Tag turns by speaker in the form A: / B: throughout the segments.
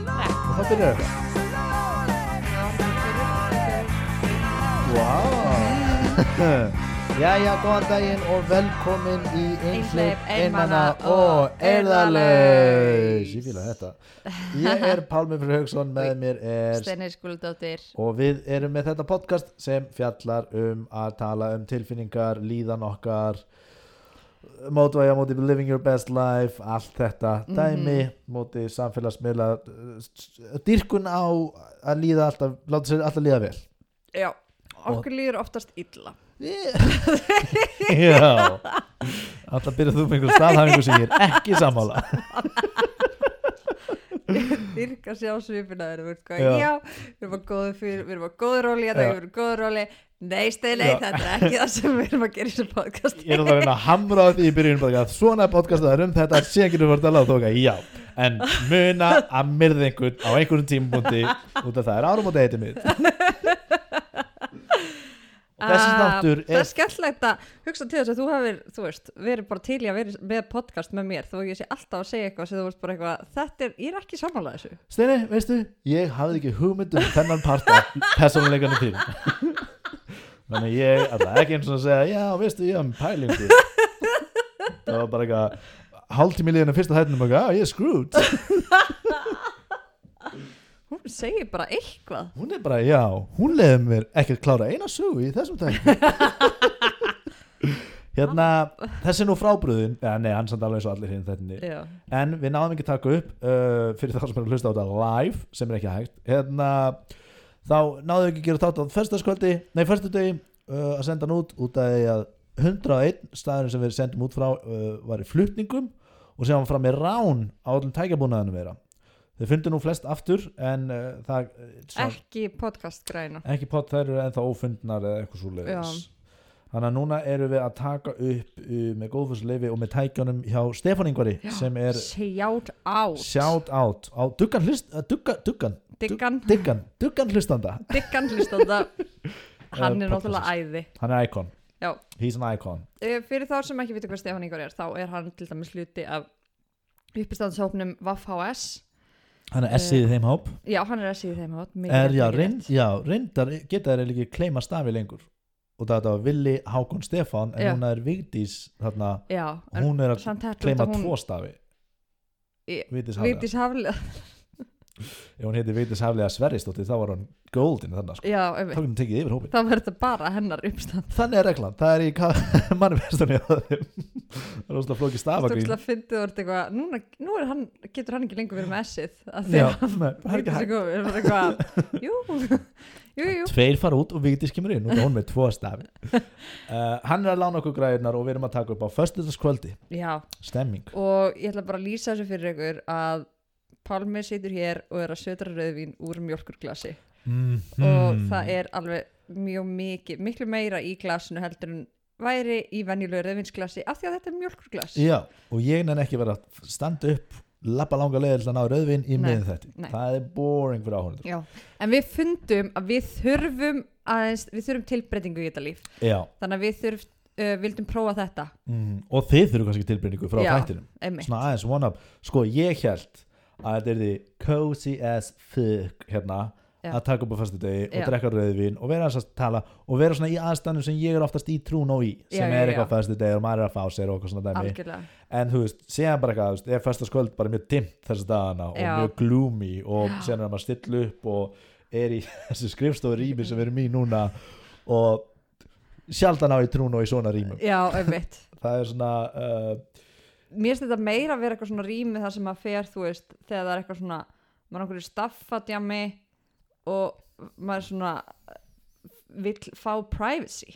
A: hvað byrjar þetta? Vá Jæja, góðan daginn og velkomin í Einhleip,
B: Einhleyp,
A: Einmanna
B: Einmana
A: og
B: og
A: Eirðarlaus
B: Eirðarlaus.
A: Ég fíla þetta Ég er Pálmi Frú Haugsson, með mér er
B: Steinir Skúldóttir
A: Og við erum með þetta podcast sem fjallar um að tala um tilfinningar, líðan okkar, mótvægja móti living your best life, allt þetta dæmi, móti samfélagsmiðla, eh, dýrkun á að líða alltaf, láta sér alltaf líða vel.
B: Já, okkur líður oftast illa
A: Já, alltaf byrjað þú með einhver staðhæfingu sem ég er ekki sammála.
B: Virka sjá svipina þeir eru sko,
A: Já.
B: já. við erum að góðu fyrir, við erum að góðu róli þetta,
A: Já.
B: við erum góðu róli Nei, Steini,
A: Já.
B: þetta er ekki það sem við erum að gera í þessu podcast
A: Ég er alltaf að reyna að hamra á því í byrjunum bara að svona podcast það er um þetta sé ekki þú fyrir að láta okkar, já en muna að myrða einhvern á einhverjum tímabúndi út af það er árum og deiti mitt og þessi
B: Ah,
A: þáttur
B: Það er
A: er
B: skemmtilegt að hugsa til þess að þú hefur, þú veist, verið bara til í að vera með podcast með mér þó ég sé alltaf að segja eitthvað sem þú veist bara eitthvað Þetta er, ég er ekki sammálað þessu
A: Steini, veistu, ég hafði ekki hugmynd um þennan part af persónuleikana þín þannig að ég alltaf ekki eins og að segja, já veistu, ég hafði um pælingu það var bara eitthvað hálftími liðinu fyrsta þættinum og eitthvað, "Ah, ég er screwed
B: Hún segir bara eitthvað
A: Hún er bara, já, hún leiði mér ekkert klára eina sögu í þessum tækni Hérna, þessi er nú frábröðin ja, Nei, hann samt alveg eins og allir hinn þetta
B: Já,
A: En við náðum ekki að taka upp uh, fyrir þá sem er að hlusta á þetta live sem er ekki hægt Hérna, þá náðum við ekki að gera þátt á föstaskvöldi Nei, föstudegi uh, að senda hann út út af því að 101 staðurinn sem við sendum út frá uh, var í flutningum og sem var fram í rán á öllum tækjabúnaðinu vera Þau fundu nú flest aftur en uh, það sá-
B: ekki podcast græna
A: ekki pott þær eru ennþá ófundnar eða eitthvað svo leiðis þannig að núna eru við að taka upp uh, með góðfúsleifi og með tækjunum hjá Stefán Ingvari sem er
B: Shout out
A: shout out á duggan hlust uh, dugga, duggan,
B: Diggan,
A: duggan, duggan hlustanda
B: diggan hlustanda Hann
A: Eh,
B: er náttúrulega æði
A: hann er icon,
B: Já,
A: he's an icon
B: Eh, fyrir þá sem ekki vita hvað Stefán Ingvar er þá er hann til dæmis hluti af uppistandshópnum Vaff HS
A: hann er
B: Eh,
A: S-ið í þeim hóp
B: Já, hann er að síðu þeim hátt mikið rétt,
A: er, já,
B: mikið
A: reynd, já, reyndar geta þær ekki kleima stafi lengur og það var Willi Hákon Stefán en
B: Já.
A: núna er Vigdís þarna,
B: rétt. Já, en
A: hún er að
B: samt hættu
A: kleima
B: hún
A: tvo stafi
B: Ég-
A: Vigdís Hafliða
B: Vigdís Hafliða
A: ef hún heiti Vigdís Hafliða Sverrisdóttir þá var hann golden þannig sko.
B: Já,
A: þá
B: einmitt.
A: getum við tekið yfir hópin
B: þá verður þetta bara hennar uppstand
A: þannig er reglan, það er í mannverðstunni á þeim það er óslega flóki stafagrín
B: Stókslega fyndið voru eitthvað Núna, Nú er hann, getur hann ekki lengur verið með S-ið af því
A: Já,
B: að
A: nei, það er ekki
B: Vigdís er
A: hægt.
B: komið, er bara eitthvað, Jú, jú, jú
A: tveir fara út og Vigdís kemur inn og hún með tvo stafi uh, hann er að lána okkur græðinar og við erum að taka upp á föstudagskvöldi,
B: Já,
A: stemming
B: og ég ætla bara að lýsa þessu fyrir ykkur að Pálmi situr hér og er að södra rauðvín úr mjölkurglasi
A: mm,
B: og það er alveg mjög mikið, miklu meira í glasinu heldur en væri í venjulegu rauðvinsglasi af því að þetta er mjölkurglas
A: já, og ég nenn ekki vera að standa upp lappa langa leiðir til að ná rauðvin í
B: Nei,
A: miðin þetta,
B: nei.
A: það er boring fyrir áhörnundur
B: Já. en við fundum að við þurfum aðeins, við þurfum tilbreytingu í þetta líf
A: já,
B: þannig að við þurf, uh, vildum prófa þetta
A: mm, og þið þurfum kannski tilbyrningu frá
B: Já.
A: þættinum
B: einmitt,
A: svona aðeins one up sko ég held að þetta er því cozy as fuck hérna
B: Já.
A: að taka upp á fyrstu degi og
B: Já.
A: drekka rauðvin og vera aðeins að tala og vera svona í aðstæðnum sem ég er oftast í trún og í
B: Já,
A: sem
B: já,
A: er
B: já.
A: eitthvað á fyrstu degi og maður er að fá sér og eitthvað svona dæmi
B: algjörlega
A: en þú veist, séðan bara eitthvað, þú veist, ég er fyrsta skvöld bara mjög dimmt þessu dagana og
B: Já.
A: mjög gloomy og séðan er maður að stilla upp og er í þessu skrifstofu rými sem við erum í núna og sjaldan á í trún og í svona rýmum
B: Já, einmitt
A: það er svona uh,
B: mér finnst þetta meira að vera eitthvað svona rými þar sem að fer, þú veist, þegar það er eitthvað svona maður er einhverju staffadjami og maður svona vill fá privacy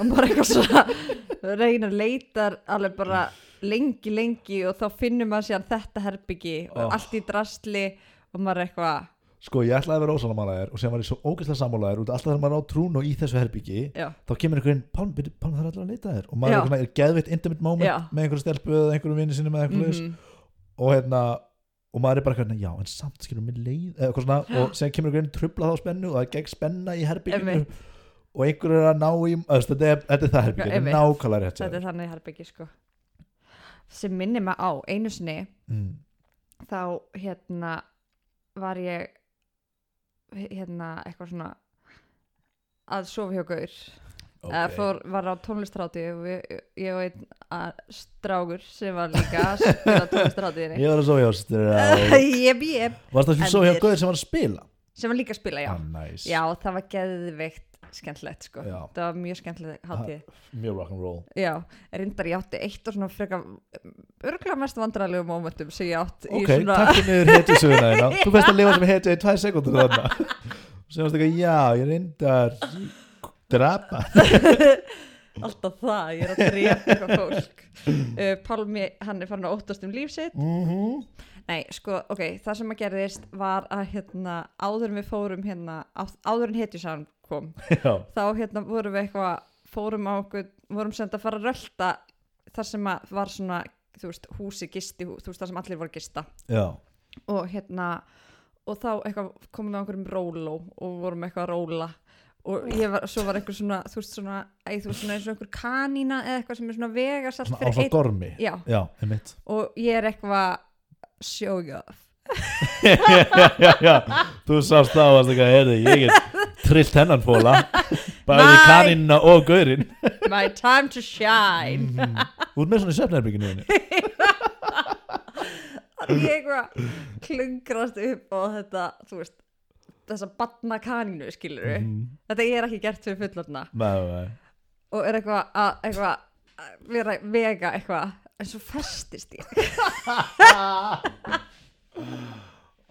B: og maður er eitthvað svona reynir leitar alveg bara lengi lengi og þá finnur maður síðan þetta herbyggi og
A: Oh.
B: allt í drastli og maður er eitthvað
A: sko ég ætlaði að vera ósálamálaðir og sem var ég svo ógeðslega sammálaðir út af alltaf þegar maður er á trún og í þessu herbyggi
B: já,
A: þá kemur einhverjum, Pálm, byrju, Pálm það er alltaf að leita að þér og maður
B: Já.
A: er, svona, er geðvitt intimate moment
B: Já.
A: með einhverju stelpu eða einhverjum vinni sínum eða
B: mm
A: einhverju mm og hérna og maður er bara hvernig, já en samt skilur mér leið eða eitthvað svona, og sem kemur einhverjum trubla þá spennu og það er gegn spenna í herbygginu
B: Einmitt.
A: og einhverju er að ná í öðvist, þetta, er, þetta er það herbyggi, þetta er
B: Einmitt.
A: nákvæmlega rétt hjá
B: þetta
A: þér.
B: er þannig herbyggi sko sem minnir maður á einu sinni
A: Mm.
B: þá hérna var ég hérna eitthvað svona að sofa hjá gaur
A: Ok.
B: okay. fór, var á tónlistráti og við, ég og einn að, strákur sem var líka að spila tónlistrátiðinni
A: Ég var að sofa hjá stráð
B: jeb, jeb,
A: Varst það
B: En
A: að sofa hjá
B: við-
A: gauðir sem var að spila?
B: sem var líka að spila, já
A: ah, nice.
B: já, það var geðveikt skemmtilegt, sko
A: Já.
B: það var mjög skemmtilegt hátíð
A: Mjög rock'n'roll
B: já, reyndar ég átti eitt og svona frekar örgulega mest vandrarlegum mómentum sem ég átt
A: Ok,
B: í svona
A: takk fyrir hetju söguna þína Þú veist að lifa sem hetju í tvær sekundur þarna Og sem varst eitthvað, já, ég reyndar Drapa
B: alltaf það, ég er að drepa eitthvað fólk uh, Pálmi, hann er farin að óttast um líf sitt
A: mm
B: Nei, sko, ok, það sem að gerðist var að hérna, áður en við fórum hérna, á- áður en hetjusagan kom
A: Já,
B: þá hérna vorum við eitthvað fórum á okkur, vorum sem þetta að fara að rölda þar sem að var svona þú veist, húsi gisti, þú veist, þar sem allir voru að gista
A: já,
B: og hérna og þá eitthvað komum við á einhverjum róló og vorum eitthvað að róla og ég var, svo var einhver svona, þú veist, svona æ, þú veist, svona eins og einhver kanína eða eitthvað sem er svona vegasalt
A: svona á
B: fyrir
A: svona
B: einn
A: gormi
B: já,
A: Já, einmitt
B: og ég er eitthvað sjógjöf
A: já, já, þú sást þá varst eitthvað, heyrðu, ég get trillt hennan fóla Bæði
B: Nei.
A: kaninna og gaurin
B: my time to shine
A: Mhm. Þú ert með svona í svefnherbygginu þínu
B: og ég eitthvað klungrast upp á þetta, þú veist þessa batna kanínu, skilur við
A: Mhm.
B: þetta er ekki gert fyrir fullorna
A: Nei, nei, nei.
B: og er eitthvað að eitthvað að vera vega eitthvað en svo festist ég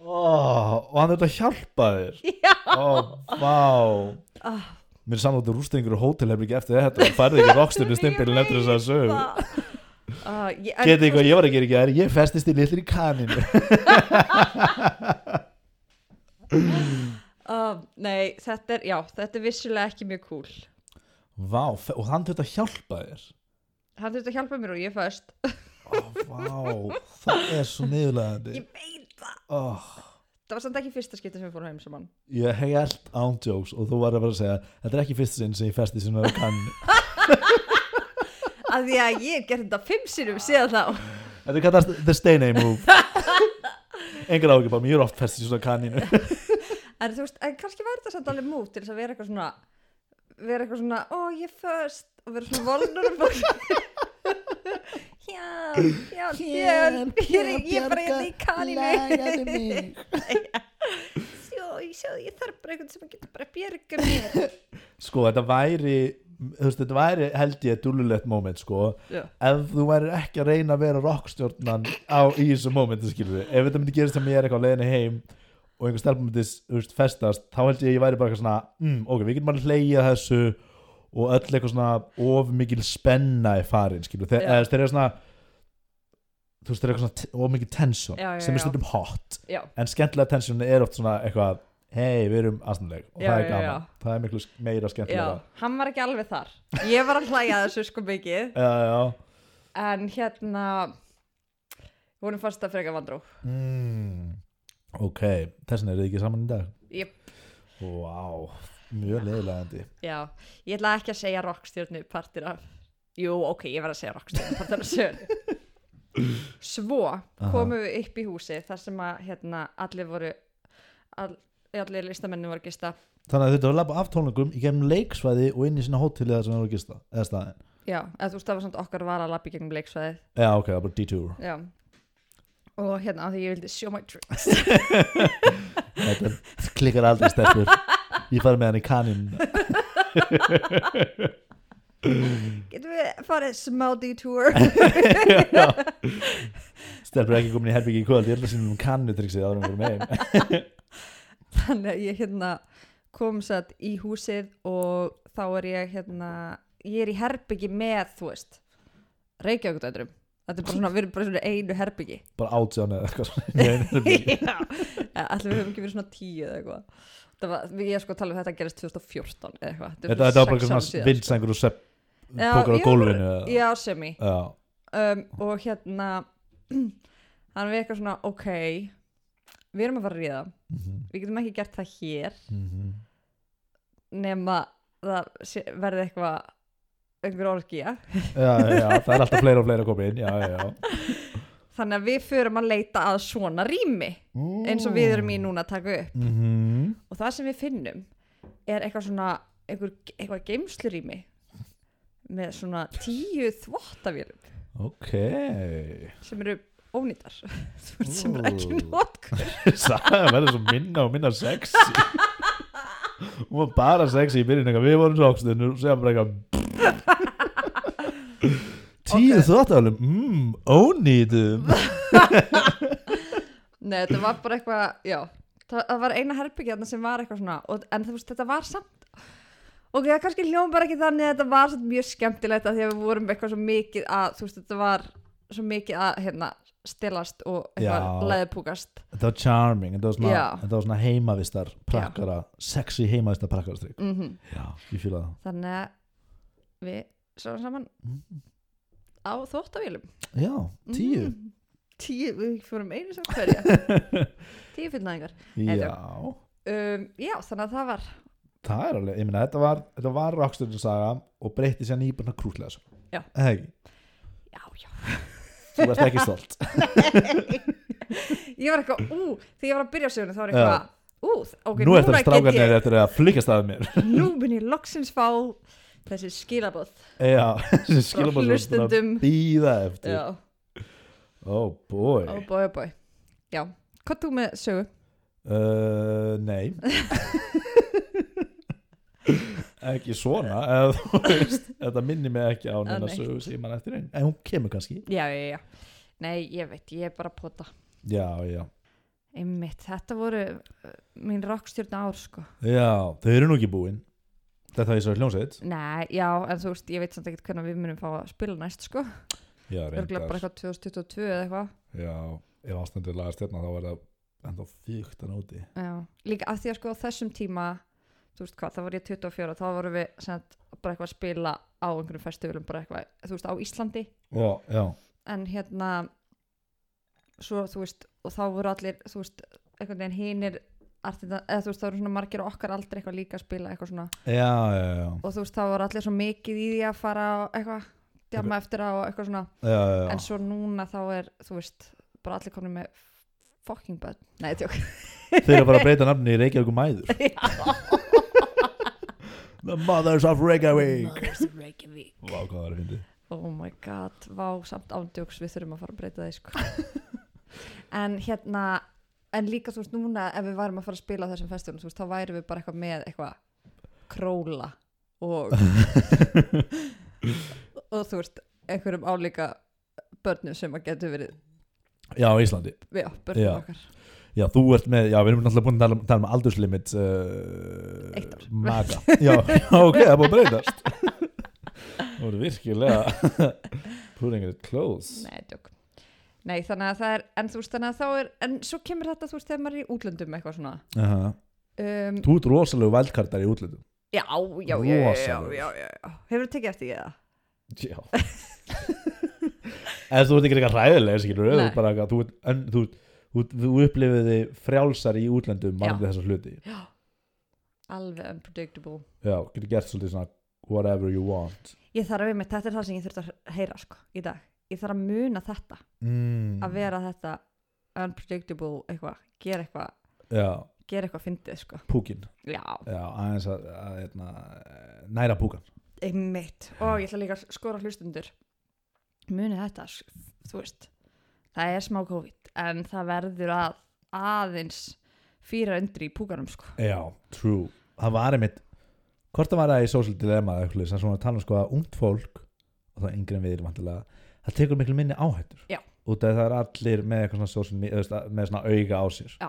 A: Ó, og hann þurfti að hjálpa þér
B: Já.
A: Ó, vá
B: Ah.
A: Mér er samlóttur rústingur og hótelherbergi eftir þetta og færði ekki rockstunni stimpilin eftir þess að sög
B: uh, ég, en,
A: Getið eitthvað ég var að gera ekki að ég festist í litlir í kaninu
B: uh, nei, þetta er, já, þetta er vissulega ekki mjög cool
A: Vá, fe- og hann þurfti að hjálpa þér
B: hann þurfti að hjálpa mér og ég föst
A: Ó, vá, það er svo niðurlegandi
B: ég veit það,
A: Ó,
B: það var samt ekki fyrsta skipti sem við fórum heim saman
A: Ég held ándjóks og þú var að vera að segja Þetta er ekki fyrst sinn sem ég festi sinna á kaninu
B: að því að ég hef gert þetta fimm sinnum síðan þá
A: Þetta kallast the stay name move Engar ágjum bara, ég er oft festi sinna á kaninu
B: En þú veist, en kannski væri þetta samt alveg mút til þess að vera eitthvað svona vera eitthvað svona, ó ég er föst og vera svona volnur Já, já, björn ég er í- ég er bara hérna í kaninu
A: mig
B: Sjó, ég sjó, ég þarf bara eitthvað sem getur bara björgum mér
A: Sko, þetta væri þú veist, þetta væri held ég dúlulegt moment sko,
B: Já.
A: ef þú væri ekki að reyna að vera rockstjórnan á í þessu momentu skilur við, ef þetta myndi gerast sem ég er eitthvað á leiðinni heim og einhver stelpum myndi þú veist, festast, þá held ég að ég væri bara eitthvað svona mm, ok, við getum alveg hleyja þessu og öll eitthvað svona of mikil spenna er farin skilur við, Þe-
B: Já.
A: eða þeir eru svona þú veist, þeir eru eitthvað svona t- of mikil tension
B: Já, já,
A: sem
B: já.
A: er stundum hot
B: Já,
A: en skemmtilega tensioni er oft svona eitthvað hei, við erum aðstæðanleg
B: Já,
A: og það er
B: já,
A: gaman,
B: já.
A: það er miklu meira
B: já,
A: skemmtilega
B: hann var ekki alveg þar Ég var að hlæja að þessu sko mikið
A: já, já.
B: en hérna vorum fast að freka vandró
A: Mm. ok, þess vegna eru þið ekki saman í dag
B: Jep.
A: vá, mjög leiðilegandi
B: Já, ég ætla ekki að segja rockstjörnu partir af Jú, ok, ég verð að segja rockstjörnu partir af sögur Svo komum við upp í húsi þar sem að hérna, allir voru all, allir listamenni voru að gista
A: þannig að þetta var labba af tónlingum í gegnum leiksvæði og inn í sinna hóteli þar sem það voru gista eða staðin,
B: Já, eða þú stafa samt okkar var að lappi gegnum leiksvæðið
A: já ok, það var bara detour
B: Já Og hérna, af því ég vildi show my tricks
A: þetta klikkar aldrei stelpur ég farið með hann í kanin
B: Getum við farið smá detour
A: stelpur er ekki komin í herbyggi í kvöld ég ætla að sinna um kanutriksi árum fyrir mig
B: þannig að ég hérna kom satt í húsið og þá er ég hérna ég er í herbyggi með, þú veist Reykjavíkdætrum þetta er bara svona, við erum bara svona í einu herbyggi
A: bara átján eða eitthvað svona í einu herbergi.
B: já, allir við höfum ekki verið svona tíu eða eitthvað það var, ég er sko að tala um þetta gerist 2014 eða eitthvað, er
A: þetta, þetta var
B: sex
A: bara
B: árum
A: svona
B: síðan,
A: vindsængur og sepp
B: Já,
A: pokar á
B: ég var
A: gólfinu eða-
B: sko. já, semi
A: já,
B: um, og hérna þannig að við eitthvað svona, ok við erum að fara að ríða
A: mhm,
B: við getum ekki gert það hér
A: mhm.
B: nema það sé- verði eitthvað einhver orkja
A: já, já, já, það er alltaf fleira og fleira að koma inn já, já, já
B: þannig að við förum að leita að svona rými eins og við erum í núna að taka upp
A: mm -hmm. -hmm.
B: og það sem við finnum er eitthvað svona einhver, eitthvað geimslurými með svona tíu þvottavélum
A: ok
B: sem eru ónýtar Þú veist, sem eru ekki
A: Ú.
B: nótkur
A: það verður svo minna og minna sexy hún var bara sexy í byrjun eitthvað, við vorum svo ákstinu og segja bara eitthvað tíu okay.
B: Ok.
A: þvóttaflum mm, ónýtum
B: Nei, þetta var bara eitthvað, já það, það var eina herbyggjarna sem var eitthvað svona og, en þú veist, þetta var samt ok, það kannski hljóma bara ekki þannig að þetta var samt mjög skemmtilegt að því að við vorum eitthvað svo mikið að, þú veist, þetta var svo mikið að, hérna, stelast og
A: Já.
B: eitthvað leðupúkast
A: þetta var charming, þetta var svona,
B: Já.
A: þetta var svona heimavistar prakkara, sexy heimavistar prakkarastrygg
B: mm
A: já, ég fýla það
B: þannig að við sáum saman á þóttavélum
A: já, Mm. tíu
B: mm. tíu, við fórum einu sem hverja tíu fullnæðingar
A: já,
B: um, já, þannig að það var
A: það er alveg, ég meina þetta var, þetta var rocksturinn saga og breytti sér nýbuna krútlega sko. svo
B: Já.
A: hey,
B: já, já,
A: þú ert ekki stolt
B: ég var eitthvað ú, þegar ég var að byrja á söguna þá var
A: Já.
B: eitthvað ú, ok,
A: nú eftir að
B: núna get
A: strákarnir eftir að flikast að mér
B: ég nú mun ég loksins fá þessi skilabóð
A: já, þessi skilum að
B: hlustendum.
A: býða eftir
B: já,
A: oh boy
B: ó bói, ó bói já, hvað þú með sögu?
A: Uh, nei ekki svona eða, þú veist, þetta minni mig ekki á neina
B: nei.
A: sögu sem mann eftir einn en hún kemur kannski
B: já, já, já, nei, ég veit, ég er bara að pota
A: já, já,
B: einmitt, þetta voru uh, mín rockstjórna ár, sko
A: já, þau eru nú ekki búin þetta er svo hljómsveit
B: Nei, já, en þú veist, ég veit samt ekkert hvernig við munum fá að spila næst, sko.
A: já,
B: Örgulega bara
A: reyndar,
B: eitthvað 2022 eða eitthvað.
A: já, ef ástandið lagast hérna þá er það enda fíkt að nóti
B: Já. Líka af því að sko á þessum tíma, þú veist hvað, þá var ég 24 og þá vorum við sent, bara eitthvað að spila á einhverjum festivalum, bara eitthvað, þú veist, á Íslandi.
A: já, já,
B: En hérna, svo, þú veist, og þá voru allir, þú veist, einhvern veginn hinir, artina, eða þú veist, þá voru svona margir á okkar aldrei eitthvað líka að spila eitthvað svona.
A: já, já, já,
B: Og þú veist, þá voru allir svo mikið í því að fara á eitthvað, djama eftir á og eitthvað svona.
A: já, já,
B: en
A: já.
B: svo núna þá er þú veist, bara allir komin með fucking bad, nei, tjók
A: þau eru bara að breyta nafni í Reykjavík um æður The Mothers of Reykjavík
B: Reykjavík
A: Vá, hvað það er að fyndi
B: oh my god, vá, samt ándjóks við þurfum að fara að breyta það sko. en hérna en líka þú veist núna ef við værum að fara að spila á þessum festivalum, þú veist, þá værum við bara eitthvað með eitthvað króla og og þú veist, einhverjum álíka börnum sem að getur verið
A: Já, á Íslandi
B: já, börnum
A: Já.
B: okkar
A: Já, þú ert með, já, við erum náttúrulega búin að tala, um- tala um aldurslimit uh,
B: Eitt ár.
A: Maga Já, ok, það er búin að breytast Þú eru virkilega Putting it close
B: Nei, djók. Nei, þannig að það er, en þú veist, þannig að þá er, en svo kemur þetta, þú veist, þegar maður er í útlöndum eitthvað svona.
A: uh
B: Um,
A: Þú ert rosalegu vældkartar í útlutum
B: já, já, já, já, já,
A: Rosalegur.
B: já, já, já. Hefur þú tekið eftir ég það?
A: Já Eða þú ert ekki eitthvað ræðilega, skilur Þú,
B: Nei.
A: ert bara, eitthvað- þú, ert- en, þú, þú, þú upplifið þið frjálsar í útlöndum varðandi þessa hluti
B: Alveg unpredictable.
A: Já, getur gert svolítið svona whatever you want
B: Ég þarf að við með, þetta er það sem ég þurft að heyra, sko, í dag. Ég þarf að muna þetta,
A: mm.
B: að vera þetta unpredictable eitthvað, gera eitthvað,
A: Mm, Já,
B: gera eitthvað fyndið, sko.
A: púkin
B: Já,
A: Já, aðeins að, að hérna, næra púkan
B: einmitt. Og ég ætla líka að skora hlustundur. Munið þetta, s- þú veist, það er smá COVID, en það verður að aðeins fýra undir í púkarum, sko.
A: Já, true Það var einmitt, hvort það var það í social dilemma eða eitthvað, sem svona að tala um sko að ungt fólk og það yngri en við erum vantilega það tekur miklu minni áhættur
B: Já.
A: út af það er allir með eitthvað svona social media, þú veist, með svona auga á sér
B: Já.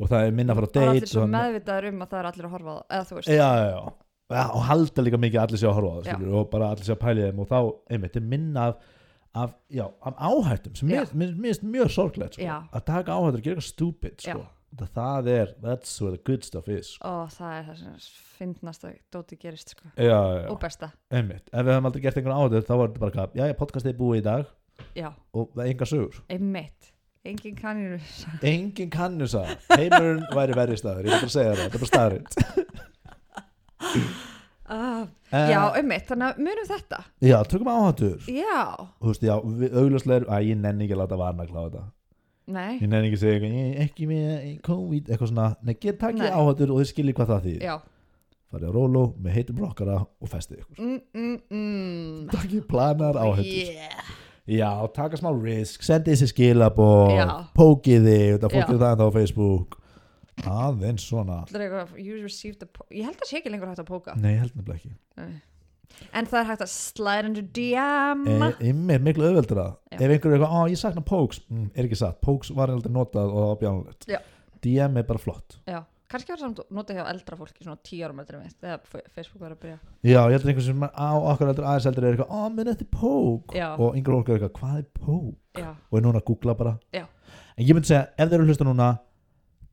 A: og það er minna að fara að
B: Það er
A: date
B: allir svo
A: og-
B: meðvitaður um að það er allir að horfa á það, eða þú veist.
A: Já, já, já Já, og halda líka mikið að allir sé að horfa á það
B: Já.
A: skilur, og bara allir sé að pæli þeim og þá einmitt er minna af, af, já, af áhættum sem mér
B: Já.
A: mér- mér finnst mjög sorglegt sko.
B: Já.
A: að taka áhættur og gera eitthvað stupid sko.
B: Já.
A: það, það er, that's where the good stuff is sko.
B: Og það er það sem finnast að dóti gerist, sko.
A: já, já, já.
B: Og besta,
A: Einmitt, ef við hefum aldrei gert einhvern áhættur þá var þetta bara eitthvað, já, podcastið er búið í dag
B: já,
A: og það er enga sögur
B: einmitt. Engin kannir,
A: engin kannu um það, heimurinn væri verri staður ég vil bara segja það, þetta er bara staðrind
B: ah,
A: Eh,
B: já, einmitt, þannig að munum þetta.
A: já, tökum áhættur
B: Já,
A: þú veist, já, við- augljóslega er að ég nenni ekki að láta varna að kláða þetta
B: nei,
A: ég nefn ekki að segja eitthvað, "Ég er ekki með COVID eitthvað svona, nei, get
B: Nei.
A: takið áhættur og þið skiljið hvað það þýðir
B: já
A: farið á rólu með heitum brokkara og festið ykkur
B: mm, mm, mm.
A: takið planar áhættur
B: yeah.
A: já, taka smá risk, sendið þessi skilabóð
B: Já.
A: pókið þig, þetta fólk
B: Já.
A: er það en á Facebook aðeins svona
B: Það er eitthvað, you received a po- ég held að sé ekki lengur hægt að póka
A: nei, ég held nefnilega ekki
B: en það er hægt að slide into DM
A: e, er miklu auðveldra
B: Já.
A: ef einhver er eitthvað, á ég sakna Pokes mm, er ekki satt, Pokes var aldrei notað og það var
B: Já.
A: bjánulegt DM er bara flott
B: já, kannski var samt nota hjá eldra fólki svona 10 árum eldri en mitt þegar Fe- Facebook var að byrja
A: já, ég held að einhver sem er á okkur eldur aðeins eldur er eitthvað, á, minn eftir Poke
B: Já.
A: og einhver fólk er eitthvað, hvað er Poke
B: já,
A: og er núna að googla bara
B: Já.
A: en ég myndi segja, ef þeir eru að hlusta núna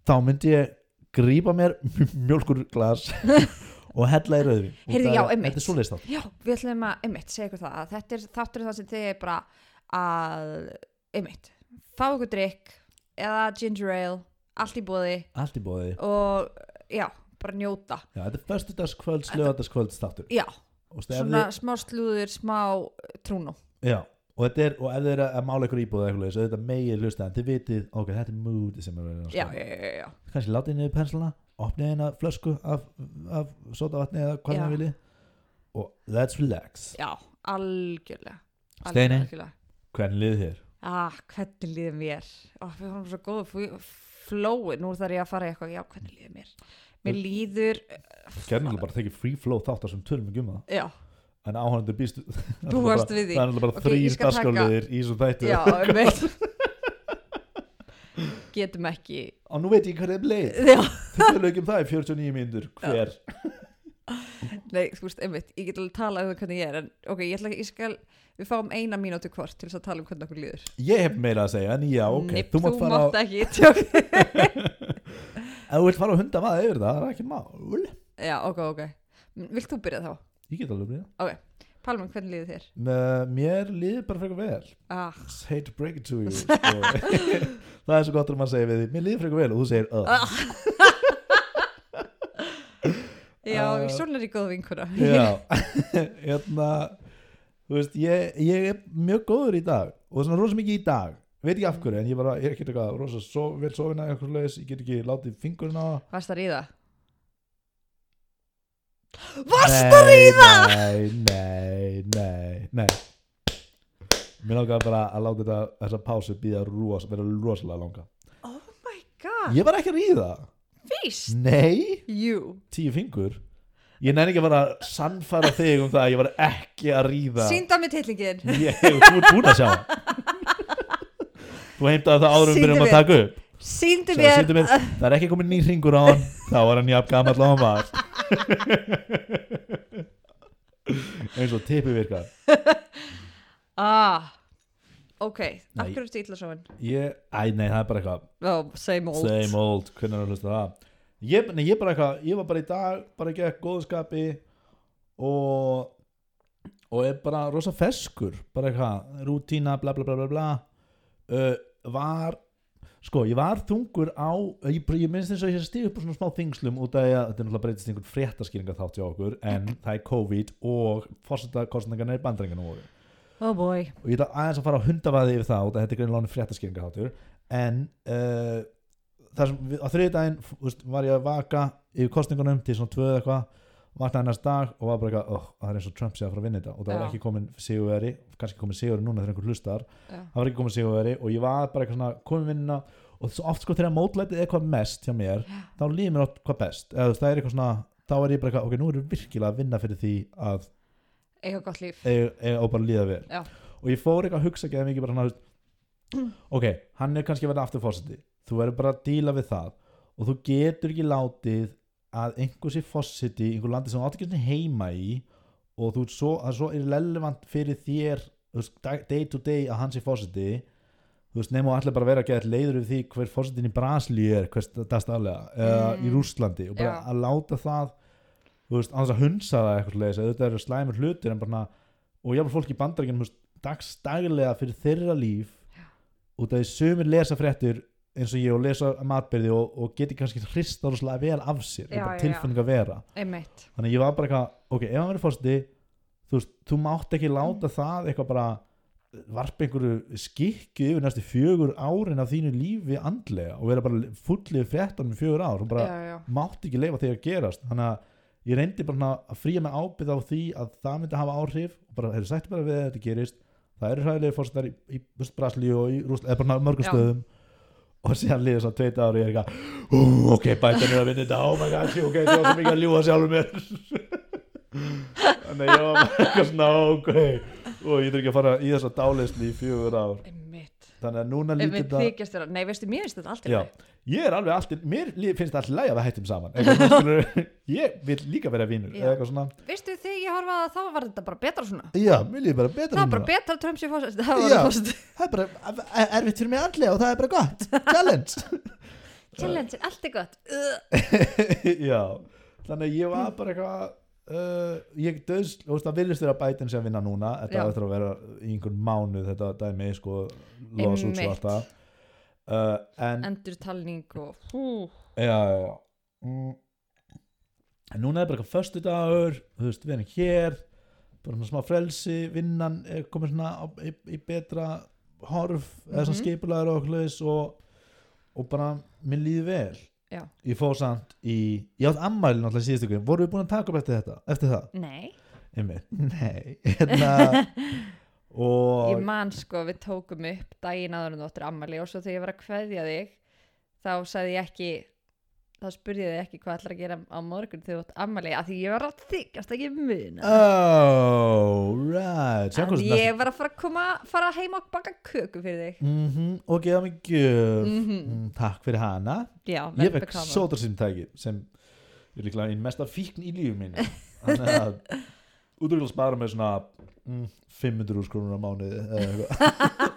A: þá myndi ég grípa mér mjölkurglas og hella í rauðvin
B: Heyrðu, já, einmitt.
A: þetta er svo leist
B: já, við ætlum að einmitt, segja ykkur það að þetta er þáttur það sem þið er bara að einmitt, fá ykkur drikk eða ginger ale, allt í bóði
A: allt í bóði,
B: og já, bara njóta
A: já, þetta er föstudagskvölds lögadagskvölds þáttur
B: já,
A: og, stu,
B: svona smá slúður smá eh, trúnó
A: þið, já, og, þetta er, og ef þeir eru að mála ykkur íbúð eða eitthvað leis, auðvitað megið hlusta en þið vitið, ok, þetta er mood sem er verið að
B: já,
A: skoða.
B: já, já, já, já,
A: kannski látið niður penslana opnið eina flösku af, af sotavatni eða hvað
B: Já.
A: það viljið og let's relax
B: já, algjörlega Algjörlega,
A: Steini?
B: algjörlega.
A: hvernig liðið þér?
B: ah, hvernig líður mér oh, við erum svo góðu fú- flói nú þarf ég að fara í eitthvað, já, hvernig líður mér mér líður
A: Gerðin er bara að tekja free flow þáttar sem tölum ekki um það
B: já,
A: en áhörnandi býst
B: Búast við því.
A: það er náttúrulega bara
B: Ok, ég
A: þrýr
B: skal taka-
A: dagskálliðir í þessum þættu
B: já, einmitt getum ekki
A: og nú veit ég hvað það leið
B: já,
A: þau tölum ekki um það í 49 mínútur hver
B: nei, þú veist, einmitt ég get alveg tala um það hvernig ég er en ok, ég ætla ekki, ég skal við fáum eina mínútu hvort til þess að tala um hvernig okkur líður
A: ég hef meira að segja en já ok
B: Nipp,
A: þú mátt fara á
B: ekki tjók.
A: ef þú vilt fara á hunda maður yfir það það er ekki mál
B: já, ok, ok, vilt þú byrja þá
A: ég get alveg byrjað
B: Palma, hvernig líður þér?
A: Með- mér líður bara frekar vel
B: ah,
A: hate to break it to you sko. það er svo gott að maður segir við því mér líður frekar vel og þú segir uh.
B: Ah. já,
A: Ah.
B: uh, svona er ég góð vinkuna
A: Já, hérna þú veist, ég, ég er mjög góður í dag og svona rosa mikið í dag veit ekki af hverju, en ég, bara, ég er ekki eitthvað rosa so, vel sofin að eitthvað leis, ég get ekki látið fingurinn á það.
B: Varst að ríða?
A: Nei, Nei, nei, nei, nei Mér langaði bara að láta þetta, þessa pásu býða ros, vera rosalega langa
B: Oh my god,
A: Ég var ekki að ríða
B: víst
A: Nei,
B: Jú,
A: tíu fingur Ég nenni ekki að fara að sannfæra þig um það að ég var ekki að ríða
B: sínda með tillingin
A: Ég, þú ert búin að sjá það. Þú heimtaði það áður um
B: Sýndu
A: byrjum að
B: mér.
A: taka upp
B: Síndu
A: Sagði,
B: mér
A: "Sýndu mér, Það er ekki komin nýr hringur á hann Þá var hann jafn gamall á hann var Eins og tippi virkar
B: ah, Ok, af
A: Nei.
B: hverju ertu illa svoin?
A: Ég, æ nei það er bara eitthvað
B: Oh, same old
A: Same old, hvernig er að hlusta það Ég, nei, ég bara eitthvað, ég var bara í dag Bara ekki að góðskapi Og Og er bara rosa feskur Bara eitthvað, rútína, bla bla bla bla bla uh, Var Sko, ég var þungur á Ég, ég minnst eins og ég stíð upp á svona smá þingslum Út af því að þetta er náttúrulega breytist í einhvern fréttaskýringa hjá okkur, en það er COVID Og fórsetakostningarnir í bandringanum voru
B: Oh boy
A: og ég ætla aðeins að fara að hundavaði yfir það og þetta er greinlega fréttaskýringa hátur en uh, þar sem við, á þriðdægin veist, var ég að vaka yfir kostningunum til svona tvöð eitthvað vaknaði næst dag og var bara eitthvað oh, það er eins og Trump sé að fara að vinna þetta og það var
B: Já.
A: ekki komin sigurveri kannski komin sigurveri núna þegar einhver hlustar
B: Já.
A: það var ekki komin sigurveri og ég var bara eitthvað svona komin vinna og svo oft sko þegar mótlætið er hvað mest hjá mér þá líður mér oft hvað best Eða, þú veist, það er eitthvað svona þá er ég bara eitthvað ok, nú erum við virkilega að vinna fyrir því að
B: Eiga gott líf
A: eig- eig- og bara líða vel
B: Já.
A: og ég fór eitthvað að hugsa ekki mikið bara hann ok, hann er kannski að verða aftur fórseti þú verður bara að díla við það og þú getur ekki látið að einhver sé fórseti í einhver landi sem þú átt ekki einu sinni heima í og þú ert svo, það er svo irrelevant fyrir þér þú veist, dag- day to day að hann sé fórseti þú veist, nema og allir bara að vera að geta leiður yfir því hver fórsetin í Brasilíu er hvers dagstaflega, eða
B: Mm.
A: í Rússlandi og bara
B: Já.
A: að láta það þú veist, á þess að hunsa það eitthvað leis þetta eru slæmur hlutir en bara svona- og jáfnir fólk í bandarækjunum dagstaglega fyrir þeirra líf út af því sumir lesa fréttir eins og ég og lesa matbyrði og, og geti kannski hrist orðslega vel af sér
B: Já, já, já.
A: tilfinning að vera
B: Einmitt
A: þannig að ég var bara eitthvað, ok, ef hann verið fórstuði þú veist, þú mátt ekki láta það eitthvað bara varpa einhverju skikki yfir næstu fjögur árin af þínu lífi andlega og vera bara fullið fréttan um fjögur ár og bara
B: já, já.
A: mátti ekki leifa þegar gerast þannig að ég reyndi bara svona að fríja mig ábyrð á því að það myndi hafa áhrif og bara hefur sagt bara við að þetta gerist það eru hræðilegi fórsetar í, í Braslíu og í Rúsland, eða bara svona mörgum
B: Já.
A: stöðum og síðan liðið svo tveit ári og ég er eitthvað, ú, ok, bæta mér að vinna þetta oh my god, shit, ok, það var svo mikið að ljúga sjálfur mér þannig að ég var bara eitthvað svona, ok og ég þurfi ekki að fara í þessa dálisli í fjögur ár,
B: einmitt
A: þannig að núna lítið
B: einmitt þykjast þér að, nei veistu, mér finnst þetta allt í
A: Já,
B: lagi.
A: ég er alveg allt í- mér lí- finnst alltaf læg að við hættum saman eitthvað, svona, skilurðu, ég vil líka vera vinur
B: Já.
A: eða eitthvað svona,
B: veistu þegar ég horfaði að þá var þetta bara betra svona
A: já, mér líður bara betra
B: það var
A: núna.
B: bara betra að Trump sér fórsett
A: Já.
B: challenge,
A: það er bara e- e- erfitt fyrir mig andlega og það er bara gott challenge
B: allt er gott Ugh.
A: já, þannig að ég var bara eitthvað uh, ég döðs, þú veist það viljast vera bætin sem vinna núna,
B: Já.
A: þetta á eftir að vera í einhvern mánuð þetta dæmi, sko los út svo
B: Einmitt.
A: allt það uh, en,
B: endurtalning og hú
A: já, já, já mm. en núna er bara eitthvað föstu dagur, þú veist, við erum hér bara svona smá frelsi, vinnan er komin svona á, í, í betra horf, eða svona
B: Mhm.
A: skipulaður og okkur leis og, og bara mér líði vel
B: Já.
A: ég fór samt í, ég átt ammæli náttúrulega síðustu ykkur, voru við búin að taka upp eftir þetta eftir það,
B: nei,
A: einmitt, nei hérna
B: ég
A: og,
B: man sko við tókum upp daginn áður en þú áttir ammali og svo þegar ég var að kveðja þig þá sagði ég ekki þá spurði ég þig ekki hvað ætlar að gera á morgun þegar þú átt ammali af því ég var að þykjast ekki muna
A: oh right
B: að
A: Sjáum Ah, hvað sem
B: ég var að fara að koma fara heim og baka köku fyrir þig
A: Mhm, og gefa mig gjöf
B: Mhm.
A: mm, takk fyrir hana
B: já,
A: ég fekk sótarsimtæki sem er líklega einn mesta fíkn í lífum mín þannig að útrúlega spara með svona mm, 500 úrskrunur á mánuði eða eitthvað.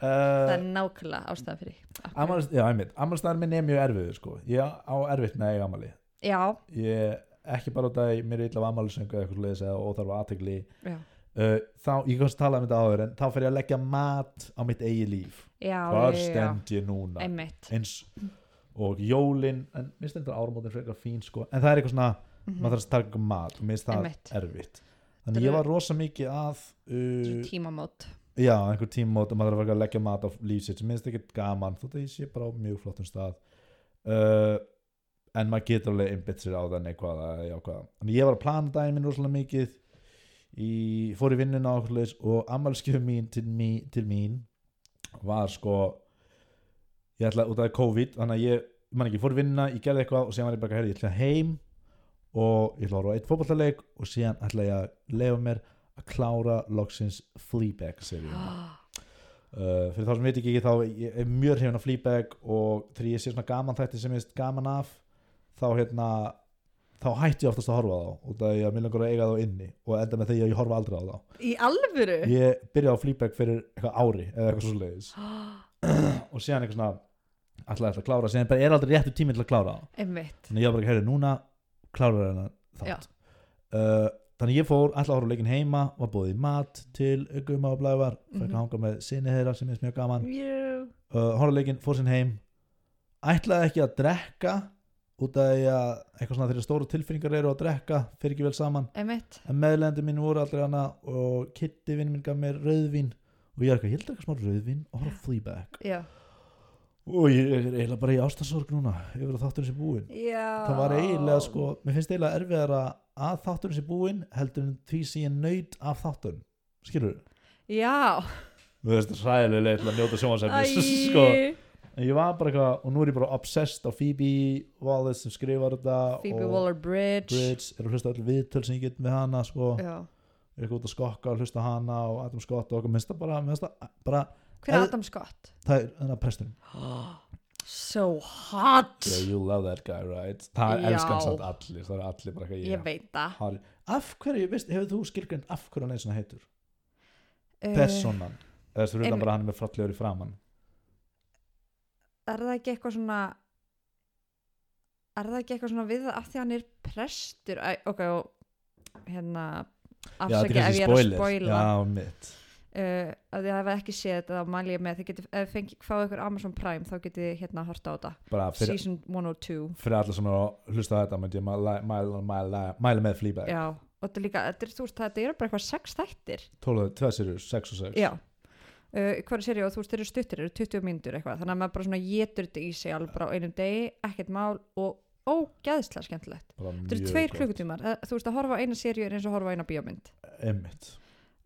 B: það
A: Eh,
B: er nákvæmlega ástæðan fyrir Af hverju?
A: afmælis- já, einmitt. Amalisdagar minn er mjög erfiður sko. ég á erfitt með að eiga amali
B: já,
A: ég, ekki bara út af að mér er illa af amalisöngu eða eitthvað leðis eða óþarfa aðtegli
B: já,
A: uh, þá, ég kannski tala um þetta áður en þá fer ég að leggja mat á mitt eigi líf
B: já,
A: hvar
B: já, já,
A: stend ég núna
B: einmitt
A: eins og jólin en mér stendur áramótin frekar fín sko en það er eitthvað svona,
B: Mhm.
A: maður þarf að taka eitthvað mat og mér finnst það
B: Einmitt.
A: erfitt þannig ég var rosa mikið að
B: Svo
A: uh,
B: tímamót
A: já, einhver tímót og maður þarf að fara að leggja mat á líf sitt sem minnst ekkert gaman þótt að ég sé bara á mjög flottum stað uh, en maður getur alveg einbytt sér á það neikvæða eða jákvæða þannig ég var að plana daginn minn rosalega mikið í, fór í vinnuna og okkur leis og ammælskjöf mín til, mí, til mín var sko ég ætla út af COVID þannig að ég, man ekki, ég fór í vinnuna ég gerði eitthvað og síðan var ég bara, herri, ég ætla heim og ég ætla að horfa á eitt fótballaleik og síðan ætla ég að leifa mér að klára loksins Fleabag-seríuna uh, fyrir þá sem veit ekki ekki þá ég er mjög hrifin af Fleabag og þegar ég sé svona gaman þætti sem ég veist gaman af þá hérna þá hætti ég oftast að horfa á þá út af því að mér langar að eiga þá inni og enda með því að ég horfa aldrei á þá
B: í alvöru
A: ég byrjaði á Fleabag fyrir eitthvað ári eða eitthvað svo leiðis og síðan eitthvað svona alltaf að klára síðan bara er aldrei réttu tími til að klára þá
B: einmitt
A: þannig ég var bara að heyra núna klárar hennar
B: Já.
A: þátt uh, þannig ég fór alltaf að horfa á leikinn heima var búið í mat til Guma og Blævar fæk
B: Mhm.
A: að hanga með sinni þeirra sem er mjög gaman
B: Jú.
A: uh, horfleikinn, fór sinn heim ætlaði ekki að drekka út af því að eitthvað svona þeirra stóru tilfinningar eru að drekka fyrir ekki vel saman
B: einmitt
A: en meðlendur mín voru aldrei hana og kitti vinn minn gaf mér rauðvin og ég er eitthvað, ég held ekki smá rauðvin og horf flýbæk
B: já,
A: og ég er eiginlega bara í ástasorg núna yfir að þátturinn sé búin
B: já
A: það var eiginlega sko, mér finnst eiginlega erfiðara að þátturinn sé búin heldur en því sem ég naut af þátturinn skilur
B: já,
A: þú veist, sæðilega til að njóta sjónvarsefnis sko,
B: æj
A: En ég var bara eitthvað og nú er ég bara obsessed á Phoebe Wallace sem skrifar þetta
B: Phoebe
A: og
B: Waller-Bridge
A: Bridge er að hlusta öll viðtöl sem ég get með hana sko,
B: já
A: er eitthvað út að skokka og hlusta á hana og Adam Scott og okkur minnst það bara, minnst það bara
B: hver er
A: Eð-
B: Adam Scott?
A: það er þennan presturinn
B: so hot
A: yeah, you love that guy right það
B: Já.
A: elskan samt allir, það er allir bara
B: ég
A: eitthvað yeah.
B: veit það
A: Harry. af hverju, veist, hefur þú skilgrind af hverju hann er svona heitur,
B: Eh,
A: personan eða þess að
B: einmitt.
A: bara hann er með frallegur í framann
B: er það ekki eitthvað svona er það ekki eitthvað svona við það af því að hann er prestur Æ, ok, og hérna
A: Já, þetta
B: afsækja ef ég
A: kannski
B: er að
A: spoiler.
B: spoila
A: já, mitt
B: uh, að þið hafa ekki séð þetta þá mæli ég með, þið getið, ef þið fengið fáið ykkur Amazon Prime þá getið þið hérna að horta á þetta
A: bara fyrir,
B: season 1 og 2
A: fyrir alla sem er að hlusta á þetta myndi ég mæla, mæla, mæla, mæla með Fleabag
B: já, og þetta er líka, þetta er, þú veist, þetta eru bara eitthvað sex þættir
A: 12, 2 serjur, 6 og 6
B: já, uh, hverju séri og þú veist, þeir eru stuttir, eru 20 mínútur eitthvað þannig að maður bara svona getur þetta í sig alveg bara á einum degi, ekkert mál og ógæðslega skemmtilegt þetta eru tveir klukkutímar, Eh, þú veist að horfa á eina serju er eins og að horfa á eina bíómynd
A: Emmitt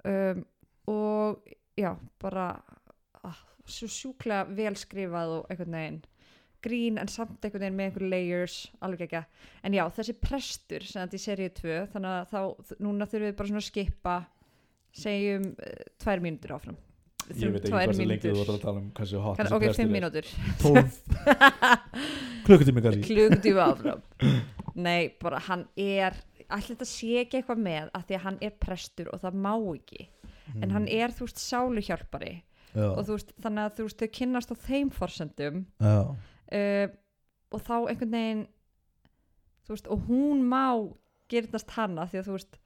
B: um, og já, bara ah, svo sjúklega vel skrifað og einhvern veginn grín en samt einhvern veginn með einhver layers alveg ekki, en já, þessi prestur sem þetta í seríu 2, þannig að þá þ- núna þurfum við bara svona að skipa segjum uh, tvær mínútur áfram
A: Ég veit ekki
B: Tvær
A: hversu lengi þú
B: mínútur.
A: voru að tala um hversu hot
B: Kann,
A: þessi
B: ok,
A: prestur
B: fimm
A: er.
B: mínútur
A: 12 klukkutími kannski
B: klugdjú áfram nei, bara hann er allir þetta sé ekki eitthvað með að því að hann er prestur og það má ekki en hann er, þú veist, sáluhjálpari
A: Mm. já,
B: og þú veist, þannig að þú veist, þau kynnast á þeim forsendum
A: já,
B: uh, og þá einhvern veginn þú veist, og hún má gerðnast hanna því að þú veist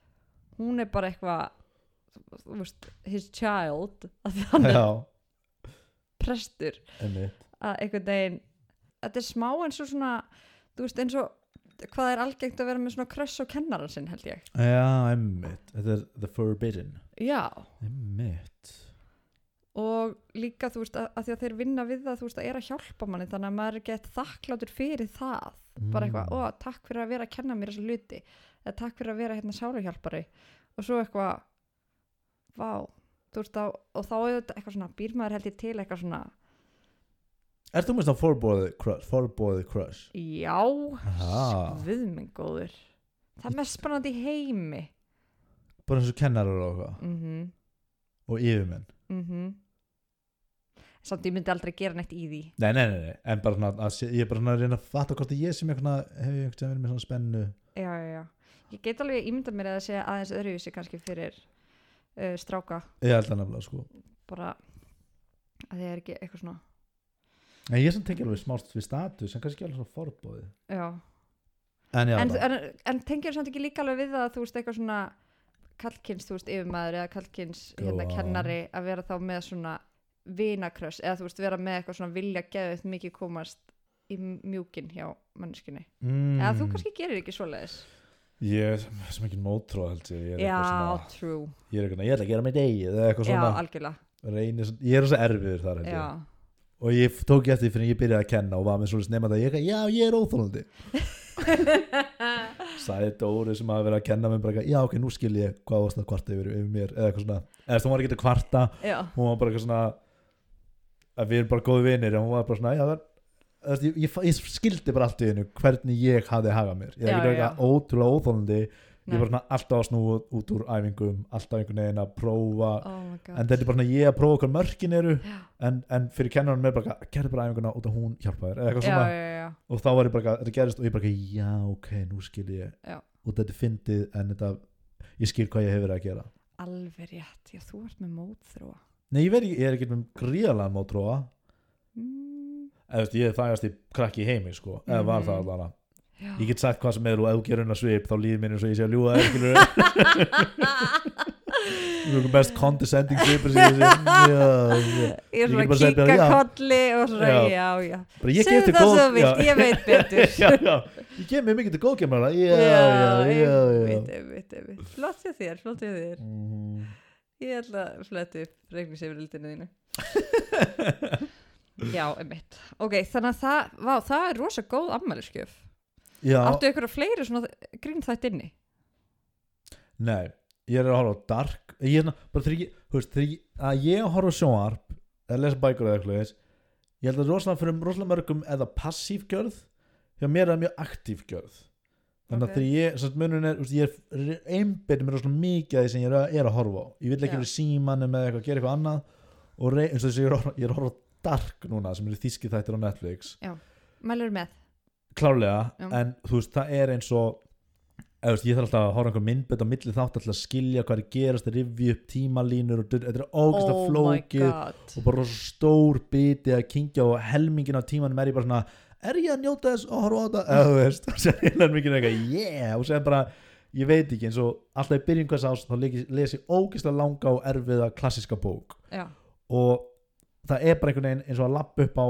B: hún er bara eitthvað þú veist, his child að því að hann er
A: já,
B: prestur
A: einmitt
B: að einhvern veginn þetta er smá eins og svona þú veist eins og hvað er algengt að vera með svona kröss og kennaran sinn held ég
A: já, einmitt, þetta er The Forbidden
B: já
A: einmitt
B: og líka þú veist að, að því að þeir vinna við það þú veist að er að hjálpa manni þannig að maður er gett þakklátur fyrir það bara
A: Mm.
B: eitthvað, ó takk fyrir að vera að kenna mér þessu luti eða takk fyrir að vera hérna sáluhjálpari og svo eitthvað vá, þú veist að og þá er þetta eitthvað svona, býr maður held ég til eitthvað svona
A: Ert þú minnst á Forbodið Crush? Forbodið Crush? Aha.
B: já, skvöðminn góður það er mest spennandi í heimi
A: Bara eins og kennarar og eitthvað
B: mhm,
A: Og yfirmenn
B: mhm samt ég myndi aldrei gera neitt í því
A: Nei, nei, nei, nei, en bara svona að, sé- Ég er bara svona að reyna að fatta hvort að ég sem eitthvað Hefur ég einhvern veginn verið með svona spennu
B: já, já, já ég get alveg ímyndað mér að það sé aðeins öðruvísi kannski fyrir uh, stráka
A: Ég held það nefnilega sko
B: bara að það er ekki eitthvað svona
A: En ég sem tengi alveg smást við status En kannski ekki alveg svona Forbodið
B: já,
A: En já,
B: en,
A: bara-
B: en, en tengir samt ekki líka alveg við það að þú veist eitthvað svona kallkins, þú veist, yfirmaður eða kallkins hérna
A: Jú, á.
B: kennari að vera þá með svona vinakröss eða þú veist vera með eitthvað svona vilja geðið mikið komast í mjúkin hjá manneskinni
A: mm,
B: eða þú kannski gerir ekki svoleiðis
A: Ég er sem- sem ekki mótró held ég Ég er
B: Já,
A: eitthvað svona
B: true,
A: Ég er eitthvað svona, ég ætla að gera mig degi Eða
B: já,
A: eitthvað svona
B: algjörlega
A: reyni, svona- Ég er þess erfiður þar held ég
B: já.
A: og ég f- tók ég eftir því fyrir en ég byrjaði að kenna og var með svolítið nefnda að ég, já, ég er óþólandi sagði Dóri sem hafa verið að kenna mér bara, eitthvað, já, ok, nú skil ég hvað varst að kvarta yfir, yfir mér eða eitthvað svona, eða þú var ekki að kvarta
B: já,
A: hún var bara eitthvað svona að við erum bara góði vinir en hún var bara svona, já, það þú veist, Ég, ég, fa- ég skildi bara allt í hennu hvernig ég hafði hagað mér, ég
B: Já,
A: er ekki
B: já.
A: eitthvað ótrúlega óþólandi ég
B: Nei.
A: er bara svona alltaf að snúa út úr æfingum alltaf einhvern veginn að prófa
B: oh my god
A: en þetta er bara svona ég að prófa hvað mörkin eru en, en fyrir kennarinn með bara gerði bara æfinguna út af hún hjálpa þér eða eitthvað
B: já,
A: svona
B: já, já,
A: og þá var ég bara þetta gerist og ég bara já ok nú skil ég
B: Já.
A: og þetta er fyndið en þetta ég skil hvað ég hefur að gera
B: alveg rétt já, þú ert með mótþróa
A: nei ég, veit ekki, ég er ekki með gríðalega mótróa
B: mm,
A: eða þú veist, ég er þægast í krakki í heimi sko eða var það
B: Mhm.
A: allavega
B: já.
A: ég get sagt hvað sem er og ef þú gerir hennar svip þá líður mér eins og ég sé að ljúga þér skilur við Þú best condescending svipur sem ég sé já, já.
B: ég er
A: Ég
B: svona
A: get
B: að
A: bara sagt
B: kíka
A: bara, já.
B: kolli og svona,
A: Já.
B: já, já,
A: Bara ég gef
B: segðu
A: þér
B: það
A: góð-
B: sem þú vilt,
A: já.
B: ég veit betur
A: já, já, ég gef mér mikið til góðgemara já, já, já, já.
B: einmitt, einmitt, einmitt. flott hjá þér, flott hjá þér
A: Mhm.
B: ég ætla að fletta upp reiknisefrildinu þínu já, einmitt ok, þannig að það, vá, það er rosa góð ammæliskjöf
A: já,
B: áttu ykkur fleiri svona grín þætt inni
A: nei ég er að horfa á Dark ég er svona- bara þegar ég, þú veist, þegar ég, að ég að horfa á sjónvarp eða lesa bækur eða eitthvað þess, ég held að rosalega fyrir rosalega mörgum eða passív gjörð hjá mér er það mjög aktív gjörð þannig
B: Ok.
A: að þegar ég, svona munun er þú veist, ég er einbyrð mér rosalega mikið að því sem ég er að, er að horfa á ég vil ekki
B: Já.
A: verið símanum eða eitthvað, gera eitthvað annað og rey, eins og þess að ég er að horfa- ég er að horfa á Dark núna sem eru þíski þættir á Netflix
B: mælur með
A: klárlega,
B: Já.
A: en þú veist, það er eins og eða, þú veist, ég þarf alltaf að horfa einhver myndbönd á milli þátt alltaf að skilja hvað er að gerast, rifja upp tímalínur og dutt- þetta er ógæst að flókið
B: Oh god
A: og bara rosa stór biti að kingja og helmingin á tímanum er ég bara svona er ég að njóta þess og horfa á þetta eða þú veist, og sér heilan mikið eitthvað yeah, og sér bara, ég veit ekki eins og alltaf í byrjun hvers ás, þá leki- les ég ógæst að langa og erfiða klassiska bók
B: já,
A: og það er bara einhvern veginn eins og að lappa upp á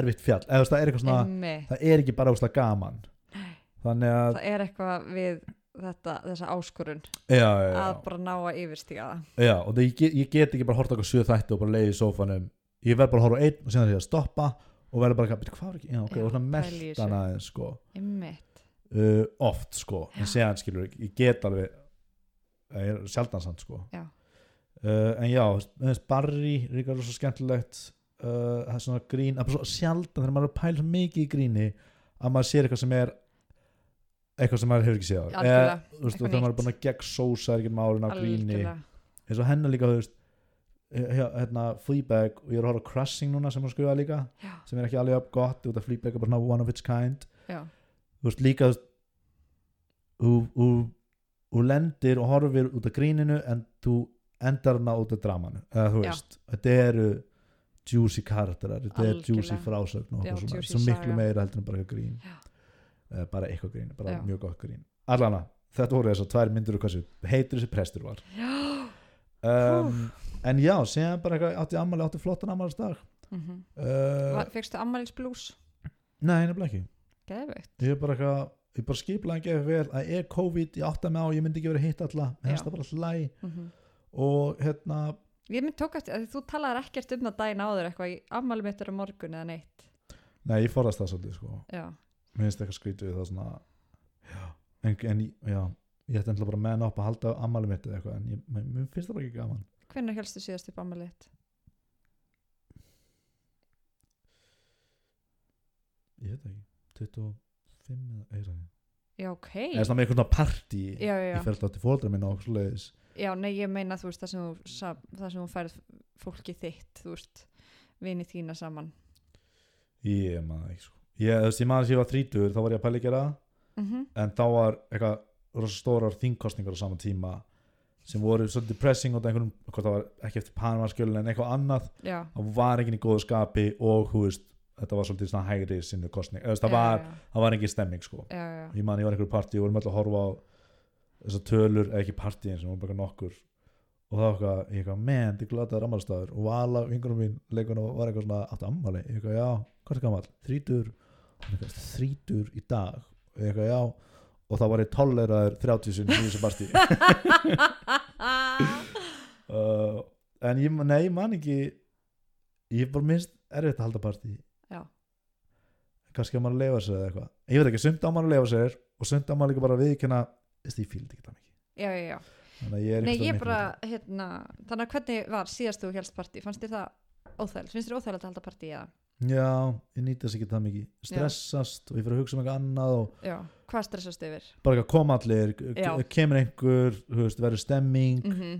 A: erfitt fjall, eða þú veist, það er eitthvað svona
B: einmitt
A: það er ekki bara úsla gaman þannig að
B: það er eitthvað við þetta, þessa áskorun
A: já, já, já,
B: að bara ná að yfirstíga það
A: já og það, ég, get, ég get ekki bara horta okkur söð þætti og bara leiði í sófanum ég verð bara að horfa á einn og síðan er ég að stoppa og verður bara, "Bíddu, hvað var ekki, já ok,
B: Já,
A: og svona
B: pæla í þessu.
A: meltan aðeins sko
B: Einmitt.
A: uh, oft sko en séðan skilur ég, ég get alveg ég er sjaldan samt sko
B: Já.
A: Uh, en já, þess barri ríkar svo skemmtilegt uh, það er svona grín, það er bara svo sjaldan þegar maður er að pæla svo mikið í gríni að maður sér eitthvað sem er eitthvað sem maður hefur ekki séð áður.
B: Algjörlega,
A: Eða, þú veist,
B: eitthvað
A: þegar maður er
B: nýtt.
A: búin að gegn sósa er ekki málun á gríni
B: algjörlega
A: eins og hennar líka, þú veist eh, hjá- hérna, Fleabag og ég er að horfa á Crushing núna sem hún skrifa líka
B: Já.
A: sem er ekki alveg upp gott út af Fleabag er bara svona one of its kind
B: já,
A: þú veist líka þú veist, þú, þú, þú lendir og horfir út af gríninu en þú endar hana út af dramanu eða þú
B: Já.
A: veist, þetta eru juicy karakterar, þetta er
B: Algjörlega.
A: juicy frásögn og
B: Já,
A: eitthvað svona,
B: juicy
A: svo miklu
B: saga.
A: meira heldur en bara eitthvað grín
B: Já.
A: eða bara eitthvað grín, bara
B: Já.
A: mjög gott grín allana, þetta voru þessar tvær myndir og hversu heitur þessi prestur var um, en já, síðan bara eitthvað átti ammali, átti flottan ammali dag
B: mhm
A: uh,
B: Hva- Fékkstu ammælisblús?
A: nei, nefnilega ekki
B: Geðveikt.
A: ég er bara eitthvað ég bara skiplaði að gefa vel að er COVID ég átta mig á, ég myndi ekki verið hitt alla mér finnst
B: Já.
A: það bara hlæ
B: Mm
A: og hérna,
B: Ég mynd tók eftir að þú talaðir ekkert um það dæna áður eitthvað í ammæli mitt er á morgun eða neitt.
A: nei ég forðast það svolítið sko,
B: Já,
A: mér finnst eitthvað skrítið við það svona, já en, en já, ég ætti ennlega bara að menna upp að halda ammali mitt eða eitthvað, en ég, mér- mér finnst það bara ekki gaman
B: hvernig helstu síðast upp ammæli þitt?
A: ég veit það ekki, 25 eða eitthvað,
B: Já, ok.
A: eða svona með einhvern veginn partí
B: Já, já, já.
A: ég fælt átti fóldra minna og svo leiðis
B: Já, nei, ég meina þú veist það sem þú, sa- það sem þú færð fólki þitt, þú veist, vinið þína saman.
A: ég maður ekki sko, ég, þú veist, ég maður þess að ég var 30 þá var ég að pæla að gera það
B: Mm
A: en þá var eitthvað rosa stórar þingkostningar á sama tíma sem voru svo depressing og einhvern, hvort það var ekki eftir Panamaskjölin en eitthvað annað,
B: Já.
A: það var ekki í góðu skapi og hú veist, þetta var svolítið svona hægri sinnu kostning, Eða, þú veist, það var, það var ekki stemming sko,
B: Já, já, já.
A: ég man ég var í einhverju partí og vorum alltaf að horfa á þessar tölur eða ekki partíin sem voru bara eitthvað nokkur og það var eitthvað, ég eitthvað, man, þið glataður ammálstafur og vala, vingunum mín, leikun og var eitthvað svona aftur ammáli, ég eitthvað, já, hvað er gammal þrítur, þrítur í dag, ég eitthvað, já og þá var ég tolleraður 30 sinni í þessu partí uh, en ég, nei, ég man ekki ég er bara minnst erfitt að halda partí
B: Já.
A: kannski að maður leifa sér eða eitthvað ég veit ekki, sumt á maður að leifa sér og sumt á maður líka bara að viðkynna þess að ég fíl ekki það mikið
B: já, já, já.
A: þannig að ég er
B: Nei,
A: einhvers staðar
B: ég
A: mitt á
B: bara,
A: milli.
B: hérna, þannig að hvernig var síðast þú helst partí? Fannst þér það óþægilegt? Finnst þér óþægilegt að halda partí eða?
A: já, ég nýti þess ekki það mikið stressast og ég fyrir að hugsa um eitthvað annað og
B: Já. Hvað stressast yfir?
A: bara ekki að koma allir
B: Já.
A: k- kemur einhver, þú veist, verður stemming
B: Mm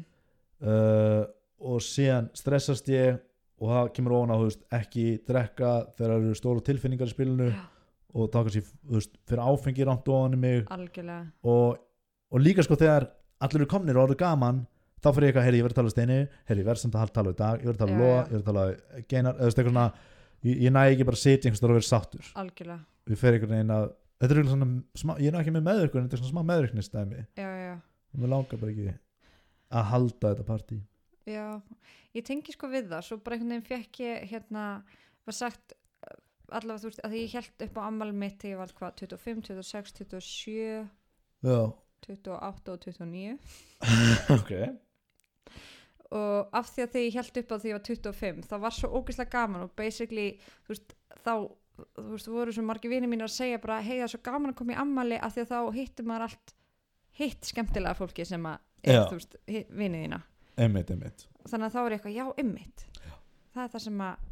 A: uh, og síðan stressast ég og það kemur ofan á þú veist, ekki drekka þegar það eru stóra tilfinningar í spilinu
B: Já.
A: og þá kannski þú veist, fyrir áfengi rámt ofan í mig
B: Algjörlega.
A: og, og líka sko þegar allir eru komnir og eru gaman þá fyrir ég eitthvað, heyri ég verið að tala við steinu heyri ég verið samt að tala við dag, ég verið að tala við
B: Já,
A: loa
B: já.
A: ég verið að tala við geinar, eða þú veist, eitthvað svona ég, ég næ ekki bara að sitja einhvers þar og vera sáttur
B: Algjörlega,
A: við fyrir einhvern veginn að þetta er eiginlega svona, smá, ég er nú ekki með meðvirkun þetta er svona smá meðvirknistæmi
B: já, já,
A: og mér langar bara ekki að halda þetta partí
B: já, já. Ég tengi sko við það, svo bara einhvern veginn fekk ég hérna, var sagt eh, allavega þú veist, að því ég held upp á ammal mitt þegar ég var hvað, 25, 26, 27,
A: já,
B: 28 og 29
A: ok
B: og af því að þegar ég held upp á því ég var 25, þá var svo ógeðslega gaman og basically, þú veist, þá þú veist, voru svo margir vinir mínir að segja bara, hei það er svo gaman að koma í ammali af því að þá hittir maður allt hitt skemmtilega fólki sem að, er,
A: Já.
B: þú veist, hi- vinið þína
A: einmitt, einmitt
B: þannig að þá er ég eitthvað, já, ymmit það er það sem að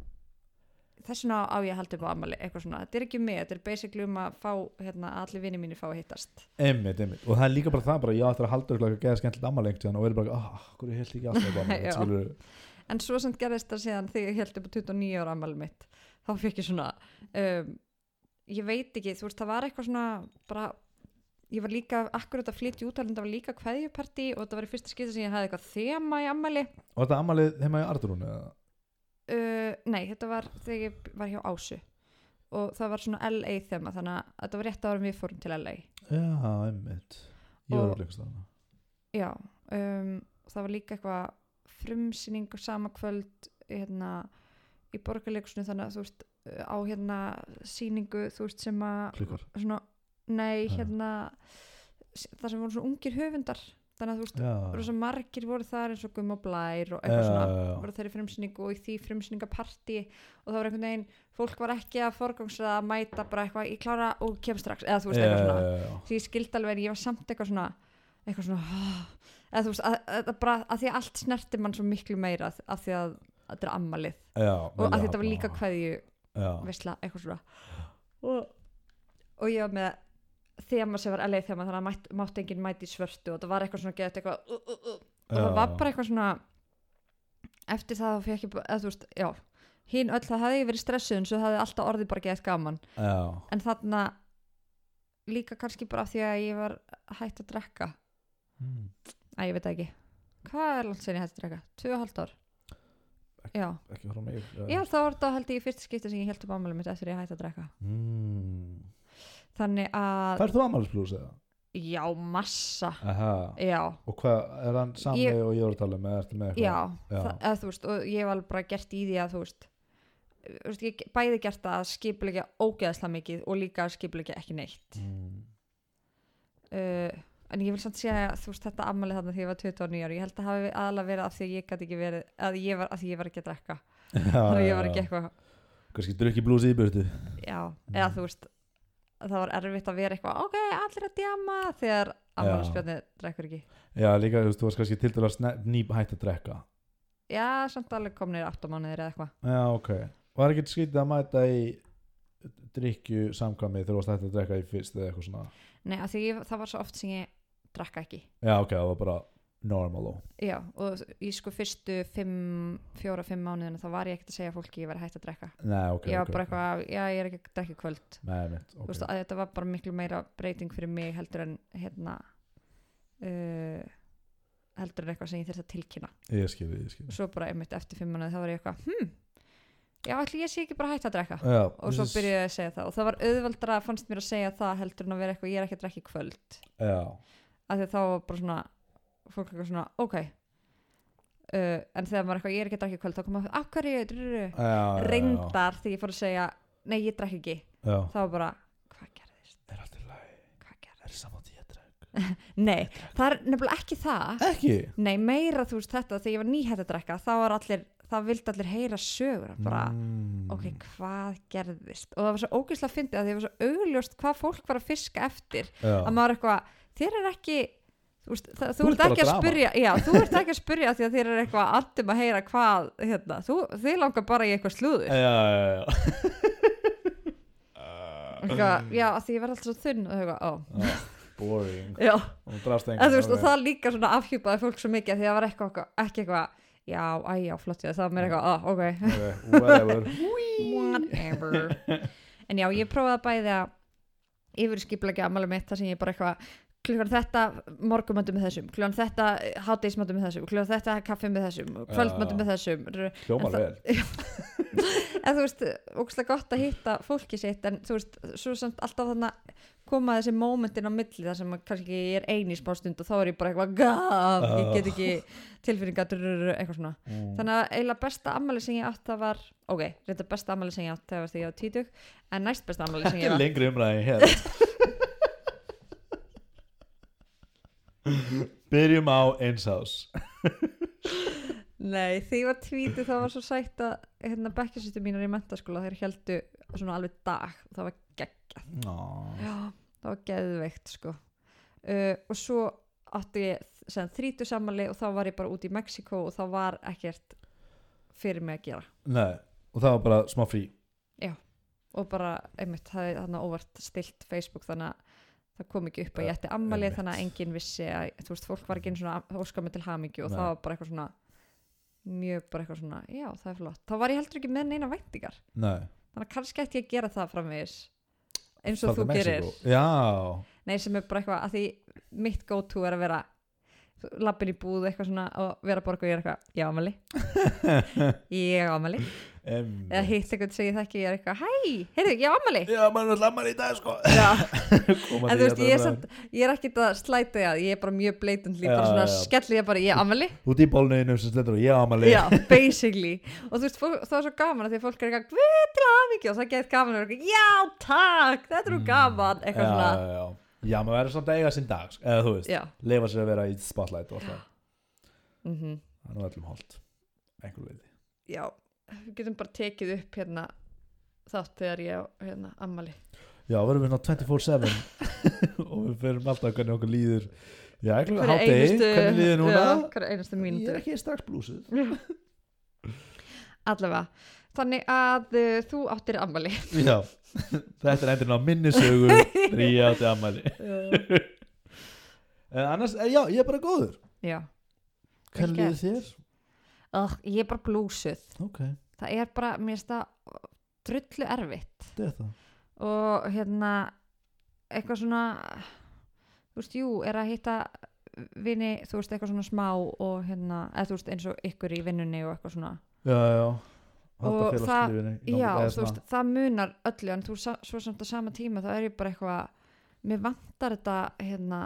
B: þessuna á ég að halda upp á ammali eitthvað svona, þetta er ekki mig, þetta er basically um að fá hérna, að allir vinni mínir fá að hittast
A: einmitt, einmitt, og það er líka bara það bara ég ætti að halda ykkur að geða skemmtilegt ammali einhvern tíðan og verður bara, ah, hverju held ég ekki alltaf bara
B: Já.
A: þetta skilur,
B: en svo sem gerðist það síðan þegar ég held upp á 29 ára ammali mitt þá fekk ég svona um, ég veit ekki, þú veist, það var eitthvað svona bara, ég var líka akkurat að flytja út, þannig að það var líka kveðjuparti og það var í fyrsta skipti sem ég hafði eitthvað þema í ammali
A: og þetta ammalið heima í Ardurún eða,
B: uh, nei, þetta var þegar ég var hjá Ásu og það var svona LA þema þannig að þetta var rétt árum við fórum til LA
A: já, einmitt ég var
B: Og-
A: alveg einhvers þarna
B: já, um, það var líka eitthvað frumsýning og sama kvöld hérna, í borgarleikusinu þannig að þú veist uh, á hérna sýningu þú veist sem að
A: klukkar,
B: svona, nei,
A: Já.
B: hérna það sem voru svona ungir höfundar þannig að þú veist,
A: já,
B: rosa margir voru þar eins og Gumma Blær og
A: Já,
B: eitthvað
A: já, já.
B: svona voru þeirri frumsýningu og í því frumsýningaparti og það var einhvern veginn, fólk var ekki að forgangsraða að mæta bara eitthvað, ég klára og kem strax, eða þú veist, eitthvað svona
A: já, já.
B: því ég skildi alveg en ég var samt eitthvað svona eitthvað svona "Ah", eða þú veist, að, að, að, bara, að því að allt snerti mann svo miklu meira af- af því að, að þetta er ammalið
A: Já,
B: og að
A: já,
B: þetta var líka kveðju
A: já.
B: veisla, eitthvað svona og, og ég var með þema sem var LA þema þannig að mætt, mátt enginn mæti svörtu og það var eitthvað svona gett eitthvað uh, uh, uh, og
A: Já.
B: það var bara eitthvað svona eftir það þá fekk ég bara, eða þú veist, já hín öll, það hefði ég verið stressuð en svo það hefði alltaf orðið bara gett gaman
A: já,
B: en þarna líka kannski bara af því að ég var hætt að drekka
A: Mm.
B: að ég veit það ekki, hvað er langt sem ég hætt að drekka? 2,5 ár já,
A: ekki frá mig
B: já þá var þetta held ég í fyrsta skipti sem ég held upp ámælum mitt eftir að ég hætt að drekka
A: mm.
B: þannig að,
A: Færðu þú ammælisblús eða?
B: já, massa
A: Aha.
B: já,
A: Og hvað, er hann sami
B: Ég-
A: og ég voru að tala um eða ertu með eitthvað?
B: já,
A: Já.
B: já. Eða, þú veist, og ég hef alveg bara gert í því að þú veist þú veist, ég hef bæði gert það að skipulegja ógeðslega mikið og líka að skipulegja ekki neitt
A: Mm.
B: uh, en ég vil samt segja að þú veist þetta afmælið þarna því ég var 29 ára ég held að hafi aðalega verið af því að ég gat ekki verið að ég var, að því ég var ekki að drekka
A: Ah,
B: þannig að ég var ekki eitthvað
A: Kanski drukki blús í burtu
B: já,
A: Mm.
B: eða þú veist það var erfitt að vera eitthvað ok, allir að djama þegar afmælisbjörni drekkur ekki
A: Já, líka, þú veist, þú varst kannski til dæla nýp hætt að drekka
B: já, samt alveg komnir 8 mánuðir eða eitthvað
A: Já, ok Var ekkert skrítið að mæta í drykju samkvæmi þegar þú varst hætt að drekka í fyrst eða eitthvað svona
B: nei, af því ég, það var svo oft sem ég drekka ekki
A: Já, ok, það var bara normal og
B: já, og í sko fyrstu 4-5 mánuðina þá var ég ekkert að segja fólki að ég var hægt að drekka
A: Nei, ok,
B: ég var
A: ok,
B: bara
A: ok.
B: eitthvað, já, ég er ekki að drekka í kvöld
A: Nei, mitt,
B: Þú
A: ok
B: veist, að þetta var bara miklu meira breyting fyrir mig heldur en hérna uh, heldur en eitthvað sem ég þurfti að tilkynna
A: Ég skilði, ég skilði
B: svo bara einmitt eftir fimm mannaði þá var ég eitthvað hm, já ætli ég sé ekki bara hægt að drekka
A: Já,
B: og svo byrjuði ég að segja það og það var auðveldra fannst mér að segja það heldur en að vera eitthvað ég er ekki að drekka í kvöld
A: Já,
B: af því að þá var bara svona fólk eitthvað svona ok uh, en þegar maður er eitthvað ég er ekki að drekka í kvöld þá kom að af hverju drurru?"
A: já, Ah, já
B: reyndar þegar ég fór að segja nei ég drekka ekki
A: Já,
B: þá var bara hvað gerðist
A: er allt í lagi
B: hvað gerðist
A: Er saman því að drekka
B: Nei, það er nefnilega ekki það
A: Ekki?
B: Nei, meira þú veist þetta þegar ég var nýhætt að drekka þá var allir, það vildi allir heyra sögur bara,
A: mm.
B: ok, hvað gerðist og það var svo ógeðslega fyndið að því var svo augljóst hvað fólk var að fiska eftir
A: Já,
B: að maður eitthvað, þér er ekki þú veist, það,
A: Ah. Þú
B: þú ert
A: ert
B: ekki
A: bara
B: að
A: drama.
B: spyrja já, þú ert ekki að spyrja því að þér er eitthvað andum að heyra hvað, hérna, þú, þið langar bara í eitthvað slúður
A: já, já, já.
B: eitthvað, já, að því ég verð alltaf svo þunn og eitthvað, ó,
A: Já, boring
B: já
A: og drafst
B: en þú veist, og það líka svona afhjúpaði fólk svo mikið af því að það var eitthvað, eitthvað- ekki eitthvað já, æjá, flott, já, það var mér eitthvað, ah, ok
A: okay, whatever
B: whatever en já, ég prófaði bæði að yfirskiplega ammæli mitt þar sem ég bara eitthvað klukkan þetta morgumöndu með þessum klukkan þetta hátdeismöndu með þessum klukkan þetta kaffi með þessum, kvöldmöndu með þessum En
A: hljómar
B: það-
A: vel
B: en þú veist, ógstlega gott að hitta fólki sitt en þú veist, svo samt alltaf þannig koma þessi mómentin á milli þar sem að kannski ég er ein í smá stund og þá er ég bara eitthvað gaf, ég
A: Ah.
B: get ekki tilfinninga, drururur, eitthvað svona
A: Mm.
B: þannig að eiginlega besta ammæli sem ég átt það var, ok, reynda besta ammæli sem ég átt það var því ég á títug, en næst besta ammæli sem
A: ekki
B: ég átt
A: lengri umræði hér byrjum á einsás
B: Nei, því ég var tvítið þá var svo sætt að hérna bekkjasýttu mínar í mentaskóla þeir heldu svona alveg dag og það var geggjað Já, það var geðveikt sko. uh, og svo átti ég sem þrítu sammali og þá var ég bara út í Mexiko og þá var ekkert fyrir mig að gera
A: nei og það var bara smá frí
B: og bara, einmitt, það er þarna óvart stilt Facebook þannig að það kom ekki upp að ég ætti
A: Eh,
B: ammali
A: einmitt.
B: þannig að enginn vissi að, þú veist, fólk var ekki einu svona að óska mig til hamingju og
A: Nei.
B: það var bara eitthvað svona mjög bara eitthvað svona, já, það er flott þá var ég heldur ekki með neina væntingar
A: nei
B: þannig að kannski ætti ég að gera það framvegis eins og þú
A: Farðu til
B: gerir
A: Mexíkó. já
B: Nei, sem er bara eitthvað að því mitt go to er að vera lappin í búð eitthvað svona og vera borg og ég er eitthvað, já ámali ég ámali,
A: em,
B: eða hitt eitthvað sem ég þekki ég er eitthvað, hæ, heyrðu, ég ámali
A: já maður er allar í dag sko
B: Já,
A: Koma
B: en
A: því
B: þú veist,
A: að
B: ég er,
A: það
B: samt, ég er ekkit að slæta því að ég er bara mjög bleitundli, bara
A: Já,
B: svona
A: já.
B: skellu ég bara, ég ámali,
A: út í bólnöðinu sem stendur og ég ámali
B: já, basically og þú veist, fólk, það er svo gaman að því að fólk er eitthvað guð til hafingi og það getur gaman að vera eitthvað, já, takk, þetta er nú gaman, eitthvað svona,
A: Mm. já, já, já. já, maður verður samt að eiga sinn dag sko. eða þú veist,
B: já,
A: leifa sér að vera í spotlight og allt það,
B: mhm
A: það er nú öllum holt einhver veiti,
B: já, við getum bara tekið upp hérna þátt þegar ég á, hérna ammali
A: já, verðum við ná 24-7 og við fyrir alltaf hvernig okkur líður já, ekki
B: Hverja
A: hátegi,
B: einustu-
A: hvernig líður núna
B: já, hverja einustu
A: ég
B: mínútur
A: er ekki strax blúsið
B: allavega, þannig að uh, þú áttir ammali
A: já, þetta er endur ná minnisögu þrjátti ammæli en annars, eh, já, ég er bara góður
B: já,
A: hvernig
B: Vel
A: líður þér?
B: oh, ég er bara blúsuð
A: ok,
B: það er bara, mér finnst það drullu erfitt
A: þetta er það
B: og hérna eitthvað svona þú veist, jú, er að hitta vini, þú veist, eitthvað svona smá og hérna, eða þú veist, eins og ykkur í vinnunni og eitthvað svona
A: já, já,
B: Og
A: halda
B: það-
A: félagslífinu í gangi,
B: Já,
A: eða
B: þú
A: svona.
B: veist, það munar öllu en þú sa- svo samt á sama tíma þá er ég bara eitthvað mér vantar þetta hérna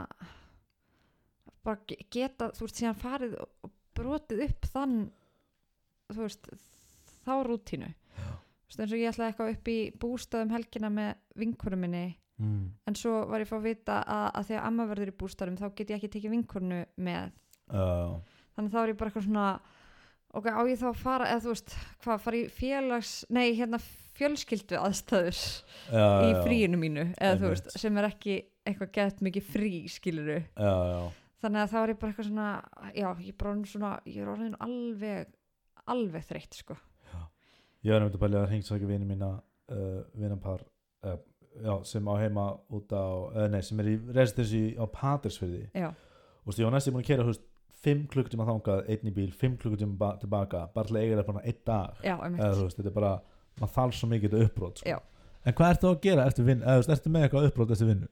B: bara ge- geta, þú veist, síðan farið og- og brotið upp þann þú veist, þá rútínu þú veist, eins og ég ætlaði eitthvað upp í bústaðum helgina með vinkurum minni
A: mm.
B: en svo var ég að fá að vita að, að þegar amma verður í bústaðum þá get ég ekki tekið vinkurnu með
A: Já,
B: þannig þá er ég bara eitthvað svona ok, á ég þá að fara eða þú veist, hvað, fara í félags nei, hérna fjölskyldu aðstæður
A: já,
B: í
A: já,
B: fríinu mínu, eða þú veist,
A: Einmitt.
B: sem er ekki eitthvað gett mikið frí, skiluru
A: já, já,
B: þannig að þá er ég bara eitthvað svona já, ég er bara orðin svona, ég er orðin alveg alveg þreytt, sko
A: ég var nefndi að pæla að hringt svo ekki vini mína uh, vinanpar uh, já, sem á heima út á uh, nei, sem er í residensi á Patersfyrði
B: já,
A: og þú veist, ég var næstum búin að kera húst 5 klukkutíma þangað, einn í bíl 5 klukkutíma ba tilbaka, bara til að eiga það bara einn dag
B: já, um
A: eða þú veist, þetta er bara maður þarf svo mikið þetta uppbrot
B: Já.
A: sko. en hvað ertu að gera eftir vinnu, eða þú veist, ertu með eitthvað uppbrot eftir vinnu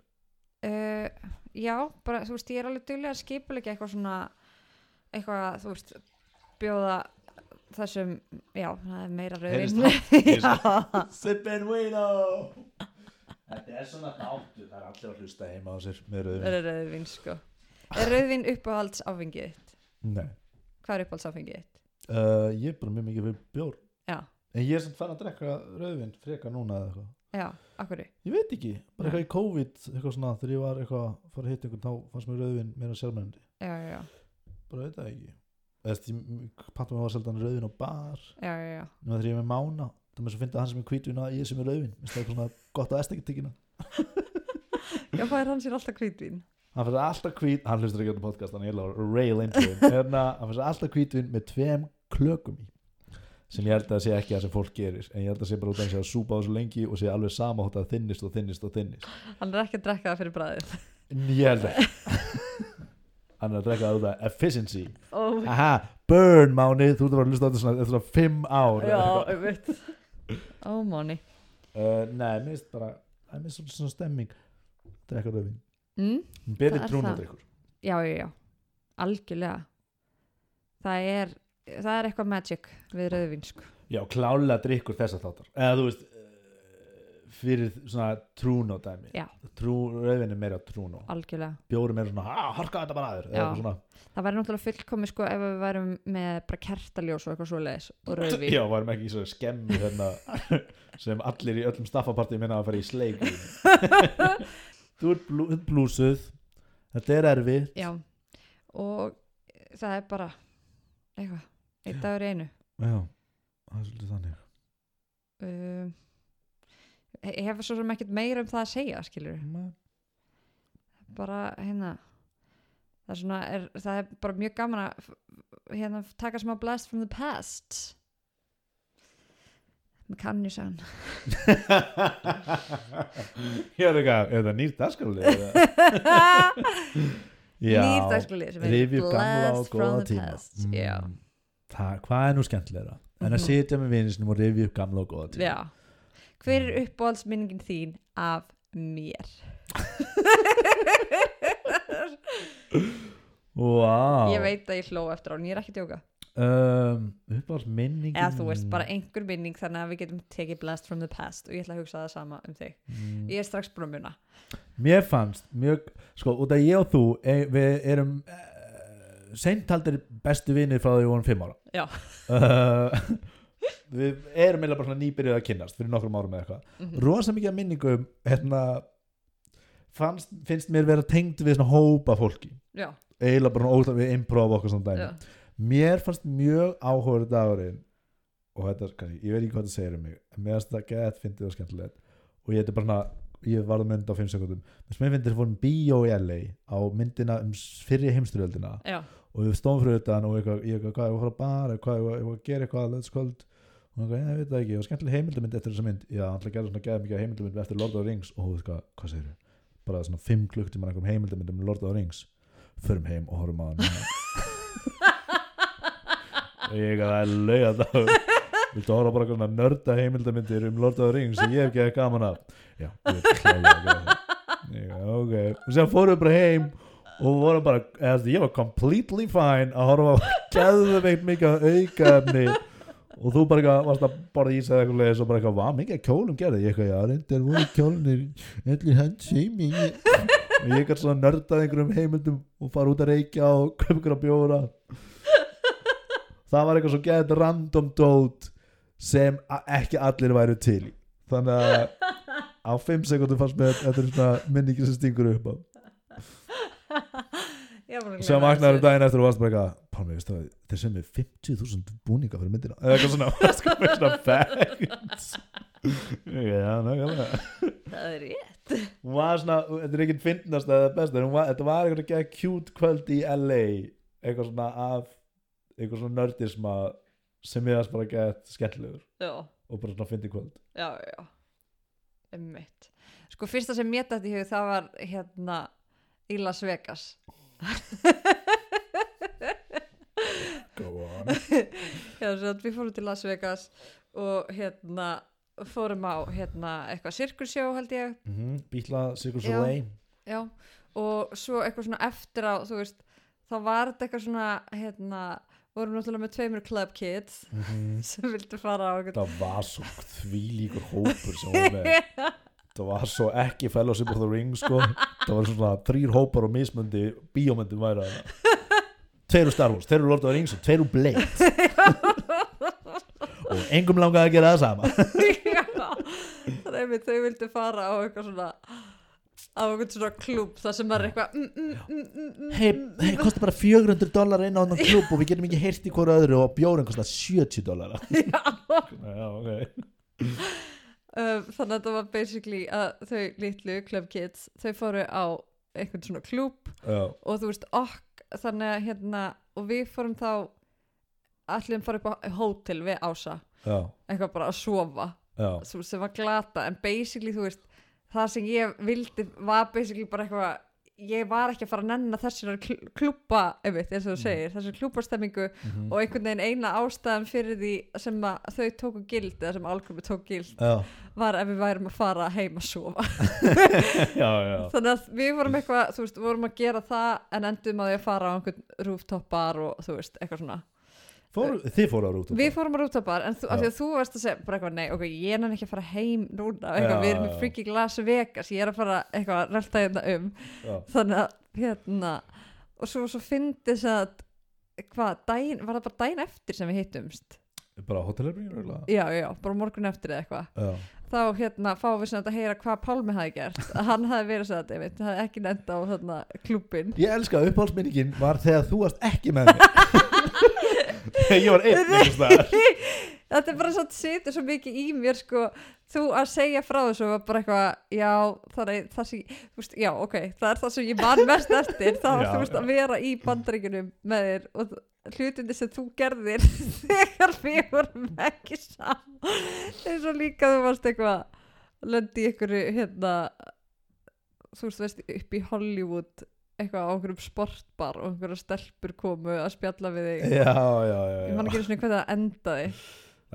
B: uh, já, bara, þú veist, ég er alveg duglega að skipulegja eitthvað svona eitthvað, þú veist, bjóða þessum, já, það er meira
A: Heyrist
B: rauðin já,
A: Sip and Wino þetta er svona þáttu það er allir að hlusta heima á sér með rauðvín.
B: Það er rauðvin sko Er rauðvin uppáhalds áfengið þitt?
A: Nei,
B: Hvað er uppáhalds áfengið þitt?
A: uh, ég er bara mjög mikið fyrir bjór
B: Já,
A: En ég er samt fann að drekka rauðvinn frekar núna eða eitthvað
B: já, akkurri
A: Ég veit ekki, bara eitthvað í COVID eitthvað svona, þegar ég var eitthvað fór að hitta einhvern þá fannst mér rauðvinn meira sjálfmennandi
B: Já, já, já,
A: Bara veit það ekki Eða þess, ég pattum að var seldan rauðvinn á bar
B: já, já, já.
A: Nú þegar ég er með mána Það er mér svo fyndið að hann sem er hvítur að ég sem er rauðvinn Mér finnst það eitthvað svona gott á estetikina
B: Já, hvað er hann sér alltaf hvítvín?
A: Hann finnst alltaf hvít, hann hlustur ekki á podcast Hann er eiginlega að rail into him Hérna, Hann finnst alltaf hvítvinn með tveim klökum í sem ég held að sé ekki það sem fólk gerir en ég held að sé bara út af þess að súpa á svo lengi og sé alveg sama hótt að þinnist og þinnist og þinnist
B: Hann er ekki að drekka það fyrir bræðið
A: Ég held ekki Hann er að drekka það út af efficiency
B: oh,
A: Aha, burn máni, þú ert að vera að hlusta á þetta svona eftir svona fimm ár
B: Já, um veit Ómáni
A: uh, Nei, mér finnst bara, það er mér svolítið svona stemming Drekka rauðvin
B: mm?
A: Betri
B: Það er það.
A: trúnadrykkur
B: Já, já, já, algjörlega Það er, það er eitthvað magic við rauðvin sko
A: Já, klálega drykkur þessa þáttar Eða þú veist eh, fyrir svona trúnó dæmi
B: Já.
A: Trú, rauðvin er meira trúnó
B: Algjörlega
A: bjórum er svona, ah, harka þetta bara aður
B: Já.
A: eitthvað svona,
B: Það væri náttúrulega fullkomi sko ef við værum með bara kertaljós og eitthvað svoleiðis og rauðvín
A: já, varum ekki í svona skemmi hérna, sem allir í öllum staffapartíum minna að fara í sleik í. þú ert blú, ert blúsuð þetta er erfið
B: Já, og það er bara eitthvað, einn dagur í einu
A: já, það er svolítið þannig
B: um, ég hef svo sem ekkert meira um það að segja skilur, bara hérna það er svona, er, það er bara mjög gaman að f- hérna taka smá blast from the past með kannjusan
A: ég er eitthvað, er það nýr dagskáli
B: nýr dagskóli sem er
A: rifjum gamla og
B: blast from
A: góða
B: the
A: tíma Mm,
B: past já,
A: það, hvað er nú skemmtilegra en að
B: Mhm.
A: sitja með vinnisinum og rifja upp gamla og góða tíma
B: já hver er uppáhaldsminningin þín af mér
A: wow.
B: ég veit að ég hló eftir á hún, ég er ekki að djóka
A: um, uppáhalds minningin
B: eða þú veist bara einhver minning þannig að við getum tekið blast from the past og ég ætla að hugsa það sama um þig
A: Mm.
B: ég er strax búin að muna
A: Mér fannst mjög, sko, út af ég og þú e, við erum e, seintaldir bestu vinir frá því við vorum fimm ára
B: Já.
A: uh, Við erum eiginlega Mhm.
B: Mm.
A: bara svona nýbyrjuð að kynnast fyrir nokkrum árum eða eitthvað
B: Mhm.
A: Rosa mikið af minningum hérna fannst, finnst mér vera tengd við svona hópa fólki
B: já,
A: eiginlega bara ótaf við improv og okkur svona dæmi
B: já,
A: mér fannst mjög áhugaður dagurinn og þetta, er kannski, ég veit ekki hvað það segir um mig en mér fannst það gett, fyndið og skemmtilegt og ég þetta bara hana, ég varð að mynda á 5 sekundum þess að mér finnst þeir fórum bíó í LA á myndina um fyrri heimsturöldina
B: já,
A: og við stóðum fyrir utan og ég eitthvað, ég eitthvað, hvað, ég var að fara á bar hvað, ég var- ég var að gera eitthvað, let's kvöld og hann eitthvað, ég veit það ekki, og skemmtileg heimildamynd eftir þessa mynd, já, hann ætla að gera svona geða mikið heimildamynd eftir Lord of the Rings og þú veist hvað, hvað segir bara svona fimm klukktíma einhverjum heimildamyndum um Lord of the Rings, förum heim og horfum á hann núna. og ég eitthvað, það er lauga þá viltu horfa bara svona nörda heimildamyndir um Lord of the Rings sem ég hef ekki gaman af já, ég er klálega að gera það. Ég eitthvað, ok, og sér fórum við bara heim og voru bara, eða, þú veist, ég var completely fine að horfa á geðveikt mikið aukaefni og þú bara eitthvað, varst að borða ís eða eitthvað leðis og bara eitthvað, hvað mikið af kjólum gerði ég eitthvað, já, reyndar voru kjólunir öllu handshaming og ég eitthvað svona nördað einhverjum heimildum og fara út að reykja og köpa einhverja bjóra það var eitthvað svo geðið random dót sem a- ekki allir væru til í. þannig að á 5 sekundum fannst mér þetta er svona minningi sem stingur upp á
B: ég var búin að
A: sem
B: gleyma
A: vaknaður um
B: þessu.
A: daginn eftir og varst bara eitthvað Pálmi, veistu það, þeir sem við 50.000 búninga fyrir myndina eða eitthvað svona, varst eitthvað með svona facts já, nákvæmlega
B: það er ég
A: hún var svona, þetta er ekkert fyndnast eða best, en hún var, þetta var eitthvað ekki cute kvöld í LA eitthvað svona af, eitthvað svona nördisma sem ég varst bara gett skelllegur
B: já,
A: og bara svona fyndi kvöld
B: já, já einmitt sko fyrsta sem mér dætti í hug það var hérna í Las Vegas
A: go on
B: Já, svo að við fórum til Las Vegas og hérna fórum á hérna eitthvað sirkursjó held ég,
A: mm -hmm. Bítla, Sigur
B: Já.
A: Soleil
B: já og svo eitthvað svona eftir á, þú veist þá var þetta eitthvað svona hérna, vorum náttúrulega með tveimur club kids
A: mm -hmm.
B: sem vildu fara á eitthvað
A: Það var svo þvílíkur hópur sem var með Það var svo ekki Fellowship of the Ring sko. Það var svona þrýr hópar og mismundi bíómyndum væri að Tveir úr Star Wars, tveir úr Lord of the Rings og tveir úr Blade Og engum langaði að gera það sama
B: Já, það er einmitt, þau vildu fara á eitthvað svona á eitthvað svona klúb þar sem maður er eitthvað mm, mm, mm, mm, mm,
A: Hei, hey, kostar bara 400 dólar inn á þennan klub og við getum ekki heyrt í hverju öðru og bjórin kostar 70 dólar Já, ok
B: um, þannig að þetta var basically að þau litlu club kids þau fóru á einhvern svona klúb
A: Já,
B: og þú veist okk þannig að hérna og við fórum þá allir fórum upp á hótel við Ása
A: já,
B: eitthvað bara að sofa
A: já
B: sem, sem var glata en basically þú veist það sem ég vildi var basically bara eitthvað ég var ekki að fara að nenna þessar kl- klúbba einmitt, eins og þú segir, þessar klúbbastemmingu
A: mhm.
B: og einhvern veginn eina ástæðan fyrir því sem að þau tóku gild eða sem álgrumi tók gild
A: Já,
B: var ef við værum að fara heim að sofa
A: já, já
B: þannig að við vorum eitthvað, þú veist, vorum að gera það en endum að því að fara á einhvern rooftopar og þú veist, eitthvað svona
A: Fóru, Þið fóru á rútu
B: við fórum á rooftopar en þú, af
A: Já.
B: því að þú varst að segja bara eitthvað, nei, ok, ég er ekki að fara heim núna, eitthvað,
A: Já,
B: við erum í
A: já.
B: freaking Las Vegas ég er að fara eitthvað að relta hérna um
A: Já,
B: þannig að, hérna og svo, svo fyndið sem að hvað, daginn, var það bara daginn eftir sem við hittumst,
A: bara hótelherbyggjur
B: já, já, bara morgun eftir eða eitthvað
A: Já,
B: þá hérna fáum við sem þetta að heyra hvað Pálmi hafi gert að hann hafi verið sem þetta, ég veit, hafi ekki nefnda á hérna, þarna klubbin
A: Ég elska að uppáhaldsminningin var þegar þú varst ekki með mér Þegar ég var einn einhvers staðar.
B: þetta er bara svo að setja svo mikið í mér sko, þú að segja frá þessu var bara eitthvað, já það er það sem, þú veist, já ok, það er það sem ég man mest eftir, það var
A: Já,
B: þú veist
A: já.
B: að vera í bandaríkunum með þér og þ- hlutinni sem þú gerðir þegar við vorum ekki saman eins og líka þú varst eitthvað löndi ykkur hérna þú veist, veist upp í Hollywood eitthvað á einhverjum sportbar og einhverjum stelpur komu að spjalla við þig
A: Já, já, já,
B: ég man
A: já.
B: ekki einu sinni hvernig það endaði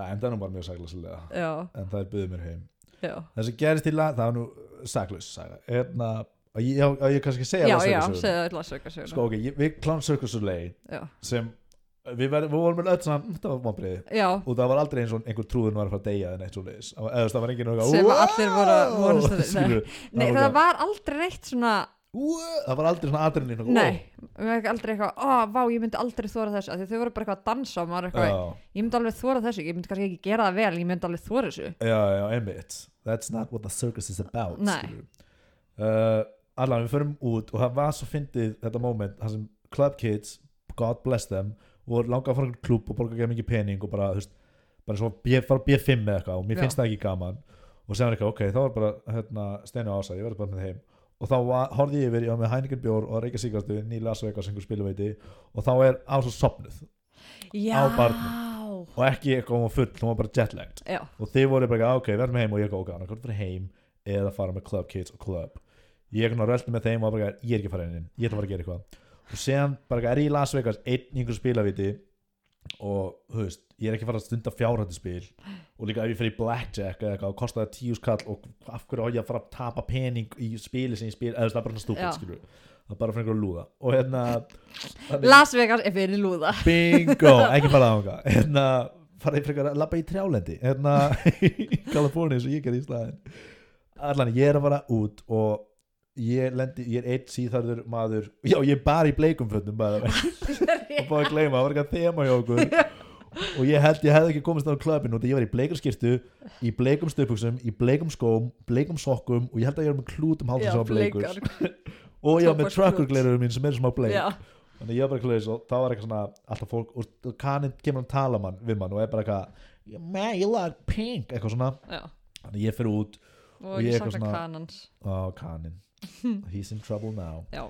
A: Það endaði nú bara mjög saklasilega
B: já,
A: En það er byggðið mér heim
B: já,
A: Það sem gerist til að, það var nú saklaus saga Hérna, að ég, að ég kannski segja
B: já,
A: það
B: já,
A: sögusöguna?
B: segðu það lasaukarsöguna
A: Sko, ok, ég, við klán sökursugulegi
B: já,
A: sem við, verð, við vorum með öll saman þetta var vombriði
B: já
A: og það var aldrei eins og einhver trúðun var að fara að deyja eða neitt svo leiðis eða það var enginn eitthvað,
B: Sem
A: "Wow!"
B: allir voru- voru stundum-
A: Skilurðu,
B: nei,
A: það var
B: það
A: bara,
B: var aldrei neitt svona
A: "Wow!" það var aldrei svona adrenalín eitthvað,
B: nei, við hefum aldrei eitthvað ó, vá, ég myndi aldrei þóra þessu af því þau voru bara eitthvað að dansa og maður
A: "Wow!"
B: eitthvað,
A: Já.
B: ég myndi alveg þóra þessu ég myndi kannski ekki gera það vel, ég myndi alveg þóra þessu
A: já, já, einmitt that's not what the circus is about
B: Nei.
A: skilurðu. uh, allavega við förum út og það var svo fyndið þetta moment þar sem club kids, god bless them voru langað að fara einhvern klúb og borga ekki mikið pening og bara, þú veist, bara svo B, fara á B5 eða eitthvað og mér
B: Já.
A: finnst það ekki gaman og sem er eitthvað, ok, þá var bara hérna, steinu ása, ég verður bara með þeim og þá var- horfði ég yfir, ég var með Heineken bjór og Reykja Sigastu, Nýla Asveika sem einhver spiluveiti og þá er ása sopnuð
B: já,
A: barnum. og ekki eitthvað hún var full, hún var bara jetlagged
B: já,
A: og þið voru bara, "Ah, ok, verðum heim og ég góð gana, hvort fyrir heim eða fara með club kids og club ég svona röldi með þeim og var bara, ég er ekki að fara inn inn, ég ætla bara að gera eitthvað og séðan bara er ég í Las Vegas einn í einhver spilaviti og, þú veist, ég er ekki að fara að stunda fjárhættispil og líka ef ég fer í blackjack eða eitthvað og kostaði tíu skall og af hverju á ég að fara að tapa pening í spili sem ég spil, eða þú veist, það er bara stúpid,
B: Já.
A: skilur það er bara fyrir einhverju lúða og hérna þannig-
B: Las Vegas er fyrir lúða
A: Bingo, ekki fara ánga Hérna, farið frekar að labba í trjálendi Hérna, í Kaliforni eins og ég gerði í staðin Allan, ég er að fara út og ég lendi, ég er eitt síðarður maður Já, ég er bara í bleikum fötum bara og búið að gleyma, það var eitthvað þema hjá okkur og ég held ég hefði ekki komist á klöpin út, ég var í bleikum skirtu í bleikum stöpuksum, í bleikum skóm bleikum sokkum og ég held að ég var með klút um hálfum sem var bleikur og ég var með
B: Tóbaksklút.
A: trökkurglerurum mín sem er smá bleik
B: já,
A: þannig að ég var bara klaus og þá var eitthvað svona alltaf fólk og kaninn kemur að tala mann við mann og er bara eitthvað man, you like pink, eitthvað svona
B: já,
A: þannig að ég fyrir út
B: og,
A: Og ég
B: ég
A: eitthvað
B: sakna
A: svona-
B: kanans
A: á kaninn he's in trouble now
B: já,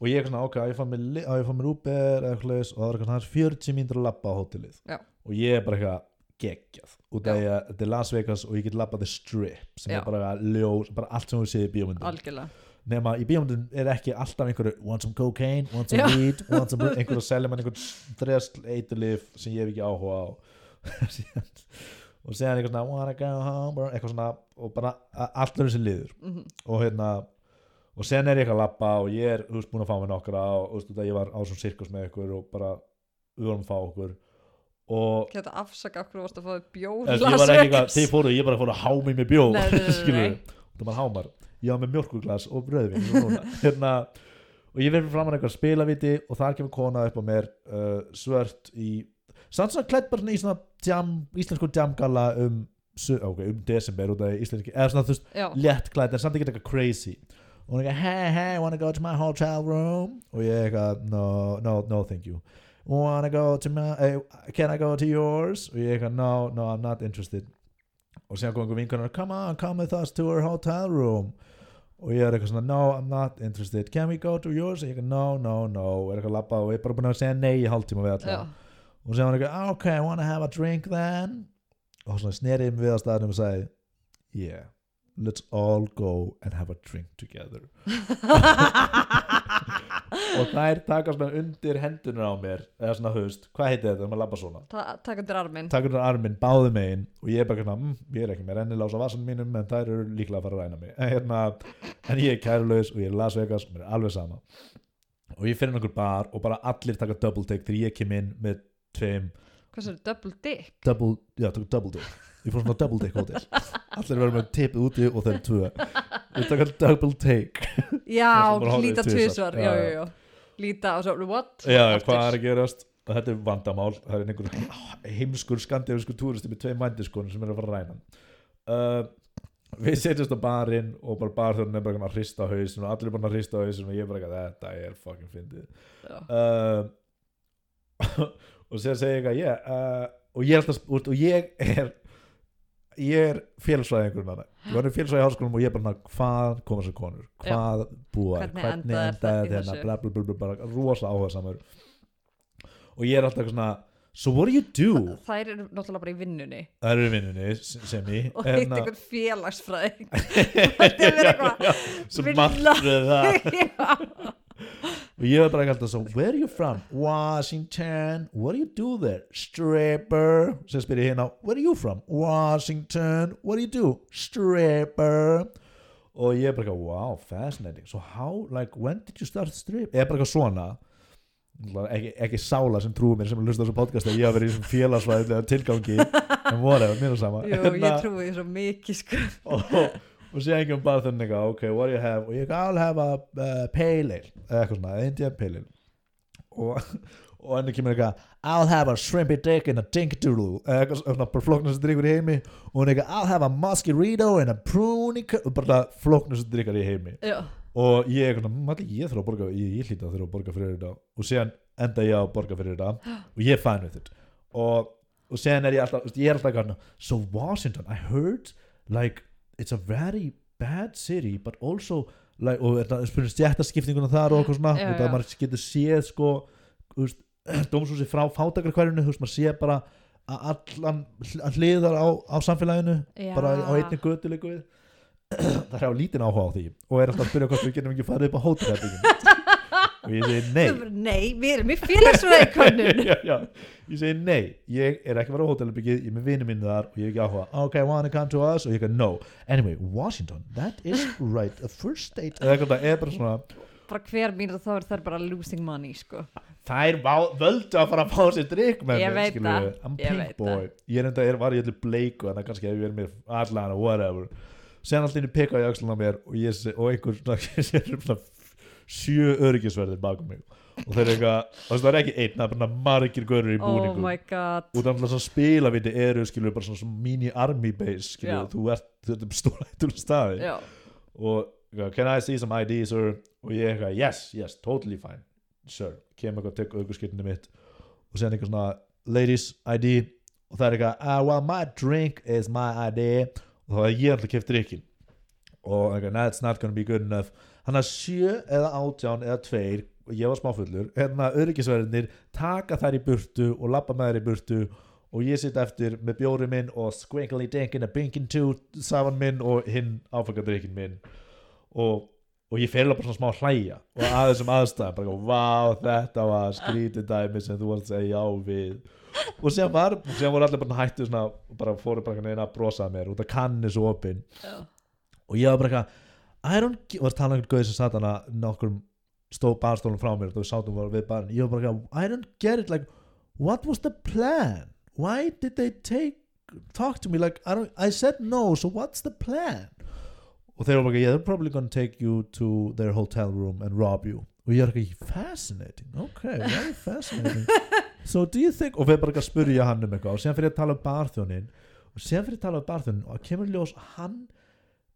A: og ég eitthvað svona, ok, ég fann mér, li- á, ég fann mér Uber eða klaus og það var eitthvað svona aðeins 40 mínútur að labba á hótelið
B: Já.
A: og ég er bara eitthvað geggjað út
B: Já.
A: af því að þetta er Las Vegas og ég get labbað the strip sem
B: Já.
A: er bara ljós, bara allt sem við séð í bíómyndum
B: algjörlega
A: nema í bíómyndum er ekki alltaf einhverju want some cocaine, want some
B: Já.
A: weed want some, einhverju að selja mann einhverju dresl eiturlif sem ég hef ekki áhuga á Síðan- og segja hann eitthvað svona wanna go home bro," eitthvað svona og bara a- allt verður sem liður
B: mm
A: og hérna og sen er ég eitthvað að labba og ég er þú veist, búin að fá mér nokkra og þú veist, út af ég var á svona sirkus með ykkur og bara við vorum að fá okkur og
B: Geta afsaka okkur varst að fá þér bjór
A: Þú
B: í
A: veist, ég
B: Las
A: var ekki eitthvað,
B: Vegas.
A: þið fóruð, ég bara fór að hámi með bjór
B: Nei, nei, nei, nei, nei.
A: skilur það maður hámar, ég var með mjölkurglas og bröðvin hérna, og ég verður fram að eitthvað spilaviti og þar kemur kona upp á mér uh, svört í, samt svona klætt bara svona í svona jam, íslensku jamgala um, su- ok, um desember út af íslenski, eða svona þú veist,
B: Já,
A: létt klætt en samt ekki eitthvað crazy og hún er eitthvað, hey, hey, wanna go to my hotel room og ég er eitthvað, no, no, no, thank you wanna go to my eh, can I go to yours og ég er eitthvað, no, no, I'm not interested og síðan kom einhver vinkunar, come on, come with us to our hotel room og ég er eitthvað svona, no, I'm not interested can we go to yours, og ég er eitthvað, no, no, no og er eitthvað að labba og ég er bara búin að segja nei í hálftíma við alla
B: já,
A: og sem hann eitthvað, "Ah, ok, I wanna have a drink then og svona snerið mig við á staðnum og sagði yeah, let's all go and have a drink together og þær taka svona undir hendunar á mér eða svona höst, hvað heitir þetta, þegar maður labba svona
B: Ta taka undir arminn
A: taka undir arminn, báðu megin og ég er bara svona, mm, ég er ekki með rennilása vasan mínum en þær eru líklega að fara að ræna mig en, hérna, en ég er kærulaus og ég er Las Vegas og mér er alveg sama og ég fyrir einhver bar og bara allir taka double take þegar ég kem inn með tveim
B: Hvað sér, double dick?
A: double, já, tók double dick ég fór svona double dick hótel allir verður með tipið úti og þeir tvö við tökum double take
B: Já,
A: sem bara horfið
B: líta
A: tvisvar.
B: tvisvar Já,
A: Já,
B: já, já Líta og svo, what?
A: já,
B: Aftur.
A: hvað er að gerast og þetta er vandamál, það er einhver heimskur skandinaviskur túristi með tvei mændiskonu sem er að fara að ræna hann. uh, við setjast á barinn og bara barþjóðin er bara eitthvað að hrista á hausinu og allir er bara að hrista á hausinu og ég er bara eitthvað þetta er fucking fyndið
B: Já.
A: uh, og sér segi ég eitthvað yeah, uh, og ég er alltaf spurt og ég er ég er félagsfræðingur með það ég var félagsfræði í háskólanum og ég er bara svona, hvað koma sér konur, hvað búa
B: Hvernig endaði þetta í þessu?
A: hérna? bla, bla, bla, bla, bara rosa áhuga samur og ég er alltaf eitthvað svona so what do you do,
B: Þær eru náttúrulega bara í vinnunni
A: það eru vinnunni sem ég hérna-
B: og hitt einhvern félagsfræðing Þetta er verið eitthvað
A: sem
B: vinna.
A: martröð það
B: Já,
A: og ég var bara ekki alltaf svo where are you from? Washington what do you do there? stripper sem spyr ég hérna where are you from? Washington what do you do? stripper og ég bara ekki wow fascinating so how like when did you start strip? ég er bara ekki svona Náttúrulega ekki, ekki sála sem trúi mér sem er að hlusta á þessu podcast að ég hafa verið í þessum félagsvæðilega tilgangi en whatever, mér er sama
B: Jú,
A: Hérna,
B: ég trúi því svo mikið sko
A: og, og sé ekki um bara þannig eitthvað, ok, what do you have og ég I'll have a uh, pale ale eða eitthvað svona, Indian pale ale og, og henni kemur eitthvað I'll have a shrimpy dick and a dink doodle eða eitthvað svona, bara flóknast drikkur í heimi og henni eitthvað, I'll have a mosquito and a pruny og bara flóknast drikkur í heimi
B: Já,
A: og ég, er svona, allir, ég þarf að borga ég, ég hlýta að þurfa að borga fyrir þetta og síðan enda ég á að borga fyrir þetta og ég er fæn við þetta og, og síðan er ég alltaf, þú veist, ég er alltaf gana, so Washington, I heard like, it's a very bad city but also like, og þetta spyrir stjættaskiptinguna þar og eitthvað svona
B: Já,
A: og það
B: já.
A: maður getur séð sko þú veist, dómshúsi frá fátakarkverjunu þú veist, maður séð bara að allan að hliðar á, á samfélaginu
B: Já.
A: bara á einni götu líku við það er á lítinn áhuga á því og er alltaf að byrja hvort við getum ekki farið upp á hótelherbyggin og ég segi
B: Þú
A: nei
B: bara, Nei, við erum í félagsfræðikönnun
A: já, já. ég segi nei, ég er ekki að fara á hótelherbyggið ég er með vinnu mínu þar og ég er ekki áhuga ok, wanna come to us og ég er no anyway, Washington, that is right a first state eða eitthvað það er bara svona
B: bara hver mínúta þá er þær bara losing money sko.
A: þær vá- völdu að fara að fá sér drikk með
B: Ég
A: mér,
B: veit
A: skilurðu.
B: það,
A: I'm
B: ég
A: pink
B: veit
A: boy ég er enda, ég var í öllu bleiku þannig að kannski ef ég er mér allan og whatever sen allir peka í öxlun á mér og, ég, sé- og einhver svona, sér svona sjö öryggisverðir bakum mig og þeir eru eitthvað, þú veist, það er ekki einn það er bara margir görur í
B: oh
A: búningum
B: my god
A: og þannig að svona spilaviti eru skilur bara svona, svona mini army base skilur,
B: Já.
A: þú ert, um þetta er stórættur staði
B: já,
A: og eitthvað, can I see some ID sir og ég eitthvað yes, yes, totally fine sir, kemur eitthvað, tek aukurskiptinu mitt og séðan eitthvað svona ladies ID og það er eitthvað ah, well my drink is my ID og þá er ég alltaf keft drikkin og eitthvað, no, it's not gonna be good enough hann að sjö eða átján eða tveir og ég var smáfullur hérna öryggisverðinir taka þær í burtu og labba með þær í burtu og ég sitt eftir með bjóri minn og squinkly dinkin a binkin too saman minn og hinn áfangadrykkin minn og, og ég fer alveg bara svona smá að hlæja og að þessum aðstæðum bara eitthvað, vá þetta var skrítið dæmi sem þú varst að segja já við og sem var, sem voru allir bara hættu svona og bara fóru bara neina að brosa að mér út að kanni svo opinn
B: Já.
A: og ég var bara eitthvað I don't, gi- og var talað um einhvern gauð sem satt hana nokkrum stóð barstólum frá mér og við sátum við barn, ég var bara eitthvað I don't get it, like, what was the plan why did they take talk to me, like, I, don't, I said no so what's the plan og þeir eru bara, yeah, they're probably gonna take you to their hotel room and rob you og ég er ekki, fascinating, ok very fascinating so do you think, og við bara ekki að spurja hann um eitthvað og séðan fyrir að tala um barþjónin og séðan fyrir að tala um barþjónin og kemur í ljós að hann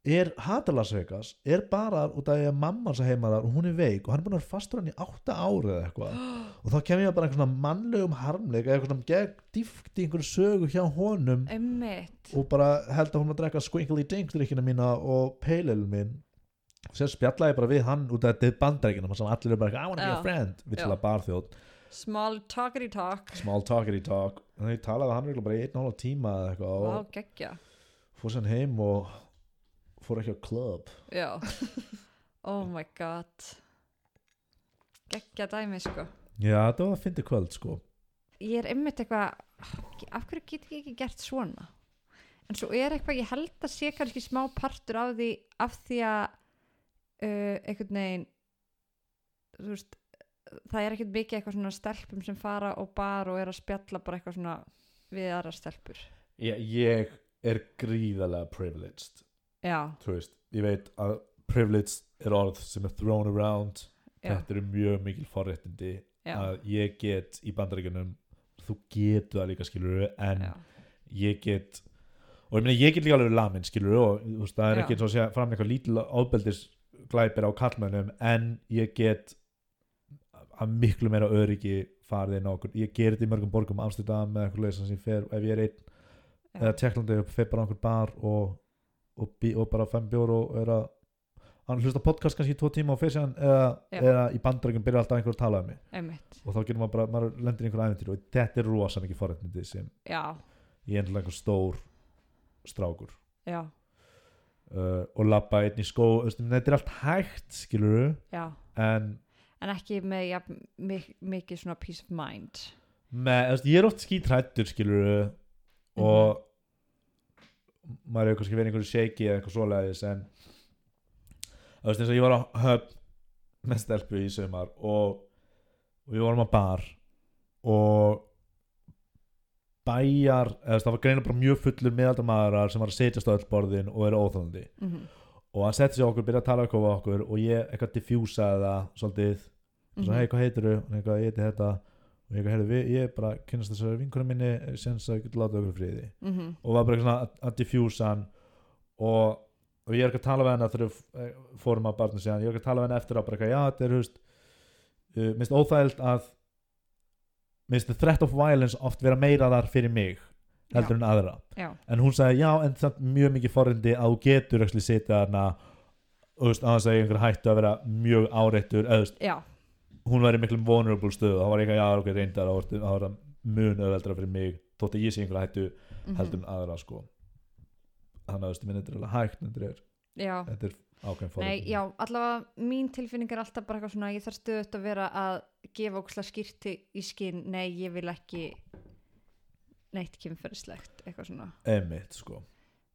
A: er hatalasvegas er bara þar út af því að mamma hans er heima þar og hún er veik og hann er búin að vera fastur hann í átta ári eða eitthvað og þá kemur ég bara einhvern svona mannlegum harmleik eða einhvern svona gegn dýft í einhverju sögu hjá honum
B: emmitt
A: og bara held að hún var að drekka squinkly dink drikkina mína og peilil minn og sér spjalla ég bara við hann út af þetta bandreikinum sem allir er bara eitthvað, I wanna be
B: Já.
A: a friend við til
B: Já.
A: að barþjóð,
B: small talkity talk
A: small talkity talk og þau talaði hann örugglega bara í einn og hálf tíma eða eitthvað
B: Vá,
A: og
B: geggja
A: fór sér heim og fór ekki á club
B: Já Oh my god Gekkja dæmi sko
A: já þetta var að fyndi kvöld sko
B: Ég er einmitt eitthvað Af hverju get ég ekki gert svona En svo er eitthvað, ég held að sé kannski smá partur af því Af því að uh, Einhvern veginn Þú veist Það er ekkert mikið eitthvað svona stelpum sem fara og bar og er að spjalla bara eitthvað svona við aðra stelpur.
A: ég, ég er gríðarlega privileged
B: Já,
A: þú veist, ég veit að privileged er orð sem er thrown around
B: já,
A: þetta eru mjög mikil forréttindi
B: já,
A: að ég get í bandaríkjunum þú getur það líka skilur en
B: já,
A: ég get og ég meina ég get líka alveg lamin skilur og þú veist, það er
B: Já.
A: ekki eins og að segja fram eitthvað lítil ábeldis glæpir á kallmönnum en ég get að miklu meira öryggi farið inn á okkur, ég ger þetta í mörgum borgum Amsterdam eða eitthvað leið sem ég fer ef ég er einn
B: Já.
A: eða Tjekklandi og fer bara á einhver bar og, og, bí, og bara fem bjór og er að hann hlusta á podcast kannski í tvo tíma og fyrir sér eða,
B: Já.
A: eða í bandaríkjum byrja alltaf einhver að tala um mig
B: einmitt,
A: og þá getur maður bara, maður lendir í einhverju æventýri og þetta er rosa mikið forréttindi sem
B: já,
A: ég er endurlega einhver stór strákur
B: já,
A: uh, og labba einn í skó þú veist, ég meina, þetta er allt hægt skilur
B: já.
A: en
B: en ekki með ja, mik mikið svona peace of mind
A: með, þú veist, ég er oft skítrættur skilur og maður hefur kannski verið í einhverju shaky eða eitthvað svoleiðis en þú veist eins og ég var á höf með stelpu í sumar og, og við vorum á bar og bæjar, eða þú veist, það var greina bara mjög fullur meðaldamaðurar sem var að setjast á öll borðin og eru óþólandi
B: mm
A: og hann setti sér okkur, byrjaði að tala eitthvað við okkur og ég eitthvað diffjúsaði það
B: Mhm.
A: svolítið og svo hei, hvað heitir þú? og eitthvað, ég heiti þetta og ég eitthvað, heyrðu, við- ég er bara að kynnast þessari vinkunum minni sem að ég getur látið okkur í friði
B: -hmm.
A: og var bara eitthvað svona að- að diffjúsa hann og og ég er ekki að tala við hennar þegar við eh, fórum að barnu síðan, ég er ekki að tala við hennar eftir á bara eitthvað, já þetta er húst uh, minnst óþægild að minnst the threat of violence oft vera meira þar fyrir mig heldur en aðra
B: já,
A: en hún sagði já en samt mjög mikið forrindi að þú getur ekki sitja þarna og þú veist að það segja einhver hættu að vera mjög áreittur eða þú veist
B: já,
A: hún var í miklum vulnerable stöðu þá var ég eitthvað já ok reyndar þá var það var það mun öðveldra fyrir mig þótt að ég sé einhver hættu
B: mhm,
A: heldur en aðra sko þannig að þú veist minn þetta er alveg hægt þetta er,
B: já.
A: þetta er ákveðin
B: Nei,
A: forrindi
B: já, allavega mín tilfinning er alltaf bara eitthvað svona ég þarf stöðut að vera að gefa ókslega skýrti í skinn, nei, ég vil ekki neitt kynferðislegt eitthvað svona,
A: emitt sko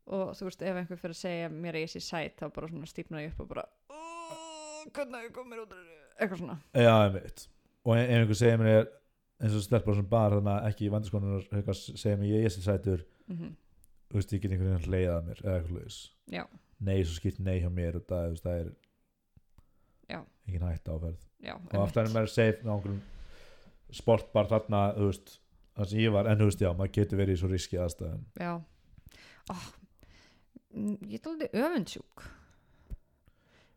B: og þú veist, ef einhver fyrir að segja mér að ég sé sæt, þá bara svona stífna ég upp og bara, "Ú, hvernig hafði komið út úr þessu?" eitthvað svona,
A: já emitt og ef einhver segir mér eins og stelpur á svona bar þannig að ekki vandiskonunar eitthvað segir mér ég, ég sé sætur
B: mhm
A: þú veist ég get einhvern veginn leiðið að mér eða eitthvað laus
B: Já.
A: nei svo skipt nei hjá mér og það, þú veist, það er
B: Já.
A: engin hægt áferð
B: já,
A: og aftur er mér safe með einhverjum sportbar þarna þú veist þar sem ég var en þú veist já maður getur verið í svo riski aðstæðum
B: já oh, ég er aldrei öfundsjúk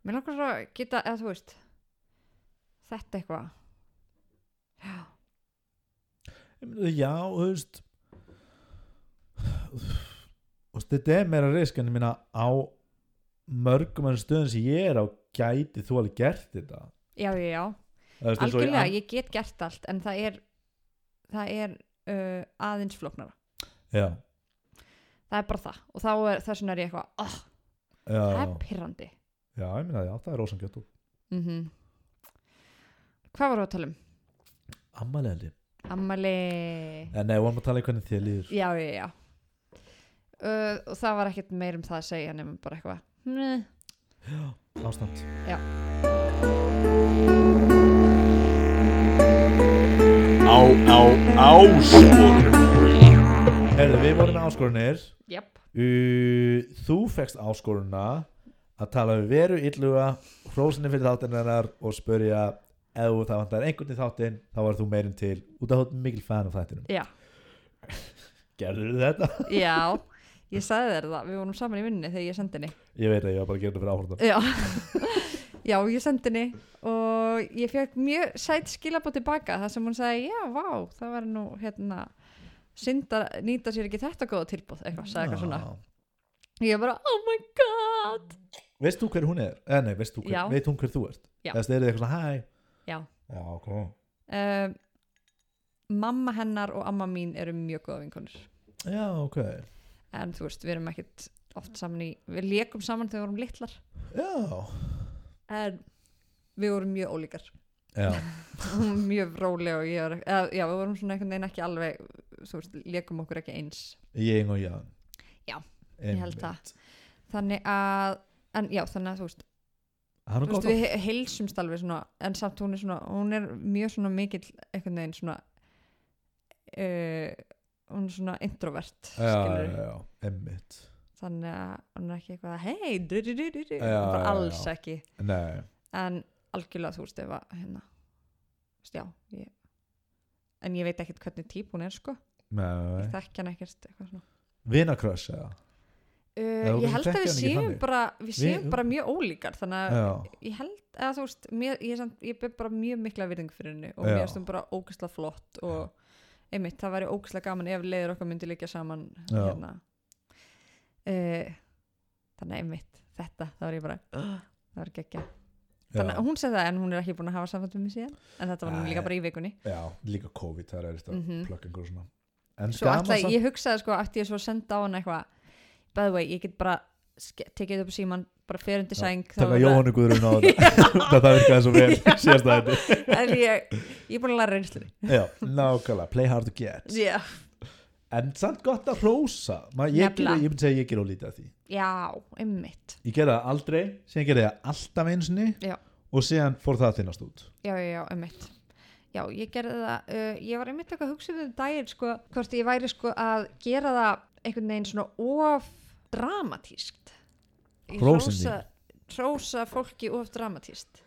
B: mér langar svo að geta eða þú veist þetta eitthvað já,
A: Ég meina, já þú veist þú veist þetta er meira risk en ég minna á mörgum enn stöðum sem ég er á gæti þú alveg gert þetta
B: já, já, já
A: Þú veist, eins og í
B: algjörlega,
A: an-
B: ég get gert allt en það er það er uh, aðeins flóknara
A: já,
B: það er bara það og þá er þess vegna er ég eitthvað oh,
A: já,
B: það
A: já,
B: er pirrandi
A: já, ég meina, já, það er ósangjöld og
B: mm hvað voru að tala um?
A: ammælega
B: ammali
A: En nei, vorum að tala í hvernig þér líður
B: já, já, já uh, og það var ekkert meir um það að segja nefnum bara eitthvað Nei.
A: Ástand
B: Já.
A: Á, á, áskorun Herðu, við vorum með áskorunir
B: Jep,
A: Uh, Þú fekst áskoruna að tala við veru illuga hrósinni fyrir þáttinn hennar og spurja ef það vantar einhvern í þáttinn þá var þú meirinn til út af þáttum mikil fan af þættinum
B: já,
A: Gerður þetta?
B: já ég sagði þér það, við vorum saman í vinninni þegar ég sendi henni
A: Ég veit að ég var bara að gera þetta fyrir áhortan
B: Já, já ég sendi henni og ég fekk mjög sætt skilabóð tilbaka þar sem hún sagði, já, vá, það var nú hérna, synd að nýta sér ekki þetta góða tilbúð, eitthvað, sagði eitthvað svona
A: Ah.
B: ég bara, oh my god
A: Veist þú hver hún er? Eh, nei, veist þú hver,
B: Já.
A: veit hún hver þú ert?
B: Já.
A: Eða styrir þið eitthvað svona, hæ
B: Já.
A: Já, ok
B: um, mamma hennar og amma mín eru mjög góða vinkonur
A: Já, ok
B: en þú veist, við erum ekkert oft saman í, við lékum saman þegar við vorum litlar
A: Já,
B: en við vorum mjög ólíkar
A: já,
B: Hún var mjög róleg og ég var eða, já, við vorum svona einhvern veginn ekki alveg þú veist, lékum okkur ekki eins
A: ég og já
B: Já, ég held það. þannig að, en já, þannig að þú veist,
A: Hann
B: þú
A: er góð
B: veist við heilsumst alveg svona, en samt hún er svona hún er mjög svona mikill einhvern veginn svona uh, hún er svona introvert
A: Já, já,
B: skilurðu.
A: já, emmitt
B: þannig að hún er ekki eitthvað hei, du du du du du
A: Já, já, já.
B: alls ekki,
A: Nei,
B: en algjörlega þú veist ef að hérna, þú veist, já ég, en ég veit ekkert hvernig típ hún er sko
A: nei
B: ég þekki hann ekkert eitthvað svona
A: Vinakröss, eða
B: Uh,
A: þú
B: ég
A: kannski
B: held að
A: þekkir
B: við
A: hann ekki
B: séum
A: þannig.
B: bara við séum
A: Við-
B: bara mjög ólíkar þannig að
A: Já,
B: ég held að þú veist mér, ég, er samt, ég ber bara mjög mikla virðing fyrir henni og
A: Já.
B: mér erst hún bara ógæsla flott og einmitt það væri ógæsla gaman ef leiður okkar myndi líka saman
A: Já.
B: hérna uh, þannig að einmitt þetta það var ég bara "Ugh, það var geggja þannig
A: já,
B: að hún segði það en hún er ekki búin að hafa samfætt við mig síðan en þetta var nú
A: Nei.
B: líka bara í vikunni
A: já, líka COVID, það er eftir að
B: Mhm.
A: plugga einhver svona En
B: svo
A: gaman
B: alltaf
A: samt
B: ég hugsaði sko aftur ég svo að senda á hann eitthvað by the way ég get bara ske- tekið upp síman bara fer undir
A: Já,
B: sæng þá
A: Taka
B: er það-
A: Jóhannu Guðrún á þetta Það það virkaði svo vel,
B: Já.
A: síðast að þetta
B: en ég, ég er búin að læra reynslunni
A: Já, nákvæmlega, play hard to get
B: já,
A: En samt gott að hrósa Ma, Ég
B: Nefnilega.
A: myndi segja ég gerði ólítið að því
B: já einmitt
A: Ég gerði það aldrei, síðan gerði ég það alltaf einsinni
B: Já.
A: og síðan fór það að þinnast út
B: já, já, já, einmitt já, ég gerði það, uh, ég var einmitt eitthvað að hugsa um þetta um daginn, sko, hvort ég væri sko að gera það einhvern veginn svona of dramatískt Ég
A: Hrósin þín.
B: hrósa- hrósa fólki of dramatískt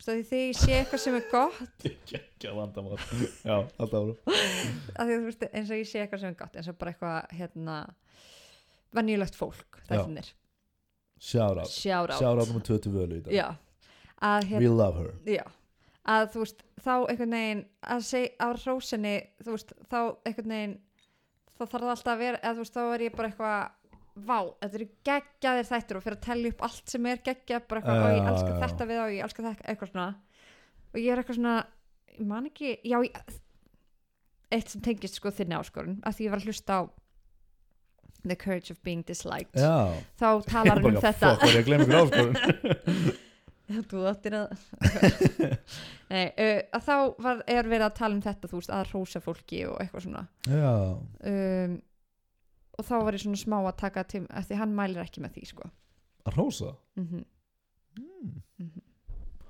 B: Þú veist, af því þegar ég sé eitthvað sem er gott
A: Gekkja vandamál Já, alltaf árum
B: af því, þú veist, eins og ég sé eitthvað sem er gott eins og bara eitthvað hérna venjulegt fólk
A: Já.
B: þættinir
A: shout out
B: shout out,
A: shout out nummer 20 völu í dag
B: já, að hérna
A: we love her
B: já, að þú veist þá einhvern veginn að segja á rósinni þú veist þá einhvern veginn þá þarf það alltaf að vera eða þú veist þá er ég bara eitthvað vá, þetta eru geggjaðir þættir og fyrir að tellja upp allt sem er geggjað bara eitthvað,
A: Já,
B: og
A: já,
B: ég elska
A: já.
B: þetta við og ég elska þetta eitthvað svona og ég er eitthvað svona, ég man ekki já, ég, eitt sem tengist sko þinni áskorun, að því ég var að hlusta á The Courage of Being Disliked
A: já
B: þá talar hann um þetta
A: fokk var ég að glemja ykkur sko. áskorun
B: Já, þú áttir að Nei, uh, að þá var, er verið að tala um þetta þú veist, að rósa fólki og eitthvað svona
A: já
B: um, og þá var ég svona smá að taka til af því hann mælir ekki með því sko
A: að rosa
B: mm Mhm.
A: mm.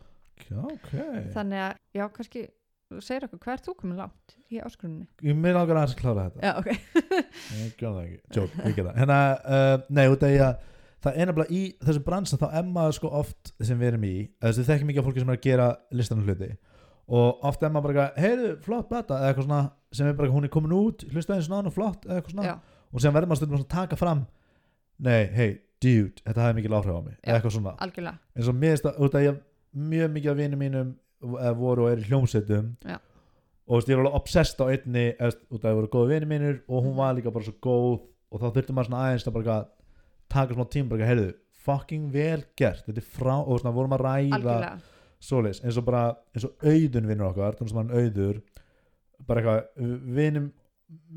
A: ok
B: þannig að, já, kannski þú segir okkur, hvað er þú komin langt í áskrunni?
A: ég meina langar aðeins að klára þetta
B: Já, ok
A: ég gjör það ekki Jók, ég gera það hérna, uh, nei, út af því að það er nefnilega í þessum bransan þá emma sko oft sem við erum í eða þessi þekki mikið af fólki sem er að gera listanum hluti og oft emma bara eitthvað heyrðu, flott blata eða eitthvað svona sem er bara hún er komin út hlusta eins og náðan og flott eða eitthvað svona
B: Já.
A: og sem verður maður stundum að taka fram nei, hey, dude, þetta hafði mikil áhrif á mig
B: Já.
A: eða eitthvað svona
B: algjörlega,
A: eins og mér stað, út af ég mjög mikið af vinum mínum eh, voru og er í hljómsveitum
B: Já.
A: og þú veist, ég var alveg obsessed á einni eh, þú veist, út af ég voru góði vinum mínir og hún var líka bara svo góð og þá þurfti maður svona aðeins að bara eitthvað taka smá tíma bara, heyrðu, fucking vel gert þetta er frá, og svona vorum að ræða
B: algjörlega
A: svoleiðis, eins og bara eins og auðun vinnur okkar, þannig sem hann auður bara eitthvað, vinnum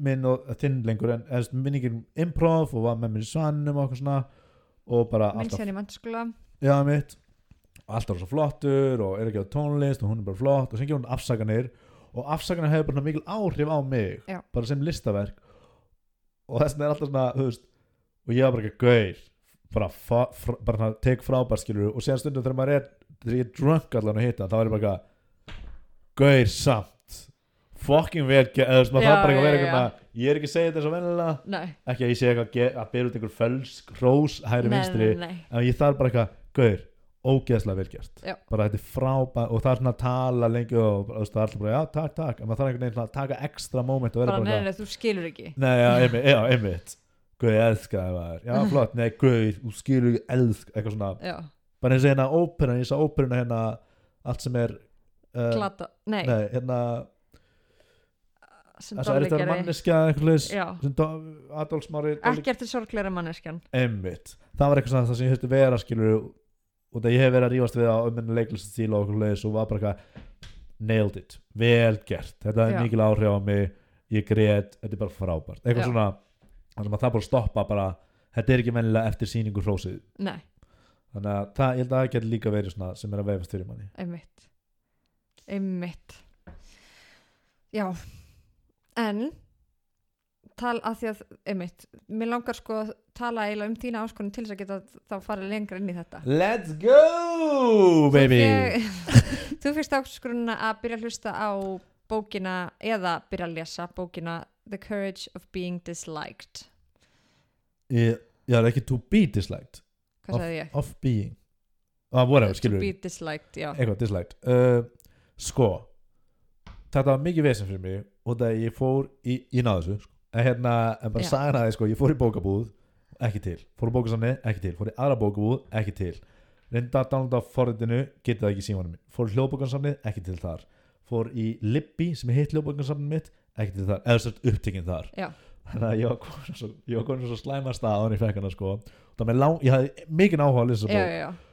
A: minn og eh, þinn lengur en eða minningin improv og var með mér í svannum og okkur svona og bara
B: minn
A: alltaf
B: sér í mannskóla
A: já mitt alltaf svo flottur og er ekki á tónlist og hún er bara flott og sem gefur hún afsakanir og afsakanir hefur bara svona mikil áhrif á mig
B: Já.
A: bara sem listaverk og þess vegna er alltaf svona þú veist, og ég var bara ekki gauð bara, fa- fr- bara svona tek frábær skilur og séðan stundum þegar maður er þegar ég er drunk allan að hitta þá er ég bara gauð samt fucking vel ge- eða þú veist maður
B: Já,
A: þarf bara ekki að vera
B: já, já.
A: eitthvað svona, ég er ekki að segja þetta svo vennilega
B: nei,
A: ekki að ég sé eitthvað að ge- að byrja út einhver fölsk hrós
B: nei,
A: hægri vinstri
B: nei, nei,
A: en ég þarf bara eitthvað, gaur, ógeðslega vel gert
B: Já.
A: bara þetta er frábæð og það er svona að tala lengi og þú veist, það er alltaf bara, já, takk, takk en maður þarf einhvern veginn svona að taka ekstra moment og vera
B: bara
A: bara,
B: nei,
A: bara
B: nei, þú skilur ekki
A: nei, já, einmitt, já, einmitt gaur, ég elska það maður, já, flott nei, gaur, þú skilur, ég elska, eitthvað svona
B: já,
A: bara eins og hérna óperan, ég sá óperuna hérna allt sem er uh,
B: glata, nei,
A: nei, hérna,
B: sem
A: þess að er
B: Dolly
A: þetta
B: gerði
A: manneskja eitthvað leis,
B: já,
A: sem Do- Adolf Smári Dolly
B: ekki eftir sorgleira manneskjan
A: einmitt, það var eitthvað svona það sem ég höfði vera skilur og það ég hef verið að rífast við á umminni leiklistastíl og okkur leiðis og var bara eitthvað nailed it, vel gert þetta er
B: Já.
A: mikil áhrif á mig, ég grét þetta er bara frábært, eitthvað
B: Já.
A: svona þannig að það bara stoppa bara þetta er ekki mennilega eftir sýningu hrósið
B: nei,
A: þannig að það, ég held að það getur líka verið svona sem er að veifast fyrir manni
B: einmitt einmitt já en tal að því að, einmitt mér langar sko að tala eiginlega um þína áskonum til þess að geta þá farið lengra inn í þetta
A: Let's go baby
B: Ég, þú fyrst áskonuna að byrja að hlusta á bókina eða byrja að lesa bókina The Courage of Being Disliked
A: ég, ég er ekki to be disliked
B: hvað sagði ég?
A: of being, ah, whatever,
B: To
A: skilur
B: be disliked, já
A: eitthvað disliked uh, sko þetta var mikið vesen fyrir mig og það ég fór í, ég náði þessu sko. en hérna, en bara
B: Já.
A: sagði það sko, ég fór í bókabúð, ekki til fór í bókasamni, ekki til, fór í aðra bókabúð, ekki til reynda að downloada á forritinu getið það ekki í símanum minn, fór í hljóðbókasamni ekki til þar, fór í Libby sem er hitt hljóðbókasamni mitt, ekki til þar eða sérst upptekinn þar
B: Já.
A: þannig að ég var komin á svo, ég var komin á svo slæma stað á hann í fekkana sko, og það með lang, ég hafði mikið áhuga að lesa
B: já,
A: þessa bók
B: já, já,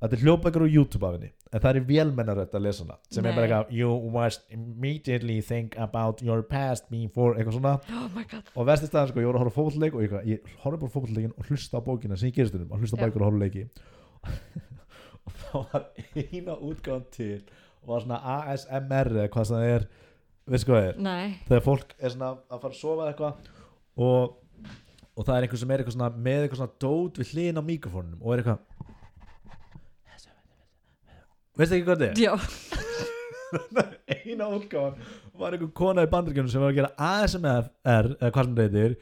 A: Þetta er hljóðbækur á YouTube af henni En það er vélmennarödd að lesa hana Sem er
B: Nei.
A: bara eitthvað You must immediately think about your past before Eitthvað svona
B: oh my god
A: Og vestið staðan sko Ég voru að horfa fótbolleik Og ég, eitthvað, ég horfa bara fótbolleikin Og hlusta á bókina sem ég gerist um Og hlusta á
B: Já.
A: bækur og horfa á leiki Og þá var eina útgáðan til Og var svona ASMR Eða hvað sem það er Veistu hvað það er
B: nei,
A: þegar fólk er svona að fara að sofa eða eitthvað og, og það er einhver sem er eitthvað svona með eitthvað svona dót við hliðin á mikrofónunum og er eitthvað veistu ekki hvað þetta
B: já,
A: er? eina útgáðan var einhver kona í bandaríkjunum sem var að gera ASMR eða hvað sem þetta heitir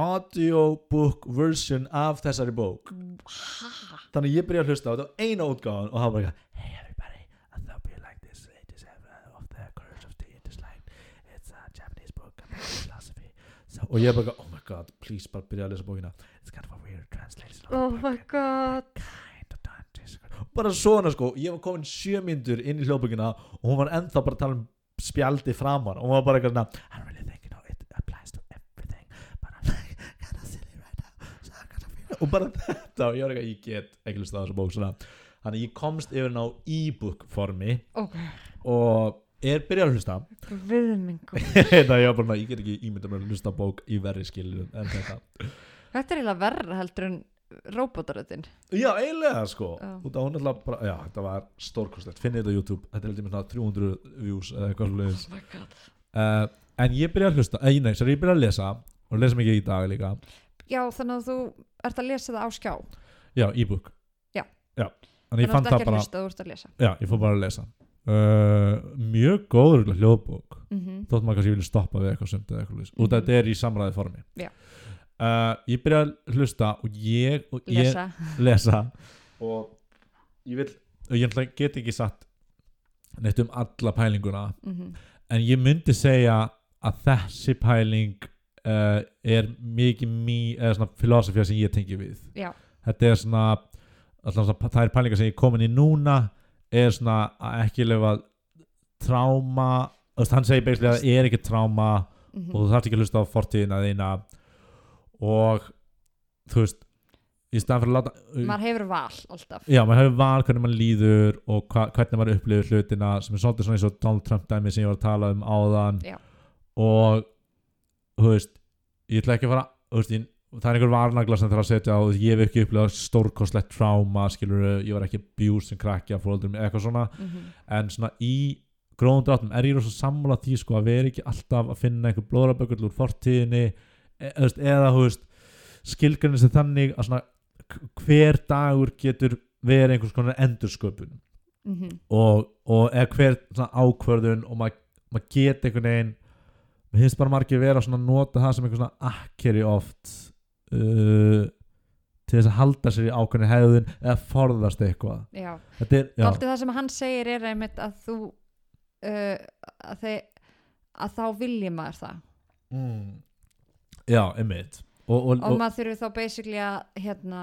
A: audiobook version af þessari bók þannig að ég byrja að hlusta á þetta á eina útgáðan og það var eitthvað hey everybody I thought you like this latest episode of the courage of the disliked it's a Japanese book about philosophy so, og ég bara, eitthvað, oh my god, please bara byrja að lesa bókina it's it's kind of a weird translation of
B: oh my god
A: kind of time bara svona sko, ég var komin sjö myndur inn í hljóðbökina og hún var ennþá bara að tala um spjaldi framan og hún var bara eitthvað svona I really think you know it applies to everything but I'm like kind of silly right now so I'm kind of feeling og bara þetta og ég var eitthvað, ég get ekki hlust á þessu bók svona þannig að ég komst yfir ná e-book formi
B: ok,
A: og er byrjað að hlusta
B: viðmingu
A: Þetta ég var bara, ég get ekki ímynda mér að hlusta á bók í verri skilur en þetta
B: þetta er eiginlega verra heldur en robotaröðin
A: Já, eiginlega sko
B: Já.
A: Út af hún ætla bara, já, þetta var stórkostlegt Finnið þetta á YouTube, þetta er heldur mér svona 300 views eða eitthvað svolítið
B: oh my god
A: uh, En ég byrja að hlusta, eh, nei, sér ég byrja að lesa og lesa mikið í dag líka
B: já, þannig að þú ert að lesa það á skjá
A: Já, e-book
B: Já.
A: Þannig ég
B: þú
A: fann
B: ert ekki
A: það
B: að
A: bara,
B: hlusta, þú ert að lesa
A: já, ég fór bara að lesa uh, Mjög góður örugglega hljóðbók
B: mm
A: þótt maður kannski vilja stoppa við eitthvað sumt eða eitthvað lýs og
B: Mhm.
A: þetta er í samræði formi
B: Já.
A: uh, ég byrja að hlusta og ég, og ég
B: lesa,
A: lesa og ég vil og ég ætla- get ekki satt neitt um alla pælinguna
B: mm
A: en ég myndi segja að þessi pæling uh, er mikið mý eða svona filosofía sem ég tengi við
B: Já.
A: þetta er svona allan svona, það er pælingar sem ég er komin í núna er svona að ekki lefa tráma hann segir basically að það er ekki tráma
B: mhm.
A: og þú þarft ekki að hlusta á fortíðina þína og þú veist í staðan fyrir að láta
B: maður hefur val alltaf
A: Já, maður hefur val hvernig maður líður og hva, hvernig maður upplifir hlutina sem er svolítið svona eins og Donald Trump dæmi sem ég var að tala um áðan
B: Já.
A: og þú veist, ég ætla ekki að fara þú veist, ég, það er einhver varnagla sem þarf að setja á þú veist, ég hef ekki upplifað stórkostlegt tráma skilur, ég var ekki abuse sem krakki af fóröldrum eitthvað svona,
B: Mhm.
A: en svona í gróðum dráttum er ég rosa sammála því sko að vera ekki alltaf að finna einhver blóðrabökull úr fortíðinni e, þú veist, eða þú veist, skilgrinni sem þannig að svona k- hver dagur getur verið einhvers konar endursköpun
B: Mhm.
A: og, og eða hver svona ákvörðun og maður mað get einhvern veginn mér finnst bara margir vera svona að nota það sem einhver svona akkeri oft uh, til þess að halda sér í ákveðni hegðun eða forðast eitthvað
B: já
A: þetta er, já,
B: Alltaf það sem hann segir er einmitt að þú uh, að, þe að þá vilji maður það
A: mm, já, einmitt og, og,
B: og, maður þurfi þá basically að hérna,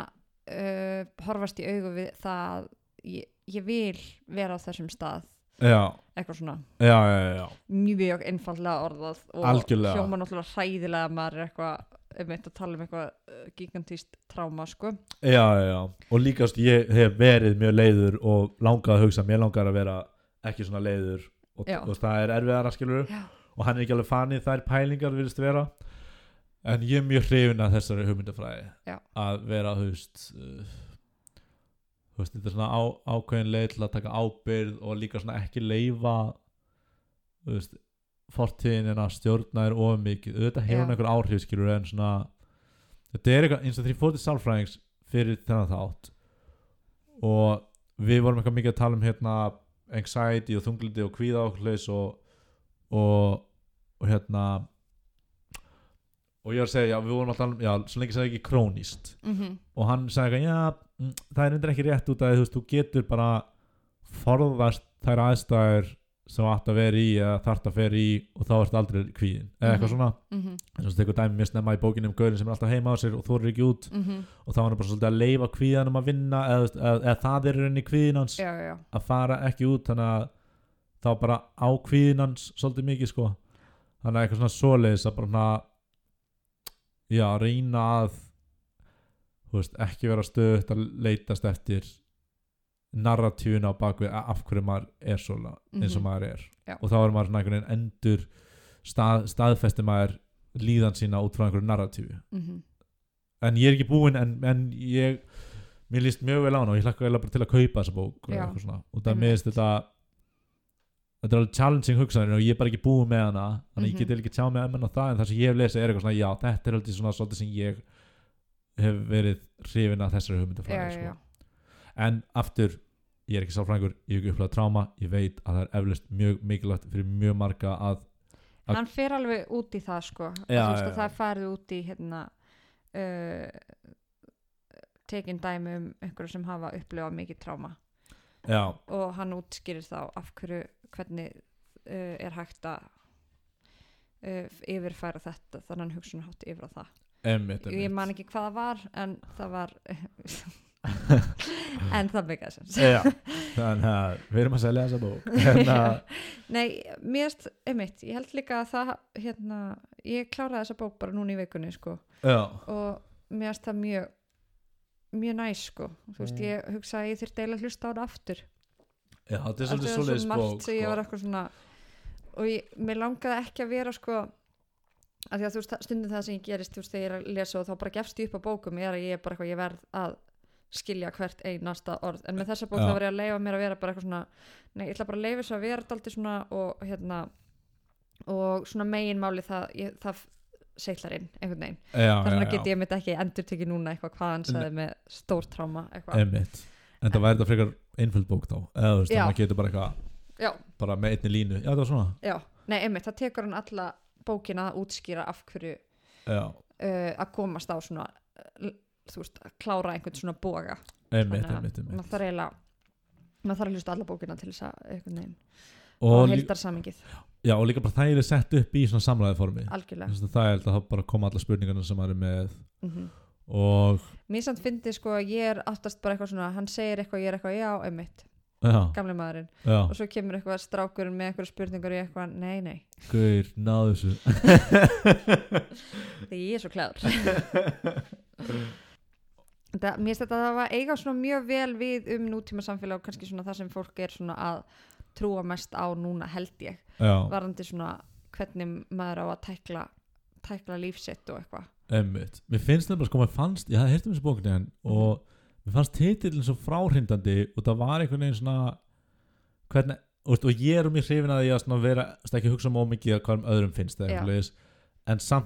B: uh, horfast í augu við það að ég, ég vil vera á þessum stað
A: já,
B: eitthvað svona
A: já, já, já,
B: mjög einfallega orðað og
A: Algjörlega.
B: hljóma náttúrulega hræðilega að maður er eitthvað um að tala um eitthvað uh, gigantist tráma sko
A: já, já, já. og líkast ég hef verið mjög leiður og langað að hugsa, mér langar að vera ekki svona leiður og,
B: Já.
A: og það er erfiðara skilur
B: Já.
A: og hann er ekki alveg fanið þær pælingar virðist vera en ég er mjög hrifin að þessari hugmyndafræði
B: Já.
A: að vera hugst uh, hugst, þetta er svona á, ákveðin leið til að taka ábyrð og líka svona ekki leifa hugst, fortíðin en að stjórna er of mikið, auðvitað hefur
B: Já.
A: hann einhver áhrif skilur en svona þetta er eitthvað eins og því fótið sálfræðings fyrir þennan þátt og við vorum eitthvað mikið að tala um hérna anxiety og þunglindi og kvíða og hlis og, og, og hérna og ég var að segja, já, við vorum að tala um já, svo lengi sem það er ekki krónist
B: mm
A: og hann sagði eitthvað, já, mm, það er endur ekki rétt út af því, þú veist, þú getur bara forðast þær aðstæður sem þú átt að vera í eða þart að vera í og þá ert aldrei kvíðin eða eitthvað
B: Mhm.
A: svona,
B: Mm -hmm.
A: eins og þetta eitthvað dæmi mér snemma í bókinni um gaurin sem er alltaf heima á sér og þú ekki út
B: mhm.
A: og þá var hann bara svolítið að leifa kvíðanum að vinna eða, þú veist, eða, eða það er í rauninni kvíðin hans
B: já, já, já,
A: að fara ekki út þannig að þá bara á kvíðin hans svolítið mikið sko þannig að eitthvað svona svoleiðis að bara svona já, reyna að þú veist, ekki vera stöðut að leitast eftir narratífuna á bakvið a- af hverju maður er svona eins og
B: Mhm.
A: maður er
B: Já.
A: og þá er maður svona einhvern veginn endur stað, staðfesti maður líðan sína út frá einhverju narratífu
B: mm
A: en ég er ekki búinn en, en ég mér líst mjög vel á hana og ég hlakka eiginlega bara til að kaupa þessa bók og
B: Já,
A: eitthvað svona og það
B: einmitt.
A: meðist þetta þetta er alveg challenging hugsanir og ég er bara ekki búinn með hana þannig að ég
B: Mhm.
A: get eiginlega ekki tjá með um hana það en það sem ég hef lesið er eitthvað svona já þetta er alveg svona svolítið sem ég hef verið hrifin að þessari hugmyndu
B: já,
A: fræði
B: já,
A: sko.
B: já.
A: en aftur ég er ekki sálfræðingur, ég hef ekki upplegað tráma ég veit að það er eflust mjög mikilvægt fyrir mjög marga að Að-
B: hann fer alveg út í það sko já,
A: Já,
B: veist,
A: já,
B: að
A: já.
B: það er farið út í hérna uh, tekin dæmi um einhverju sem hafa upplifað mikið tráma
A: já,
B: og hann útskýrir þá af hverju hvernig uh, er hægt að uh, yfirfæra þetta þannig hugsunarhátt yfir á það
A: Einmitt,
B: ég man
A: einmitt.
B: ekki hvað það var en það var en það meikaði sens
A: Já, þannig að við erum að selja þessa bók Hérna, en að,
B: nei, mér erst, einmitt, ég held líka að það hérna, ég kláraði þessa bók bara núna í vikunni sko
A: já,
B: og mér erst það mjög mjög næs sko, þú veist,
C: Mm.
B: ég hugsa að ég þurfti eiginlega að hlusta á það aftur
A: já, þetta
B: Af því
A: er svolítið
B: það er
A: svoleiðis
B: svo
A: bók
B: margt sem ég
A: sko.
B: var eitthvað svona og ég, mér langaði ekki að vera sko að því að þú veist stundum það sem ég gerist þú veist þegar ég er að lesa og þá bara gefst ég upp á bókum ég er að ég er bara eitthvað ég verð að skilja hvert einasta orð en með þessa bók
A: Já.
B: þá var ég að leifa mér að vera bara eitthvað svona nei ég ætla bara að leifa þess að vera daldi svona og hérna og svona meginmáli það, ég, það seiklar inn einhvern veginn
A: já,
B: þannig
A: já,
B: að get
A: já,
B: ég mitt ekki endur tekið núna eitthvað hvað hann sagði með stór tráma eitthvað
A: einmitt en það væri þetta frekar einföld bók þá eða þú veist,
B: Já.
A: það maður getur bara eitthvað
B: já
A: bara með einni línu, já, það var svona
B: Já, nei, einmitt, það tekur hann alla bókina að útskýra af hverju
A: já,
B: uh, að komast á svona uh, þú veist, að klára einhvern svona boga
A: einmitt,
B: Þannig að
A: einmitt,
B: maður
A: einmitt.
B: þarf eiginlega maður þarf að hlusta á alla bókina til þess að einhvern veginn
A: Og,
B: og
A: líka,
B: heldar samingið,
A: já, og líka bara þægileg sett upp í svona samlæði formi
B: algjörlega
A: þess að það er held að það bara koma alla spurningarna sem maður er með
B: mm -hmm.
A: og,
B: Mér samt fyndi sko að ég er aftast bara eitthvað svona, hann segir eitthvað, ég er eitthvað, já, einmitt
A: já,
B: gamli maðurinn,
A: já,
B: og svo kemur eitthvað strákurinn með eitthvað spurningar og ég eitthvað, nei, nei
A: gaur, náðu þessu
B: því ég er svo klæður Þetta, mér finnst þetta að það var eiga svona mjög vel við um nútíma samfélag og kannski svona það sem fólk er svona að trúa mest á núna held ég
A: já,
B: varandi svona hvernig maður á að tækla, tækla lífsitt og eitthvað
A: einmitt mér finnst nefnilega sko, mér fannst, ég hafði heyrt um þessu bókinni
B: Mhm.
A: en, og mér fannst titillin svo fráhrindandi og það var einhvern veginn svona hvernig, og, veist, og ég er um mér hrifin að ég að svona vera, þú veist, ekki hugsa mjög mikið að hverjum öðrum finnst það
B: Já.
A: einhverjulegis en samt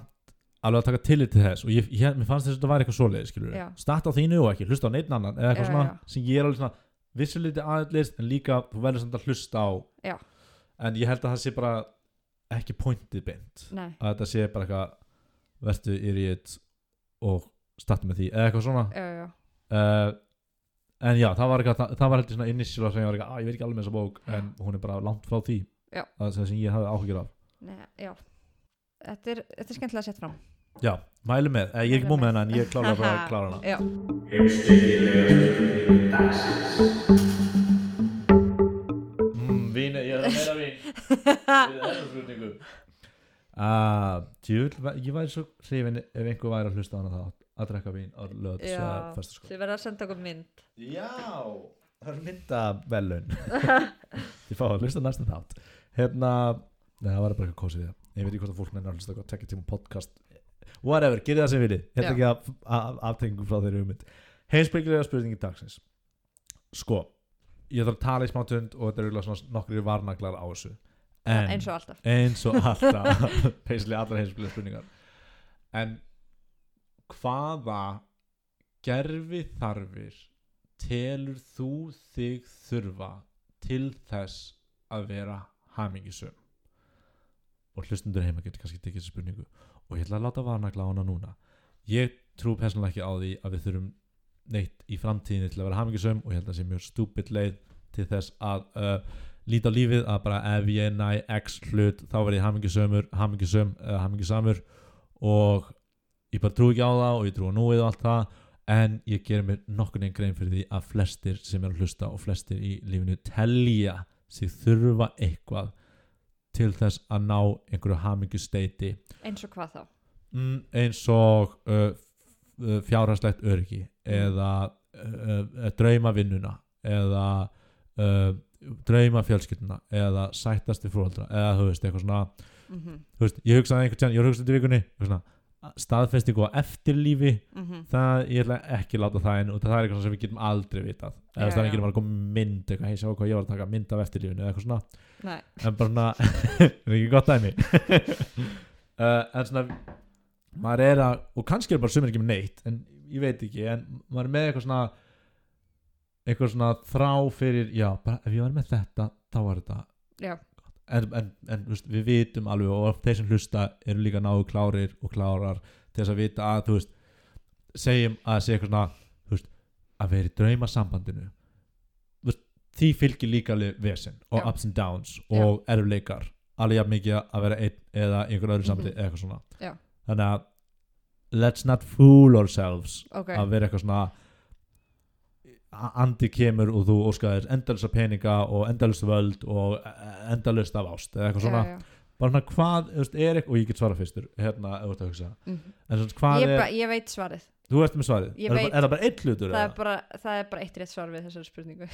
A: alveg að taka tillit til þess og ég, ég, mér fannst þess að þetta var eitthvað svoleiðis skilur
B: Já.
A: starta á þínu og ekki, hlusta á neitt annan eða eitthvað
B: Já,
A: svona
B: já.
A: sem ég er alveg svona vissuliti aðeins en líka þú verður samt að hlusta á
B: Já.
A: en ég held að það sé bara ekki pointið beint
B: Nei,
A: að þetta sé bara eitthvað vertu yriðið og starta með því eða eitthvað svona
B: já, já, já.
A: uh, en já, það var eitthvað það, það var heldur svona initial sem ég var eitthvað, að ég veit ekki alveg með þessa bók en hún er bara langt frá því
B: Já.
A: að það sem ég hafði áhyggjur af
B: Nei, já. Þetta, er, þetta er skemmtilega að setja fram
A: já, mælu með, eh, ég er ekki
B: Mæli
A: búin
B: með.
A: með hana en ég klála bara að klára hana
B: Já,
A: mm, vín, ég er að meira vín við þessum slutningu uh, djúl, ég væri svo hrifin ef einhver væri að hlusta á hana þátt að drekka vín á lögð
B: já.
A: fyrsta
B: Þið verða að senda okkur mynd
A: Já, það er myndavelun Ég fá að hlusta næsta þátt Hérna, neða það var bara eitthvað kósið því Ég veit ekki hvort að fólk nefnir að hlusta eitthvað tekja tíma podcast Whatever, gerði það sem vilji
B: Já.
A: Hérna ekki af- af- aftengingu frá þeirri ummynd Heimspekilega spurningi dagsins Sko, ég þarf að tala í smá tund og þetta eru örugglega svona nokkri varnaglar á þessu en,
B: eins og alltaf
A: eins og alltaf Peinsli allar heimspekilega spurningar En hvaða gerfi þarfir telur þú þig þurfa til þess að vera hamingisum og hlustundur heima getur kannski tekið þessu spurningu og ég ætla að láta varnagla á hana núna ég trú persónulega ekki á því að við þurfum neitt í framtíðinni til að vera hamingisum og ég held að það sé mjög stúpid leið til þess að uh, líta á lífið að bara ef ég næ x hlut þá verð ég hamingisömur, hamingisöm uh, hamingisamur og ég bara trú ekki á það og ég trú á núið og allt það en ég gerir mér nokkur einn grein fyrir því að flestir sem er að hlusta og flestir í lífinu telja sig þurfa eitthvað til þess að ná einhverju hamingjusteiti
B: eins og hvað þá
A: mm, eins og uh, fjárhastlegt öryggi
B: Mm.
A: eða uh, uh, draumavinnuna eða uh, draumafjölskylduna eða sættast við fórhaldra eða þú veist, eitthvað svona
B: mm -hmm.
A: þú veist, ég hugsaði einhvern tján, ég var hugsaði til vikunni ég var svona, staðfestingu á eftirlífi
B: mhm.
A: það, ég ætla ekki að láta það inn og það er eitthvað sem við getum aldrei vitað eða
B: Já,
A: það
B: já.
A: er ekki bara að koma með mynd eitthvað, hei, sjá hvað ég var að taka mynd af eftirlífinu eða eitthvað svona
B: Nei,
A: en bara svona, það er ekki gott dæmi uh, en svona maður er að, og kannski er bara sumir ekki með neitt, en ég veit ekki en maður er með eitthvað svona eitthvað svona þrá fyrir já, bara ef ég var með þetta, þá var þetta
B: já,
A: en, en, en þú veist, við vitum alveg og þeir sem hlusta eru líka náðu klárir og klárar til þess að vita að þú veist, segjum að segja eitthvað svona þú veist, að vera í draumasambandinu Þú veist, því fylgir líka alveg vesen og
B: Já.
A: ups and downs og erfleikar alveg jafn mikið að vera einn eða einhver öðru samti
B: Mhm.
A: eða eitthvað svona
B: Já.
A: þannig að let's not fool ourselves
B: ok,
A: að vera eitthvað svona a- andi kemur og þú óskaðir endalista peninga og endalista völd og endalista af ást eða eitthvað svona,
B: já, já.
A: bara svona hvað þú veist, er eitthvað, og ég get svara fyrstur hérna, ef þú ert að hugsa
B: Mhm.
A: en svona, hvað
B: Ég,
A: er,
B: bara, ég veit svarið
A: þú ert með svarið
B: Ég
A: er, það
B: veit-
A: bara- er það bara einn
B: það
A: hlutur
B: er,
A: eða?
B: bara, það er bara eitt rétt svar við þessari spurningu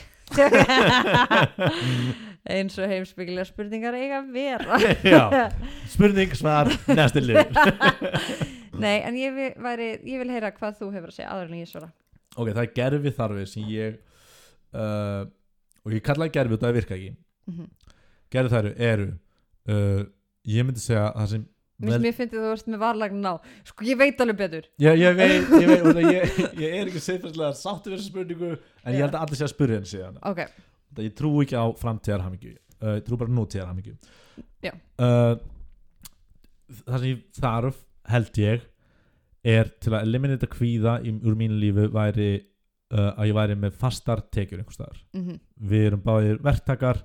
B: eins og heimsbyggilega spurningar eiga að vera
A: Já, spurning, svar, næsti liður
B: nei, en ég vil, væri, ég vil heyra hvað þú hefur að segja aður en ég svara
A: ok, það er gerfi þarfir sem ég uh, og ég kallaði gerfi og það virka ekki
B: Mhm.
A: gerfi þarfir eru uh, ég myndi segja það sem
B: Mér finnst- mér finnst að þú ert með varlagn á sko ég veit alveg betur
A: Já, ég veit, ég veit, og ég, ég er ekki siðfærslega sáttu við þessa spurningu en ég
B: Já.
A: held að allir sé að spurja henni síðan
B: ok,
A: það ég trú ekki á framtíðarhamingju uh, ég trú bara nútíðarhamingju
B: Já.
A: uh, það sem ég þarf held ég er til að eliminita kvíða í, úr mínu lífi væri uh, að ég væri með fastar tekjur einhvers staðar
B: mm
A: við erum báðir verktakar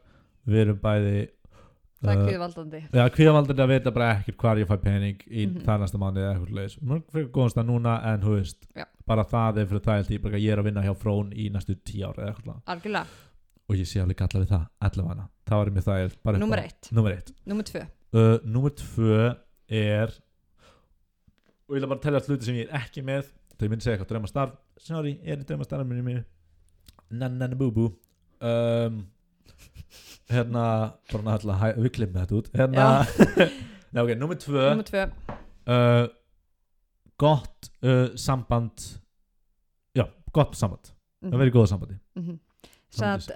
A: við erum bæði
B: það er
A: uh,
B: kvíðvaldandi
A: Já, kvíðavaldur að vita bara ekkert hvar ég fæ pening í mm
B: Mhm.
A: -hmm. næsta mánu eða eitthvað leis. Mörg fyrir góðast að núna en þú veist,
B: Já.
A: bara það er fyrir það held ég bara að ég er að vinna hjá frón í næstu tíu ára eða eitthvað. svoleiðis.
B: algjörlega,
A: Og ég sé alveg galla við það, allavega. Það var mér það er bara
B: Númer eitt.
A: Númer eitt.
B: nummer tvö
A: Uh, númer tvö er og ég vil bara tella allt hluti sem ég er ekki með þegar ég myndi segja eitthvað draumastarf sorry, er í draumastarf minni mínu nannan bú bú um, hérna bara náttúrulega, hæ- við klippum þetta út hérna Nei, ok, númer tvö
B: nummer tvö,
A: uh, gott uh, samband já, gott samband
B: Mhm. eh,
A: það verið góða sambandi,
B: mm -hmm.
A: Samdís.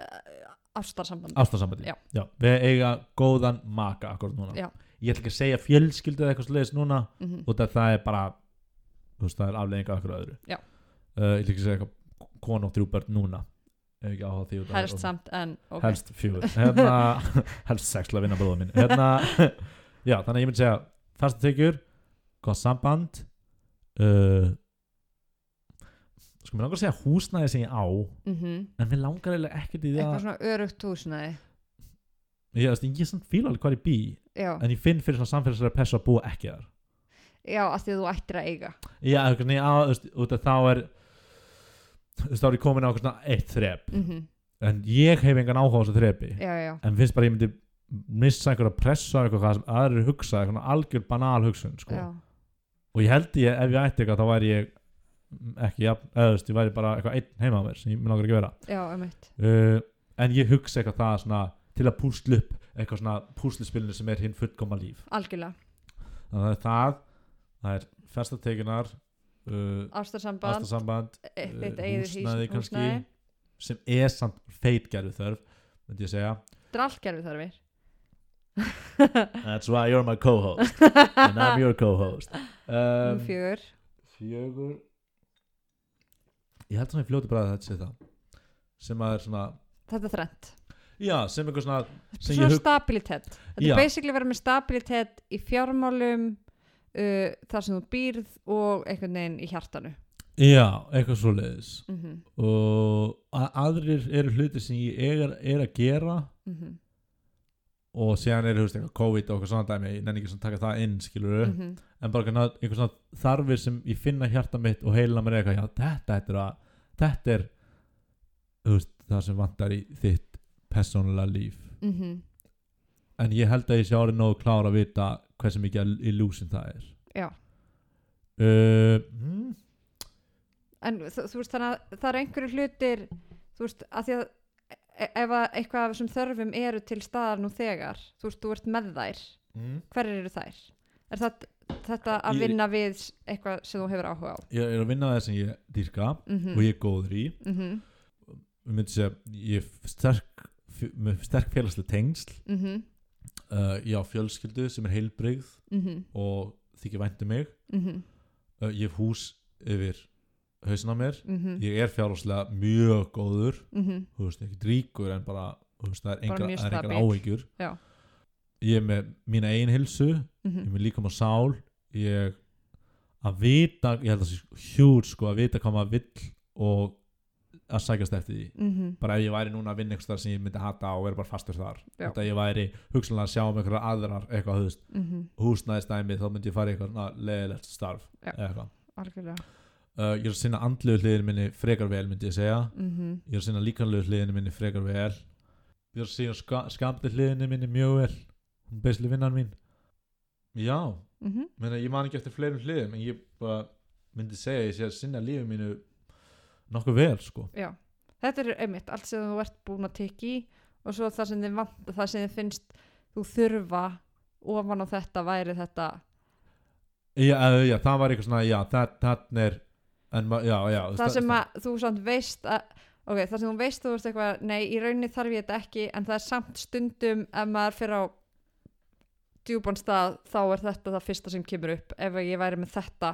B: ástarsambandi
A: ástarsambandi
B: Já.
A: við eiga góðan maka akkur núna
B: Já.
A: ég ætla ekki að segja fjölskyldu eða eitthvað sliðis núna
B: mm -hmm.
A: út af það er bara þú veist, það er afleðing af eitthvað öðru
B: Já.
A: uh, ég ætla ekki að segja eitthvað konu og þrjú börn núna Ef ekki áhuga á því út af-
B: helst samt en ok
A: helst fjögur hérna, helst sex til að vinna bróða minn hérna, já, þannig að ég myndi segja fasta tekjur, gott samband uh, sko, mér langar að segja húsnæði sem ég á,
B: Mhm.
A: en mér langar eiginlega ekkert í það
B: eitthvað svona örugt húsnaði
A: ég, veist, ég er svona fíl alveg hvar ég bý
B: já,
A: en ég finn fyrir svona samfélagslega pessu að búa ekki þar
B: já, að því að þú ættir að eiga
A: já, eitthvað, nei, á, þú veist, út af þá er þú veist, þá er ég komin á eitthvað svona eitt þrep
B: mm
A: en ég hef engan áhuga á þessu þrepi
B: já, já,
A: en finnst bara að ég myndi missa einhverja pressu af eitthvað hvað sem aðrir hugsa eitthvað algjör banal hugsun sko.
B: já,
A: og ég held ég ef ég ætti eitthvað þá væri ég ekki jafn, eða þú veist, ég væri bara eitthvað einn heima á mér sem ég mér langar ekki að
B: já, einmitt
A: vera uh, en ég hugsa eitthvað það svona til að púsla upp eitthvað svona púslispilinu sem er hinn fullkoma líf
B: algjörlega,
A: þannig að það er það, það er festatekinar uh,
B: ástarsamband
A: aðstasamband
B: e- þitt
A: eh,
B: eigið
A: húsnæði
B: húsnæði,
A: kannski.
B: húsnæði.
A: sem er samt feitgerðu þörf myndi ég segja
B: drallgerfi þarfir
A: That's why you're my co-host and I'm your co-host
B: um,
A: um,
B: fjögur
A: fjögur ég held svona í fljótu bara að þetta sé það sem að er svona
B: þetta er þrennt
A: já, sem eitthvað svona Sem ég
B: svona
A: hug-
B: stabilitet þetta
A: Já.
B: er basically verið með stabilitet í fjármálum uh, þar sem þú býrð og einhvern veginn í hjartanu
A: já, eitthvað svo leiðis
B: mm -hmm.
A: og a- aðrir eru hluti sem ég er, er að gera
B: Mm -hmm.
A: og síðan eru, þú veist, eitthvað COVID og eitthvað svona dæmi ég nenni ekki svona að taka það inn, skilur
B: Mm -hmm.
A: en bara eitthvað svona- eitthvað svona þarfir sem ég finna hjarta mitt og heila mér eitthvað, já, þetta þetta er að, þetta er þú veist, það sem vantar í þitt persónulega líf
B: mhm.
A: en ég held að ég sé árið nógu klár að vita hversu mikið illusion það er
B: Já.
A: uh, mm,
B: en þú, þú veist þannig að það eru einhverju hlutir þú veist að því að e- ef að eitthvað af þessum þörfum eru til staðar nú þegar, þú veist þú ert með þær
A: mm.
B: hverjir eru þær? Er það, þetta
A: Ég-
B: að vinna við s- eitthvað sem þú hefur áhuga á?
A: ég er að vinna það sem ég dýrka
B: Mm -hmm.
A: og ég er góður í
B: mm -hmm.
A: ég myndi segja, ég er sterk með sterk félagslega tengsl
B: Mm -hmm.
A: uh, ég á fjölskyldu sem er heilbrigð
B: Mhm.
A: og þykir vænti mig uh, ég hef hús yfir hausin á mér
B: Mhm. Mm.
A: ég er fjárháslega mjög góður þú veist, ekki ríkur en bara þú veist, það er
B: Bara
A: engar,
B: mjög
A: það er engar
B: stabil.
A: áhyggjur
B: Já.
A: ég er með mína eigin hilsu
B: Mhm.
A: ég er með líkam á sál ég að vita, ég held að það sé hjúr sko, að vita hvað maður vill og að sækast eftir því
B: Mhm.
A: bara ef ég væri núna að vinna einhvers þar sem ég myndi hata og vera bara fastur þar
B: Já.
A: þetta ég væri hugsanlega að sjá um
B: Mhm.
A: einhverjar aðrar eitthvað þú veist, húsnæðistæmi þá myndi ég fara í eitthvað leðilegt starf
B: Já.
A: eða eitthvað
B: algjörlega
A: uh, ég er að sinna andlegu hliðinu minni frekar vel myndi ég segja
B: mm
A: ég er að sinna líkanlegu hliðinu minni frekar vel ég er að sinna ska skamti hliðinu minni mjög vel hún beisli vinnan mín já,
B: Mhm.
A: meina, ég man ekki eftir fleirum hliðum en ég bara myndi segja að ég sé að sinna lífið mínu nokkuð vel sko
B: Já, þetta er einmitt allt sem þú ert búin að tekja í og svo það sem þið, vant, það sem þið finnst þú þurfa ofan á þetta væri þetta
A: já, já, já það var eitthvað svona, já, það, það er en, ma- já, já
B: það sem að þú samt veist að ok, það sem þú veist þú veist eitthvað nei, í rauninni þarf ég þetta ekki en það er samt stundum ef maður fyrir á djúpan stað þá er þetta það fyrsta sem kemur upp ef ég væri með þetta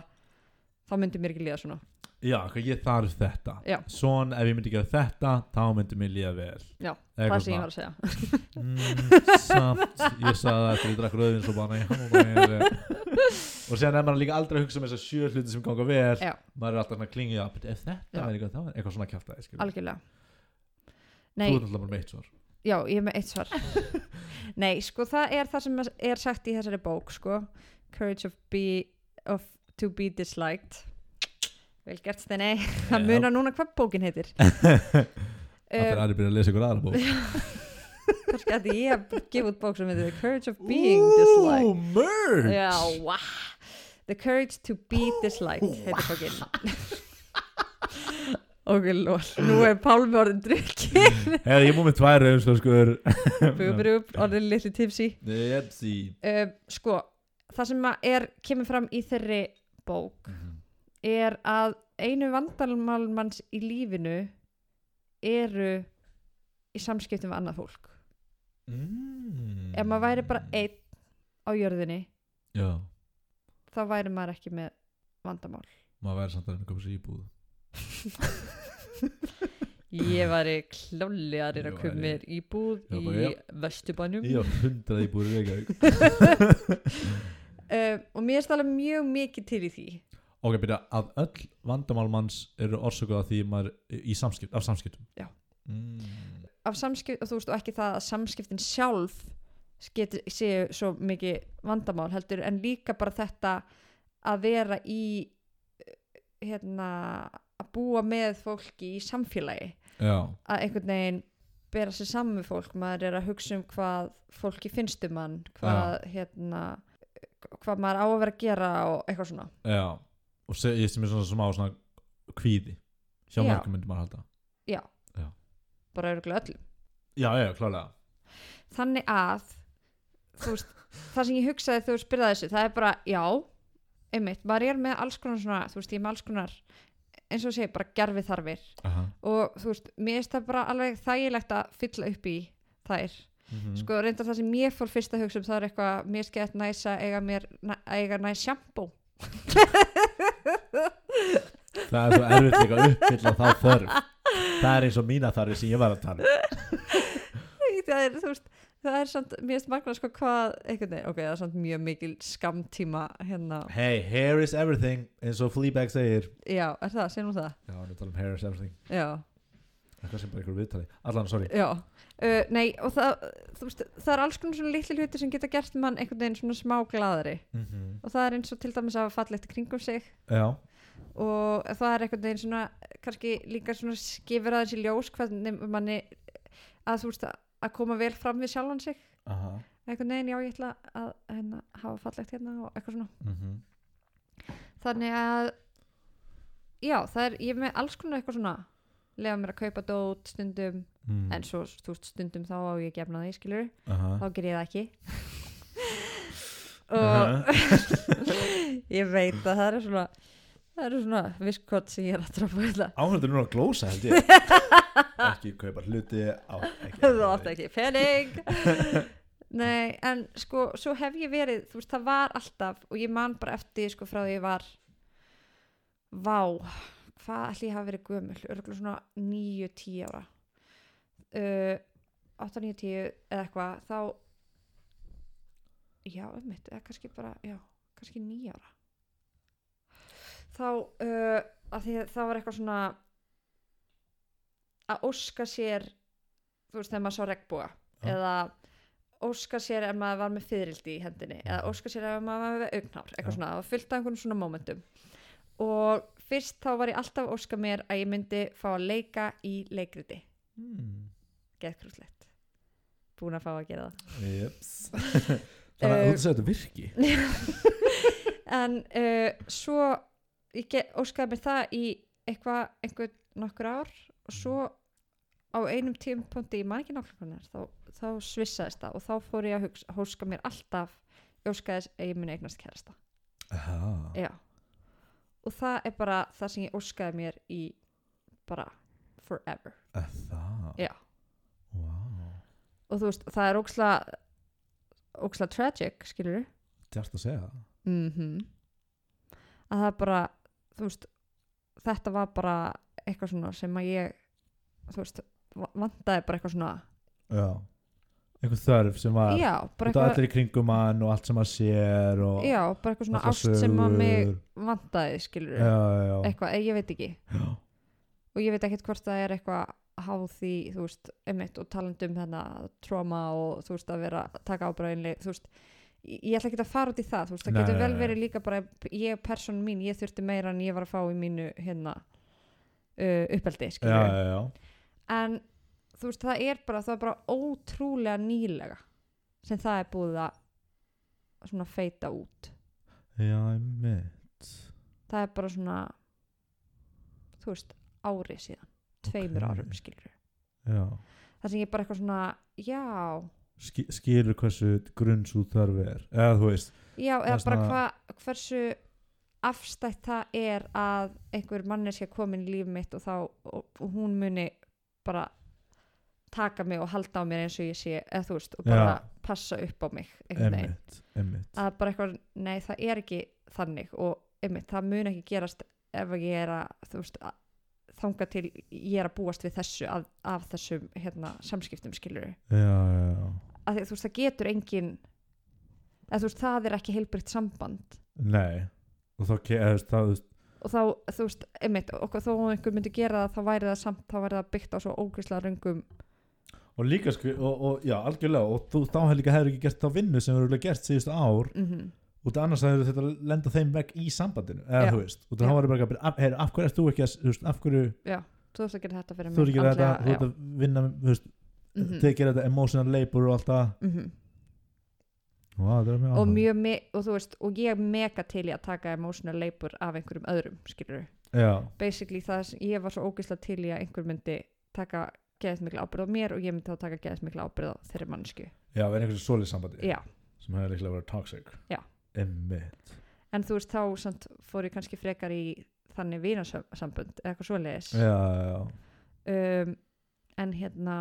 B: þá myndi mér ekki líða svona
A: já, hvað ég þarf þetta
B: Já.
A: svona, ef ég myndi gera þetta þá myndi mér líða vel
B: Já,
A: Eitthvað
B: það sem ég
A: svona.
B: var að segja
A: mm, samt, ég sagði það eftir ég drakk rauðin svo bara, já, bara ég, eh, og séðan er maður líka aldrei að hugsa um þessar sjö hluti sem ganga vel
B: Já.
A: maður er alltaf svona að klingja upp ef þetta
B: Já.
A: væri eitthvað, þá er eitthvað svona kjátt að þú ert
B: algjörlega Nei,
A: náttúrulega bara meitt svar
B: Já, ég er með eitt svar Nei, sko, það er það sem er sagt í þessari bók, sko Courage of be, of to be disliked Vel gert, Steini Það
A: Já.
B: munar núna hvað bókin heitir
A: það er
B: um,
A: aðri byrja að lesa ykkur aðra bók
B: Kannski að ég hef gefið út bók sem heitir The Courage of Being Disliked
A: merch
B: Já, wow The Courage to be disliked heitir bókin Ok, lól Nú er Pálmi orðin drukkin
A: Herra, ég múið með tvær rauðinslöskur
B: Búið, búið, orðin litli tipsi
A: Jepsi
B: uh, sko, það sem að er kemur fram í þeirri bók er að einu vandalmálmanns í lífinu eru í samskiptum við annað fólk
A: mm.
B: ef maður væri bara einn á jörðinni
A: Já,
B: þá væri maður ekki með vandamál
A: maður væri samt að reyna að koma sér í búð
B: ég væri klálega að reyna
A: Ég
B: að koma
A: væri-
B: mér í búð
A: Já, bara,
B: í
A: já.
B: vestubanum
A: Ég á hundrað í búð í Reykjavík
B: uh, og mér er stálega mjög mikið til í því
A: Ok, byrja að öll vandamál manns eru orsökuð af því maður í samskipt, af samskiptum
B: Já.
A: mm.
B: af samskipt og þú veist og ekki það að samskiptin sjálf getur, séu svo mikið vandamál heldur en líka bara þetta að vera í eh, hérna að búa með fólki í samfélagi
A: Já,
B: að einhvern veginn bera sér saman við fólk maður er að hugsa um hvað fólki finnst um hann hvað hérna hvað maður á að vera að gera og eitthvað svona
A: já Og se, ég sem er svona smá svona kvíði Hjá
B: Já.
A: mörgum myndi maður halda
B: bara örgulega öllum
A: Já, já, klálega
B: þannig að þú veist, það sem ég hugsaði þegar þú spyrðaði þessu, það er bara, já einmitt, maður er með alls konar svona þú veist, ég er með alls konar eins og sé, bara gerfi þarfir
A: Aha.
B: og þú veist, mér finnst það bara alveg þægilegt að fylla upp í þær
A: Mhm.
B: sko, reyndar það sem ég fór fyrst að hugsa um það er eitthvað, mér skeitt næsa eiga mér, næ, eiga næs sjampó
A: Það er svo erfitt líka að uppfylla þá þörf Það er eins og mína þarfi sem ég var að tala um.
B: það er, þú veist, það er samt mér finnst magna sko hvað, einhvern veginn ok, það er samt mjög mikil skamtíma hérna,
A: Hey, hair is everything eins og Fleabag segir
B: já, er það, segjum það
A: Já, hann er að tala um hair is everything
B: já
A: Eitthvað sem bara ykkur viðtali Allan, sorry
B: Já, uh, nei og það, þú veist, það er alls konar svona litli hluti sem geta gert mann einhvern veginn svona smá glæðari
A: mm
B: og það er eins og til dæmis að hafa fallegt í kringum sig
A: Já,
B: og það er einhvern veginn svona kannski líka svona skifur aðeins í ljós hvernig manni að þú veist að, að koma vel fram við sjálfan sig
A: aha
B: einhvern veginn, já ég ætla að hérna, hafa fallegt hérna og eitthvað svona
A: mm -hmm.
B: þannig að já, það er, ég er með alls konar eitthvað svona lefa mér að kaupa dót stundum
A: mm.
B: en svo þú veist stundum þá á ég gefna því skilur
A: aha.
B: þá ger ég það ekki
A: Aha.
B: og ég veit að það er svona það eru svona viskot sem ég er að trappa þetta
A: Áhörður núna að glósa held ég Ekki kaupa hluti á, ekki,
B: þú átt ekki pening nei, en sko svo hef ég verið, þú veist, það var alltaf og ég man bara eftir, sko, frá því ég var vá hvað ætli ég hafa verið gömul örgulega svona 9-10 ára uh, 8-9-10 eða eitthvað, þá já, ummitt, eða kannski bara já, kannski 9 ára þá uh, að því að það var eitthvað svona að óska sér þú veist, þegar maður sá regnbúa
A: Já.
B: eða óska sér ef maður var með fyririldi í hendinni eða óska sér ef maður var með augnhár eitthvað
A: Mhm. Já.
B: svona, það var fullt af einhvern svona momentum og fyrst þá var ég alltaf að óska mér að ég myndi fá að leika í leikriti
A: Hmm.
B: geðkrúslegt búin að fá að gera það
A: Jeps. Þannig að
B: Eh,
A: þú segir þetta virki
B: en uh, svo ég ge- óskaði mér það í eitthvað, einhver nokkur ár og svo á einum tímpunkti ég man ekki nákvæmnar þá, þá svissaðist það og þá fór ég að hugsa, hóska mér alltaf ég óskaði þess að ég muni eignast kærasta
A: Aha.
B: Já. Og það er bara það sem ég óskaði mér í bara forever.
A: Eh, Það
B: Já.
A: Vá.
B: Og þú veist, það er óksla óksla tragic, skilur du?
A: Djart að segja það.
B: Mhm. Að það er bara, þú veist þetta var bara eitthvað svona sem að ég, þú veist va- vantaði bara eitthvað svona
A: Já Einhver þörf sem var
B: já,
A: Út
B: bara
A: af
B: eitthvað,
A: allir í kringum hann og allt sem að sér og
B: já, bara eitthvað svona
A: allar
B: ást sem að
A: sögur.
B: mig eh, vantaði, skilur
A: Já, já, já
B: eitthvað, ég veit ekki
A: Já.
B: og ég veit ekkert hvort það er eitthvað háð því, þú veist, emitt og talandi um þarna trauma og þú veist að vera að taka ábræðinlega, þú veist ég ég ætla ekki að fara út í það, þú veist, það
A: Nei,
B: getur
A: nei,
B: vel
A: nei.
B: verið líka bara ég, personum mín, ég þurfti meira en ég var að fá í mínu hérna uh, uppeldi,
A: Já,
B: skiljum,
A: já, já
B: en þú veist, það er bara, það er bara ótrúlega nýlega sem það er búið að svona feita út
A: Já, einmitt
B: það er bara svona þú veist, ári síðan tveimur
A: Ókei.
B: árum, skilur
A: Já
B: það sem ég bara eitthvað svona já,
A: Ski- Skilur hversu grunnsú þörf er Eða þú veist
B: já eða
A: er
B: bara
A: svona-
B: hva, hversu afstætt það er að einhver manneskja komin í líf mitt og þá og, og hún muni bara taka mig og halda á mér eins og ég sé eða þú veist, og bara
A: Já.
B: passa upp á mig einhvern veginn,
A: Einmitt, einmitt
B: að bara eitthvað nei, það er ekki þannig og einmitt, það mun ekki gerast ef ég er að þú veist, að, þanga til ég er að búast við þessu af, af þessum hérna, samskiptum skilur
A: Já, já, já
B: að því, þú veist, það getur engin eða þú veist, það er ekki heilbrikt samband
A: Nei Og þá ke- eða þú veist, það, þú veist,
B: og þá, þú veist, einmitt okkur, þó að einhver myndi gera það, þá væri það samt þá væri það byggt á svo ógæslega röngum
A: Og líka sko og, og, Já, algjörlega Og þú, þá hefur líka hefur ekki gert þá vinnu sem hefur gert síðustu ár
B: mm
A: út af annars hefur þetta lenda þeim vekk í sambandinu eða
B: Já.
A: þú veist út af þá
B: Já.
A: var bara eitthvað, af, heyr, af hverju ert þú ekki að, þú veist, af hverju
B: þú veist að gera þetta fyrir
A: þú ert ekki að gera þetta þú
B: andlega,
A: ert að vinna þú veist,
B: já.
A: mm
B: Mhm,
A: -hmm. þeir gera þetta emotional labor og allt það
B: mhm.
A: Vá, þetta er mjög
B: og
A: áhugavert.
B: mjög me og þú veist, og ég er mega til í að taka emotional labor af einhverjum öðrum, skilur
A: já,
B: basically það sem ég var svo ógæslega til í að einhver myndi taka geðið mikla ábyrð á mér og ég myndi þá taka geðið mikla ábyrð á þeirri mannsku,
A: já, verið einhversu svolít sambandi
B: já
A: sem hefur líklega verið toxic
B: Já.
A: emmitt
B: en þú veist þá samt fór ég kannski frekar í þannig vínasambund eða eitthvað svoleiðis
A: já, já,
B: um, en hérna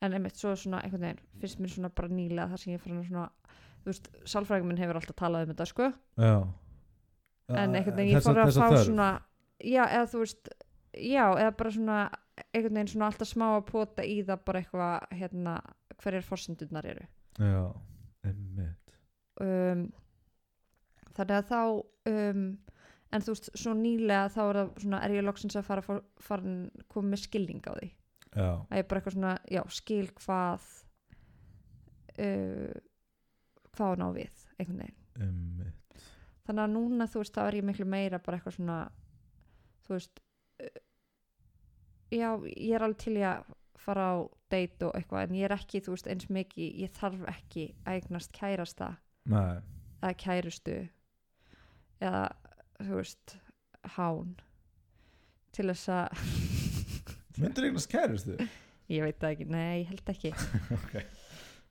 B: en einmitt svo svona einhvern veginn finnst mér svona bara nýlega þar sem ég fann svona þú veist, sálfræðingum minn hefur alltaf talað um þetta sko,
A: já
B: en einhvern veginn ég
A: Þessa-
B: fór að
A: þessa
B: fá
A: þörf.
B: svona já, eða þú veist, já, eða bara svona einhvern veginn svona alltaf smá að pota í það bara eitthvað, hérna hverjar forsendurnar eru
A: já, emmitt
B: um, þannig að þá um, en þú veist, svo nýlega þá er, það, svona, er ég loksins að fara, fór- farin komið með skilning á því
A: já,
B: að ég bara eitthvað svona, já, skil hvað uh, hvað hún á við einhvern veginn,
A: emmitt
B: þannig að núna þú veist, þá er ég miklu meira bara eitthvað svona þú veist uh, já, ég er alveg til í að fara á date og eitthvað, en ég er ekki, þú veist, eins mikið ég þarf ekki að eignast kærasta
A: nei,
B: eða kærustu eða þú veist hán til þess að
A: myndir eignast kærist þið
B: ég veit það ekki, nei ég held ekki
A: okay.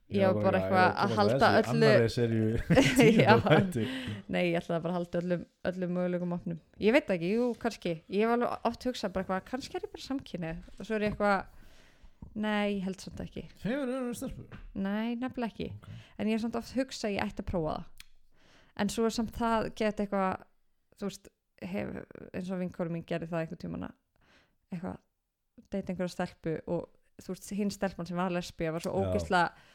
B: Ég var bara eitthvað að halda öllu-
A: annari serju
B: Já.
A: tíundabæti
B: nei ég ætlaði bara að halda öllum, öllum mögulegum opnum, ég veit það ekki, jú kannski ég hef alveg oft hugsað bara eitthvað kannski er ég bara samkynnið og svo er ég eitthvað nei ég held samt ekki
A: hefur öðrum stelpur
B: nei nefnilega ekki,
A: Ok.
B: en ég hef samt oft hugsað að ég ætti að prófa það en svo er samt það geta eitthvað þú veist, hef, eins og vinkorum mín gerði það einhvern tímann að eitthvað, deyta einhverja stelpu og þú veist, hinn stelpan sem var lesbía var svo
A: Já.
B: ógeðslega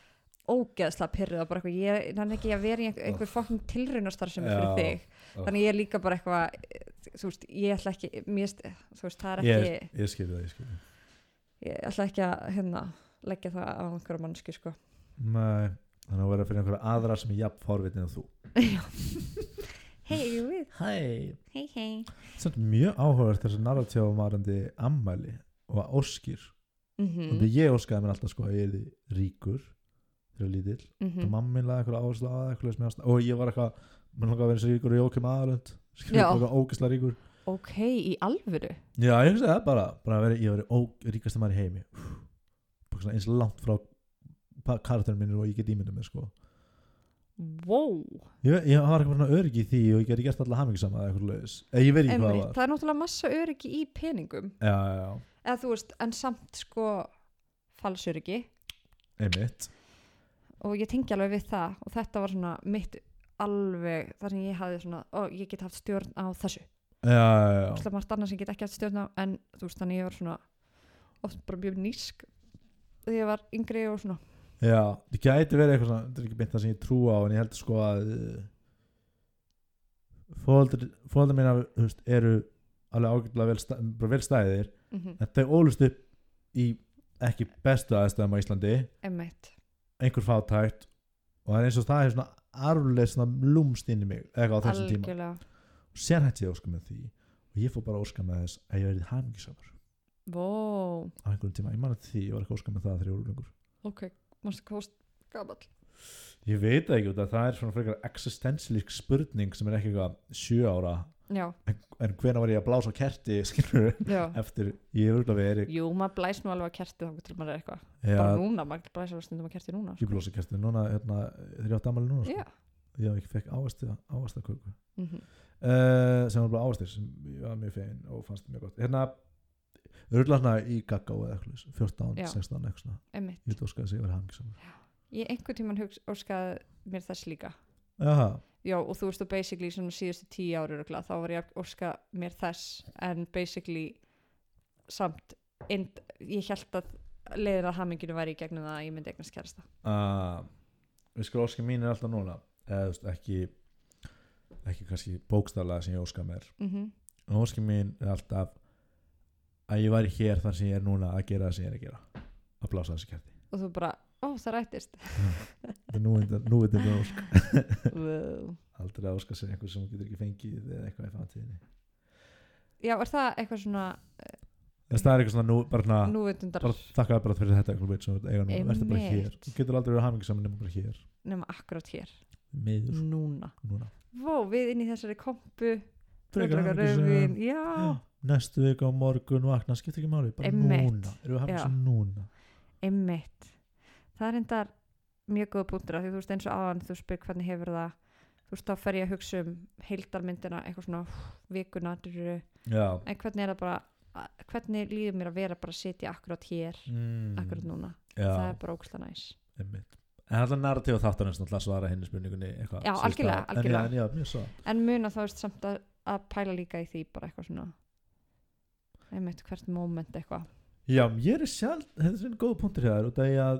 B: ógeðslega pyrruð og bara eitthvað, ég nann ekki að vera í einhver, einhver fokkin tilraunastar sem er fyrir
A: Já.
B: þig
A: Úff.
B: þannig ég er líka bara eitthvað eh, þú veist, ég ætla ekki, mér, st- þú veist, það er
A: ég,
B: ekki
A: ég skil það, ég skil það
B: ég ætla ekki að, hérna, leggja það á einhverja mannsku, sko
A: Nei, þannig að vera fyrir einhverja aðra sem er jafn forvitin en þú
B: Já. hei,
A: Hæ
B: hei, hei
A: Þetta er mjög áhugavert þessi narratífum varandi ammæli og óskir mm. Ég óskaði mér alltaf sko að ég er ríkur þegar lítill mm.
B: Mhm.
A: Mammin laði eitthvað áherslu á það eitthvað sem ég ást- og ég var eitthvað mér langaði að vera eins ríkur og Jókim aðalönd
B: Já.
A: eitthvað ógislega ríkur
B: ok, í alvöru
A: Já, ég hugsaði það bara, bara að vera, ég var ó, ríkast maður í heimi Úff. bara svona eins langt frá karakterinu mínir og ég get ímyndum mér sko
B: wow,
A: Ég, ég var eitthvað svona öryggi í því og ég geti gert alltaf hamingisama eða eitthvað leiðis eða ég veit ekki hvað það
B: Einmitt,
A: var
B: það er náttúrulega massa öryggi í peningum
A: Já, já, já,
B: eða þú veist, en samt sko falsöryggi
A: einmitt
B: og ég tengi alveg við það og þetta var svona mitt alveg þar sem ég hafði svona, ó, ég get haft stjórn á þessu
A: Já, já, já
B: Það er margt annað sem ég get ekki haft stjórn á en þú veist, þannig ég var svona oft bara mjög nísk þegar ég var yngri og svona
A: Já, það gæti verið eitthvað svona, þetta er ekki beint það sem ég trú á en ég held sko að fóðaldur mín veist, eru alveg ágætlega vel, sta- bara vel stæðir
B: mm
A: en þau ólust upp í ekki bestu aðstæðum á Íslandi
B: emmitt
A: einhver fátækt og það er eins og það er svona arfleis svona lúmst inn í mig eitthvað á þessum tíma
B: algjörlega,
A: og sér hætti ég að óska með því og ég fór bara að óska með þess að ég verið hamingisamur
B: wow
A: á einhverjum tíma, ég man að því, ég var ekki að óska með það þegar ég voru lengur
B: ok, mannstu kost gamall
A: Ég veit það ekki út að það er svona frekar existentialík spurning sem er ekki eitthvað sjö ára
B: já,
A: en, en hvena var ég að blása á kerti skilur
B: já,
A: eftir ég er auðvitað verið
B: jú, maður blæs nú alveg að kerti þá til maður er eitthvað,
A: já,
B: bara núna maður blæs alveg stundum að kerti núna
A: ég blása á kerti núna hérna, þegar ég átti ammali núna sko.
B: já,
A: ég hafði ekki fekk ávastaköku uh,
B: mm
A: Eh, sem var bara ávastir sem ég var mjög fein og fannst mjög gott hérna auðvitað svona í gaggá eða eitthvað svoleiðis, 14,
B: Já.
A: 16 eitthvað svona
B: emmitt
A: ég veit óskaði að segja verið hangisamur
B: ég einhvern tímann hugsa, óskaði mér þess líka
A: já,
B: já og þú veist þú basically svona síðustu tíu ári rögla, þá var ég að óska mér þess en basically samt ind, ég held að leiðin að haminginu væri í gegnum það að ég myndi eignast kærasta
A: uh, við skur óskar mín er alltaf núna eða þú veist ekki ekki kannski bókstaflega sem ég óska mér
B: mm
A: en óskar mín er alltaf að ég væri hér þar sem ég er núna að gera það sem ég er að gera að blása þessi kerti
B: og þú bara, ó það rættist
A: Þetta er núvitað- núvitandi ósk
B: wow.
A: aldrei að óska sér einhver sem hún getur ekki fengið eða eitthvað í framtíðinni
B: já er það eitthvað svona
A: þess það er eitthvað svona nú, bara, svona,
B: núvitundar
A: Ah. bara þakka þér bara fyrir þetta eitthvað veit sem þú eiga nú verður bara
B: Einmitt.
A: hér þú getur aldrei verið að hafa mikið saman nema bara hér
B: nema akkurat hér,
A: miður
B: núna
A: núna
B: Vó, við inn í þessari kompu
A: Frekar
B: Frekar
A: hamingjusöm.
B: rauðvín, já,
A: næstu vika á morgun vakna skiptir ekki máli bara
B: Einmitt.
A: núna erum við að hafa
B: Já.
A: þessu núna
B: einmitt það er endar mjög góða búndur af því þú veist eins og áðan þú spyr hvernig hefur það þú veist þá fer ég að hugsa um heildarmyndina eitthvað svona hú, vikuna drurru.
A: já
B: en hvernig er það bara að- hvernig líður mér að vera bara að sitja akkurát hér
A: mm,
B: akkurát núna, það
A: já,
B: er bara óksla næs
A: einmitt en alltaf narratíf og þáttarins náttúrulega svara henni spurningunni eitthvað
B: Já,
A: síðustu
B: algjörlega,
A: ár.
B: algjörlega.
A: en já, en já, mjög svo
B: en muna þá veist samt að, að pæla líka í því bara eitthvað svona einmitt hvert moment eitthvað
A: já, ég er sjald, þetta er svona góð punktur hér út af því að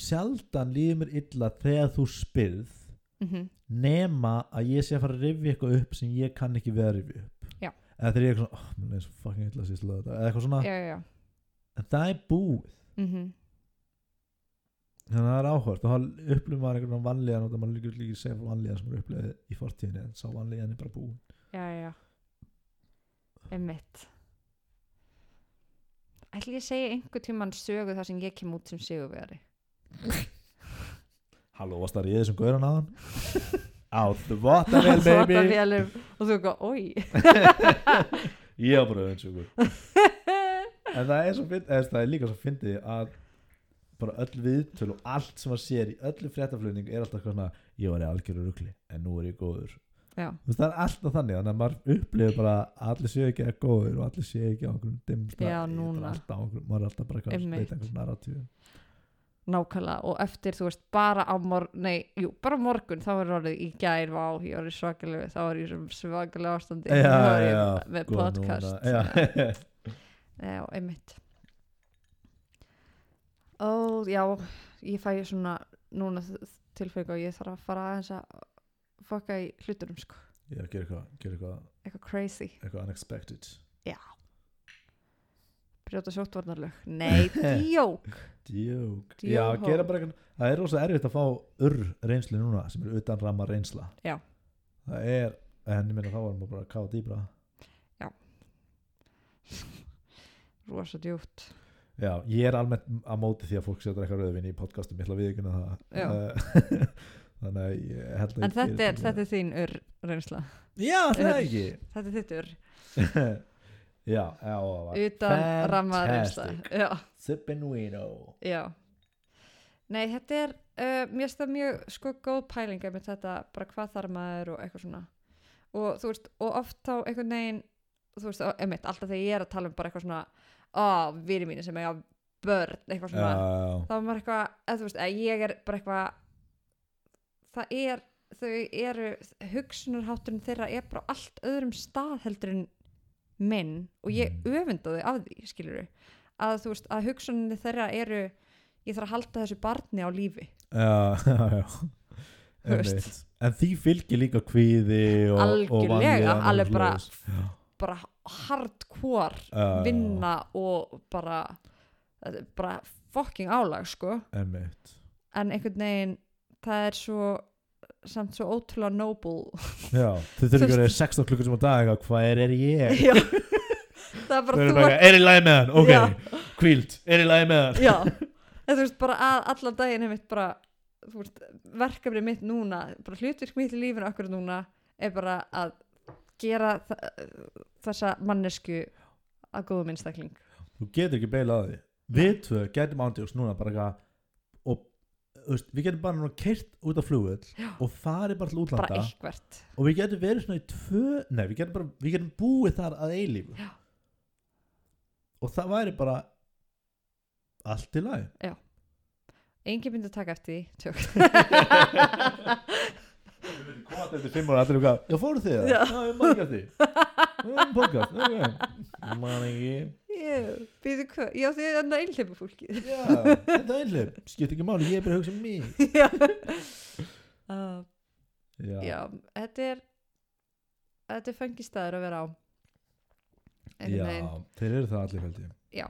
A: sjaldan líður mér illa þegar þú spyrð
B: mm
A: nema að ég sé að fara að rifja eitthvað upp sem ég kann ekki við að rifja upp
B: Já.
A: eða þegar ég er eitthvað svona, oh, mér er svo fucking illa síðast lögðu þetta eða eitthvað svona,
B: já, já, já
A: en það er búið
B: mm
A: þannig að það er áhört og þá upplifum maður einhvern vanlíðan og það maður líka líka að segja vanlíðan sem maður upplifið í fortíðinni en sá vanlíðan er bara búin
B: já, já, já einmitt ætli ég segja einhver tíman sögu þar sem ég kem út sem sigurvegari
A: Halló, varst það ríðið sem gauran á hann? Á þvottavél baby
B: Þvottavélum. og þú eitthvað, oi
A: Ég á bara öðvinsjúkur En það er, svo fynd, eða, það er líka svo fyndið að bara öll viðtöl og allt sem maður sér í öllu fréttaflöning er alltaf eitthvað svona ég var í algjöru rugli en nú er ég góður
B: já,
A: Þú veist, það er alltaf þannig þannig að maður upplifir bara að allir séu ekki að góður og allir séu ekki á okkur dimsta
B: Já, núna.
A: alltaf, á einhverjum- maður er alltaf bara eitthvað
B: Einmitt.
A: leita einhverjum narratífum
B: nákvæmlega og eftir, þú veist, bara á morgun nei, jú, bara á morgun, þá er orðið í gær, vá, ég var í svakalegu þá var ég í svona svakalegu ástandi
A: já,
B: Þá er
A: já,
B: ég
A: já,
B: með
A: sko,
B: podcast
A: núna, já.
B: Já, einmitt Ó, já ég fæ svona núna tilfengu og ég þarf að fara aðeins að fokka í hluturum sko
A: já, gera eitthvað, gera eitthvað,
B: eitthvað crazy,
A: eitthvað unexpected
B: brjóta sjóttvarnarlög Nei, djók
A: djók,
B: Djók.
A: já, gera bara eitthvað það er rosa erfitt að fá urr reynslu núna sem er utan ramma reynsla
B: Já.
A: Það það er, en ég meina þá varum við bara að kafa dýbra
B: rosa djúpt
A: já, ég er almennt á móti því að fólk sé að drekka rauðvinni í podcastum ég ætla að viðkynna
B: Já.
A: það Eh, þannig að ég held að
B: en
A: ég
B: þetta er, þetta er þín ur reynsla
A: já, það er ekki
B: þetta er þitt ur
A: já, já, það var
B: utan ramma reynsla
A: Fantastic.
B: já,
A: Sippin' Wino
B: já nei þetta er uh, mér finnst það mjög sko góð pælinga með þetta bara hvað þarf maður og eitthvað svona og þú veist og oft þá einhvern veginn þú veist og, einmitt, alltaf þegar ég er að tala um bara eitthvað svona á viri mínu sem eiga börn eitthvað svona
A: já,
B: þá er maður eitthvað, eða þú veist, eða ég er bara eitthvað það er, þau eru hugsunarhátturinn þeirra er bara á allt öðrum stað heldur en minn og ég
A: Mm.
B: öfunda þau af því, skilur að þú veist, að hugsunni þeirra eru ég þarf að halda þessu barni á lífi
A: já, já, já.
B: Þú veist.
A: Einmitt. en því fylgir líka kvíði og, og
B: Algjörlega,
A: vanlíðan og
B: alveg bara-
A: svoleiðis. Já.
B: bara hardcore
A: Já, já,
B: vinna og bara þetta er bara fucking álag, sko
A: einmitt
B: en einhvern veginn, það er svo samt svo ótrúlega noble
A: Já, þau
B: Þú
A: þurfum ekki
B: veist-
A: að vera 16 klukkur sem á dag eitthvað, hvað er, er ég?
B: Já. það er
A: Þau
B: bara
A: eru
B: þú
A: bara, eitthvað, er í lagi með hann, ok,
B: Já.
A: kvíld, er í lagi með hann
B: Já, en þú veist bara að allan daginn er mitt bara þú veist, verkefni mitt núna bara hlutvirk mitt í lífinu okkur núna er bara að gera þa- þessa mannesku að góðum einstakling
A: Þú getur ekki beilað á því Við tvö getum ándjóks núna bara eitthvað og þú veist, við getum bara núna keirt út af flugvöll og farið bara til
B: bara
A: útlanda
B: eitthvert
A: og við getum verið svona í tvö nei, við getum, bara, við getum búið þar að eilífu
B: Já.
A: og það væri bara allt í lagi
B: engin myndi að taka eftir því tjók
A: Hvað eftir fimm ára, allir eru hvað, já fóruð þið það?
B: Já.
A: Já, ég man ekki að því Ég man podcast, ok Ég Man ekki
B: Ég, býðu hvað, já því er enda einhleipa fólki
A: Já, þetta er einhver, skipt ekki máli, ég er bara að hugsa um mig
B: Já uh,
A: Já,
B: Já, þetta er þetta er fengistæður að vera á
A: já,
B: einhvern veginn
A: þeir eru það allir held ég
B: já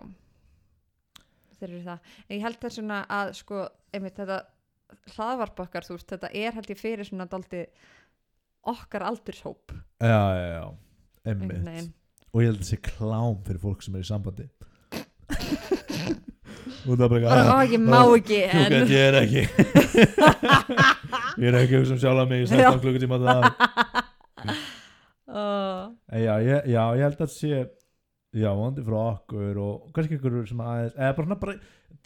B: þeir eru það, en ég held það svona að sko, einmitt þetta hlaðvarpokkar, þú veist, þetta er held ég fyrir svona daldi okkar aldurshóp
A: Já, já, já,
B: einhvern
A: emmitt
B: veginn
A: Og ég held að það sé klám fyrir fólk sem er í sambandi Og það er bara
B: bara,
A: eitthvað,
B: ó, ég má
A: ó,
B: ekki
A: Klukkan
B: en
A: ég er ekki Ég er ekki að hugsa um sjálf mig í 16 klukkutíma á dag
B: Ó,
A: En Já, ég, já, ég held að þetta sé Já, vandi frá okkur og kannski ykkur sem aðeins eða bara, svona bara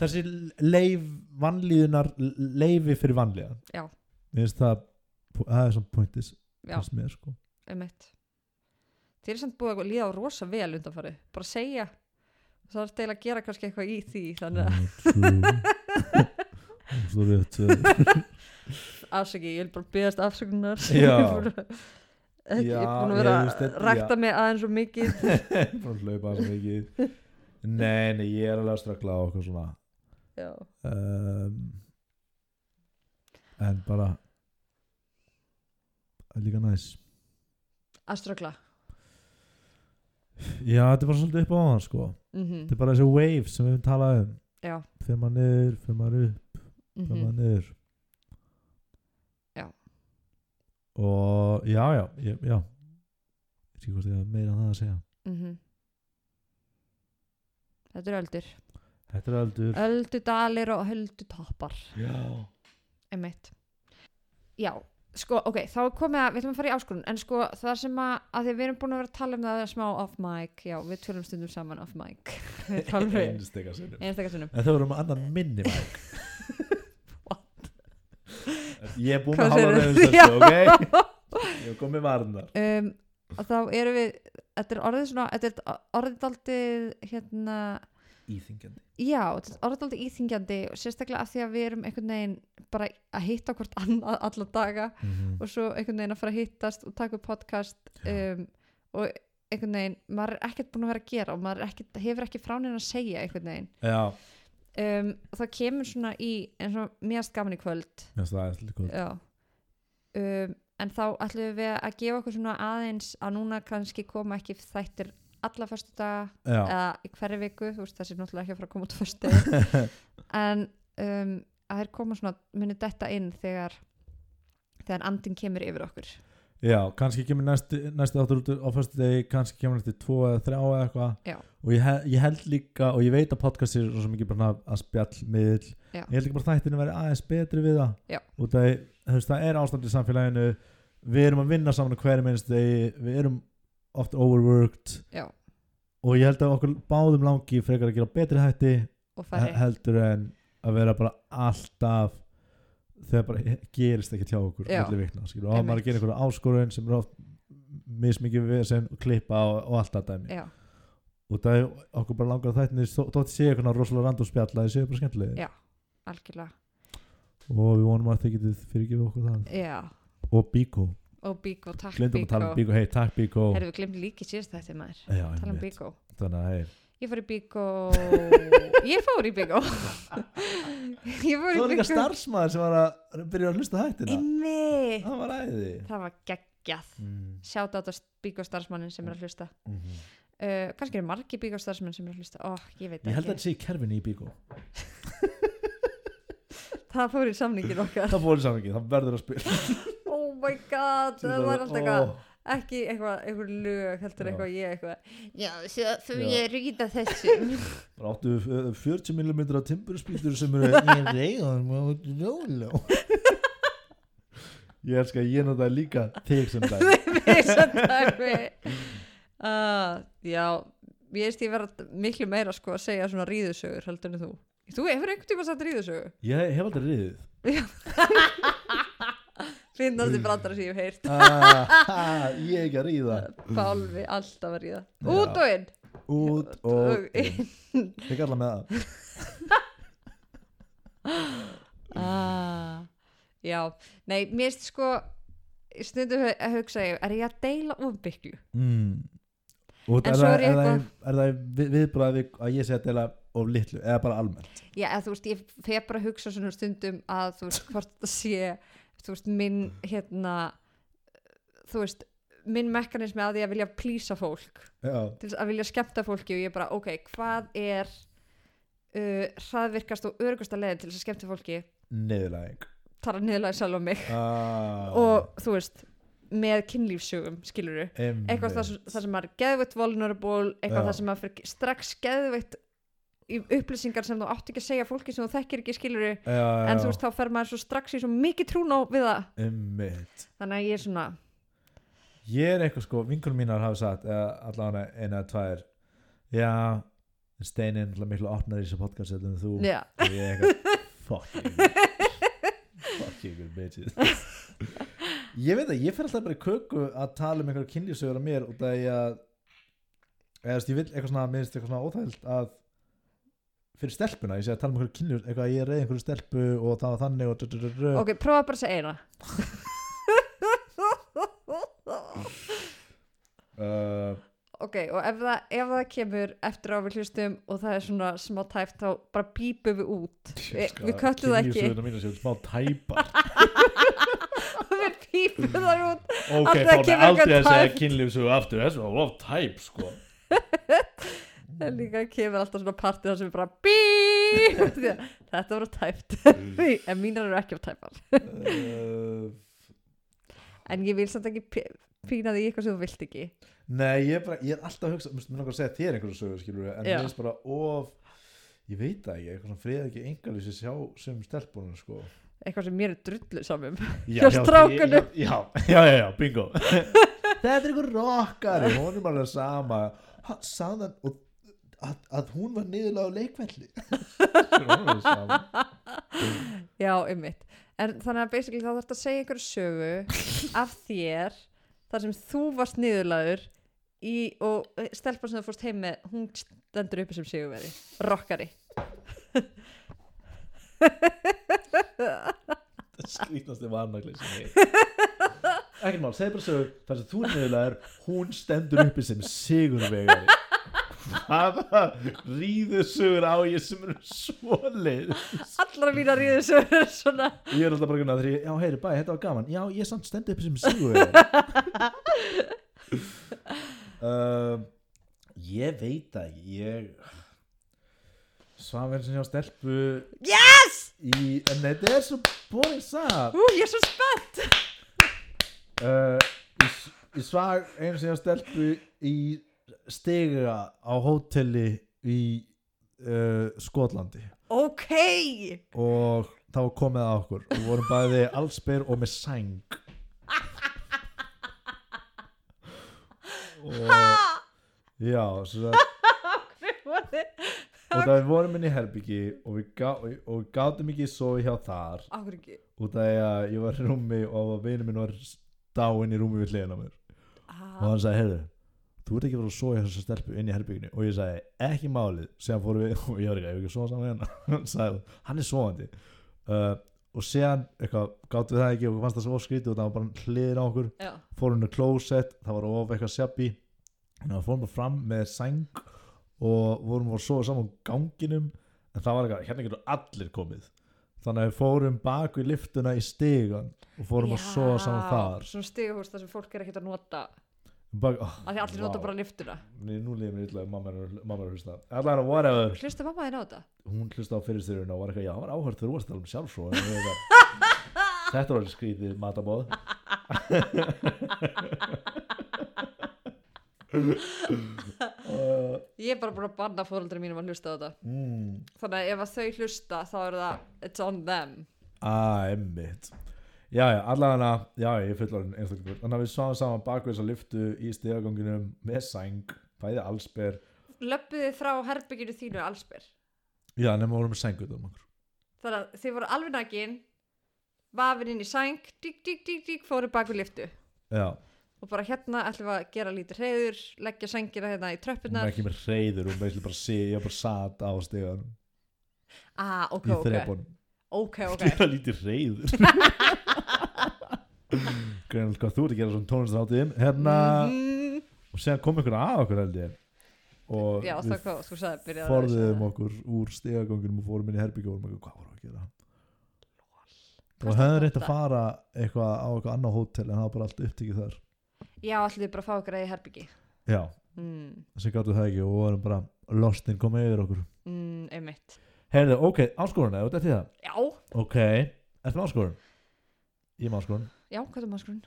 A: þessi leif vanlíðunar, leifi fyrir vanlíðan
B: Já.
A: Mér finnst það, það er svona pointis
B: já,
A: finnst mér sko
B: einmitt þeir er samt búið að líða á rosa vel undanfari, bara segja það er deil að gera kannski eitthvað í því þannig að,
A: True Svo rétt eh,
B: afsaki, ég vil bara byggast afsökunar
A: Já.
B: ég er búin að- ekki, ég er
A: Já,
B: búin að
A: ég
B: vera
A: veist
B: að
A: þetta-
B: rækta mig aðeins og mikið
A: Bara hlaupa svo mikið Nei, nei, ég er alveg að strakla á okkur svona
B: já,
A: um, En bara það er Líka næs
B: að ströggla
A: Já, þetta er bara svolítið upp á hann sko
B: mm
A: Þetta er bara þessi wave sem við höfum talað um
B: Já.
A: Fyrir maður niður, fyrir maður upp,
B: mm
A: fyrir maður niður
B: Já.
A: Og já, já, ég, já Ég veit ekki hvort ég hafa meira en það að segja
B: Mhm. Þetta er öldur
A: Þetta er aldur
B: Öldudalir og öldutoppar
A: Já
B: einmitt Já, sko, ok, þá er komið að við ætlum að fara í áskorun, en sko, það sem að, að því að við erum búin að vera að tala um það smá off mic, já, við tölum stundum saman off mic Við tölum við
A: Einstakar sinnum
B: einstakar sinnum
A: En þau voru með annan minni mæk Ég er búin
B: Hvað
A: að hálfa
B: segirðu?
A: með þessu, ok? Ég er komið varnar
B: um, og þá erum við þetta er orðið svona, þetta er orðið daldið hérna,
A: Íþingjandi
B: Já, þetta er orðaldið íþingjandi og sérstaklega af því að við erum einhvern veginn bara að hitta hvort annað alla daga
A: Mhm.
B: og svo einhvern veginn að fara að hittast og taka upp podcast um, og einhvern veginn, maður er ekkert búin að vera að gera og maður er ekkert, hefur ekki frá neina að segja einhvern veginn
A: Já,
B: um, og það kemur svona í eins og mjögst gaman í kvöld
A: mér finnst það er svolítið góð
B: Já um, En þá ætlum við að gefa okkur svona aðeins að núna kannski koma ekki þættir alla fyrstu daga
A: Já,
B: eða í hverju viku, þú veist þessi er náttúrulega ekki að fara að koma út fyrst degi en um, að þeir koma svona muni detta inn þegar þegar andin kemur yfir okkur
D: já, kannski kemur næsti, næsti áttur út á fyrstu degi, kannski kemur næsti tvo eða þrjá eða eitthvað
B: Já.
D: og ég, he- ég held líka, og ég veit að podcast er svo mikið bara svona að spjall miðl
B: Já.
D: ég held líka bara þættinu verið aðeins betri við það
B: Já.
D: út að þú veist, það er ástand í samfélaginu við erum að vinna saman á hverjum einst degi við erum oft overworked
B: Já.
D: og ég held að okkur báðum langi frekar að gera betri hætti
B: og
D: he-
B: færri
D: heldur en að vera bara alltaf þegar bara gerist ekki hjá okkur
B: Já.
D: milli vikna, skilur, og að
B: Einmitt.
D: maður gerir einhverja áskorun sem er oft mismikið við sem klippa og, og allt að dæmi
B: já,
D: og það er okkur bara langar að þættinni þó- þótt séu eitthvað rosalega random spjalla það séu bara skemmtilegir
B: Já. algjörlega
D: og við vonum að þið getið fyrirgefið okkur það
B: já,
D: og Bíkó,
B: og Bíkó, takk
D: glindum að tala um
B: Bíkó
D: Bíkó hei, takk Bíkó
B: Herru, við glemdi líki síðast þetta maður
D: Já,
B: tala um
D: einmitt.
B: Bíkó
D: þannig að hei
B: ég fór í Bíkó ég fór í Bíkó ég fór í
A: Það var líka
B: Bíkó
A: starfsmaður sem var að byrja að hlusta á hættina
B: Einmitt.
A: Það var æði
B: það var geggjað
A: mm,
B: sjáta á þetta Bíkó starfsmannin sem er að hlusta
A: mm.
D: mhm.
B: uh, kannski eru margi Bíkó starfsmann sem er að hlusta ó, ég veit
A: Ég held
B: ekki
A: að þetta sé í kerfinu í Bíkó
B: það fór í samningin okkar
A: Það fór saman ekki, það verður að spila
B: oh my god, það var alltaf
A: Ó.
B: eitthvað ekki eitthvað, eitthvað lög heldur
A: Já.
B: eitthvað ég eitthvað já, svo fyrir
A: Já.
B: ég rýta þessum
A: Bara áttu eh, 40 mm af timburspýtur sem eru ég reyðan Ég elska að ég notaði líka þig sem dag
B: þessum dæmi uh, já ég veist ég vera miklu meira sko að segja svona rýðusögur heldur en þú þú hefur einhvern tíma sagt rýðusögu
A: Ég hef aldrei riðið
B: finnast þið brandar sem ég hef heyrt
A: ah, Ég er ekki að ríða
B: Pálvi alltaf að ríða
A: Mm. Já.
B: út og inn
A: Út og inn. Ég kalla með það
B: ah, já, nei, mér veist sko stundum hu- að hugsa ég er ég að deila ofbyggju
A: mm. Og
B: En
A: er
B: svo
A: það,
B: er ég
A: er, það, er það við- viðbragð við, að ég sé að dela of litlu eða bara almennt
B: já, eða þú veist, ég fer bara að hugsa svona stundum að þú veist, hvort það sé þú veist, minn hérna þú veist, minn mekanismi að því að vilja plýsa fólk
A: Já,
B: til þess að vilja skemmta fólki og ég bara, ok, hvað er uh, hraðvirkast og örgasta leiðin til þess að skemmta fólki
A: neðurlæðing
B: tala niðurlega sjálf á mig
A: ah,
B: og þú veist, með kynlífsögum skiluru, eitthvað það, sem- það sem er geðveitt vulnerable, eitthvað
A: Mm, Já.
B: það sem að fyrir strax geðveitt í upplýsingar sem þú átt ekki að segja fólki sem þú þekkir ekki skiluru
A: já, já,
B: en þú veist þá fer maður svo strax í svo mikið trúna við það
A: Einmitt.
B: þannig að ég er svona
A: Ég er eitthvað sko, vinkunum mínar hafa sagt eða allavega eina eða tvær Já, Steinin er miklu opnar í þessu podcast heldur en þú
B: já,
A: og ég er eitthvað fuck you fuck you good bitches ég veit að ég fer alltaf bara í köku að tala um einhverja kynlífsögur af mér út af því að eða þú veist ég vil eitthvað svona minnst eitthvað svona óþægild að fyrir stelpuna, ég sé að tala um einhverju kynlífs eitthvað að ég reyði einhverju stelpu og það var þannig og drudrudru.
B: ok, prófa bara að segja eina
A: uh,
B: ok, og ef það, ef það kemur eftir á við hlustum og það er svona smá tæft þá bara bípum við út Vi, við köllum það ekki
A: kynlífsögurna mínu séu smá tæpar
B: við bípum það út
A: ok,
B: Aldrei
A: þá er
B: kemur
A: aldrei
B: eitthvað
A: að segja
B: tæpt.
A: kynlífsögur aftur þessu var of tæp sko
B: en líka kemur alltaf svona partið þar sem við bara bíp þetta voru tæft en mínar eru ekki á tæfar
A: uh,
B: en ég vil samt ekki p- pína því eitthvað sem þú vilt ekki
A: Nei, ég er, bara, ég er alltaf að hugsa, mér mér langar að segja þér einhverju sögur, skilur en
B: Já.
A: mér finnst bara of, ég veit það ekki, eitthvað svona friða ekki engalísi sjá sem stelpunum, sko.
B: eitthvað sem mér er drullu um. samum
A: Já,
B: Hjá strákunum.
A: Já, já, já, já, já, bingo. Þetta er einhver rockari, hún er alveg sama. Ha, Sáðan, og að, að hún var niðurlega á leikvelli. Skilurðu, hún er alveg sama.
B: Já, einmitt. En þannig að basically þá þarf að segja einhverju sögu af þér þar sem þú varst niðurlaður í, og eh, stelpa sem þú fórst heim með hún stendur uppi sem sigurveri rockari
A: skrítnasti varnagli sem ég ekkert mál, segð bara sögur þar sem þú niðurlegar, hún stendur uppi sem sigurvegari hvaða ríðu sögur á ég sem eru svolið
B: Allra mína ríður sögur svona
A: ég er alltaf bara gana þegar ég, já heyri bæ, þetta var gaman já, ég samt stendur uppi sem sigurvegari um, ég veit það ekki ég svafir sem hjá stelpu yes! í, en þetta er svo boring satt
B: Ú, ég er svo spennt
A: uh, Ég- ég svag einu sem ég stelpu í stiga á hóteli í uh, Skotlandi
B: ok
A: og það var komið að okkur og vorum bæði allsbyr og með sæng og já svo að og það við vorum inn í herbyggi og við, gá, og við gátum ekki sofi hjá þar
B: Akkur ekki
A: út af því að ég var í rúmi og vinur minn var dáinn í rúmi við hliðina á mér og
B: Ah,
A: hann sagði, heyrðu þú ert ekki verið að sofa hjá þessu stelpu inn í herbygginu og ég sagði, ekki málið síðan fórum við, og ég var ekki, ég hef ekki að sofa saman við hann hann sagði, hann er sofandi uh, og síðan, eitthvað, gáttu við það ekki og fannst það svo skrítið og það var bara hliðin á okkur
B: já.
A: fórum inn á klósett, það var of eitthvað sjabbi þannig að fórum bara fram með sæng og vorum að sofa saman á ganginum en það var eitthvað, hérna getur allir komið þannig að við fórum baku í liftuna í stigan og fórum að sofa saman
B: Já,
A: þar
B: Svona stigahús þar sem fólk er ekkert að nota
A: Bak, oh,
B: að því allir nota bara liftuna
A: Nei, nú líður mér illa ef mamma er mamma er að hlusta Allar að whatever
B: Hlusta mamma þín á þetta?
A: Hún hlusta á fyrirstyrjun og var eitthvað Já, það var áhört þú varst að tala um sjálfsfró En ég eitthvað, Þetta var alveg skrítið matabóð uh,
B: Ég er bara búin að banna fóröldri mínum að hlusta á þetta
A: mm,
B: Þannig að ef að þau hlusta þá er það It's on them
A: Æ, emmitt Já, já, allan að Já, ég er fullorinn einstaklega Þannig að við sáum saman bakveðs að lyftu í stegaganginum Með sæng, bæði allsber
B: Löppuð þið frá herbygginu þínu allsbyr
A: Já, nema vorum með sængut um okkur
B: Þannig að þið voru alveg nakin Vafin inn í sæng Dík, dík, dík, dík, fóru bak við liftu
A: Já,
B: Og bara hérna ætlum við að gera lítið reyður Leggja sængina hérna í
A: hún er
B: tröppurnar
A: ekki með reyður Hún er bara, sé- ég bara sat á steganum
B: Ah, ok,
A: í
B: ok
A: þrepunum
B: Ok, ok
A: gera lítið reyður greinlega hvað þú ert að gera svona tónlistrátiðum hérna
B: Mhm.
A: og séðan kom einhver að okkur held ég og
B: Já, það
A: við
B: hvað, þú sagði byrjaði að
A: forðiðum
B: ræða.
A: okkur úr stegagangunum og fórum inn í herbyggja og vorum eitthvað, hvað vorum við að gera
B: Hvað
A: og hefðum
B: stóð
A: reynt að
B: þetta?
A: fara eitthvað á eitthvað annað hótel en það var bara allt upptikið þar
B: Já, allir bara að fá okkur að ég herbyggi
A: já,
B: mm,
A: sem gáttu það ekki og vorum bara lostin komið yfir okkur
B: mm, Einmitt
A: heyrðu, ok, áskorun eða, þetta er það
B: Já,
A: ok, ertu með áskorun? ég er með áskorun
B: já, hvað er maður skrún?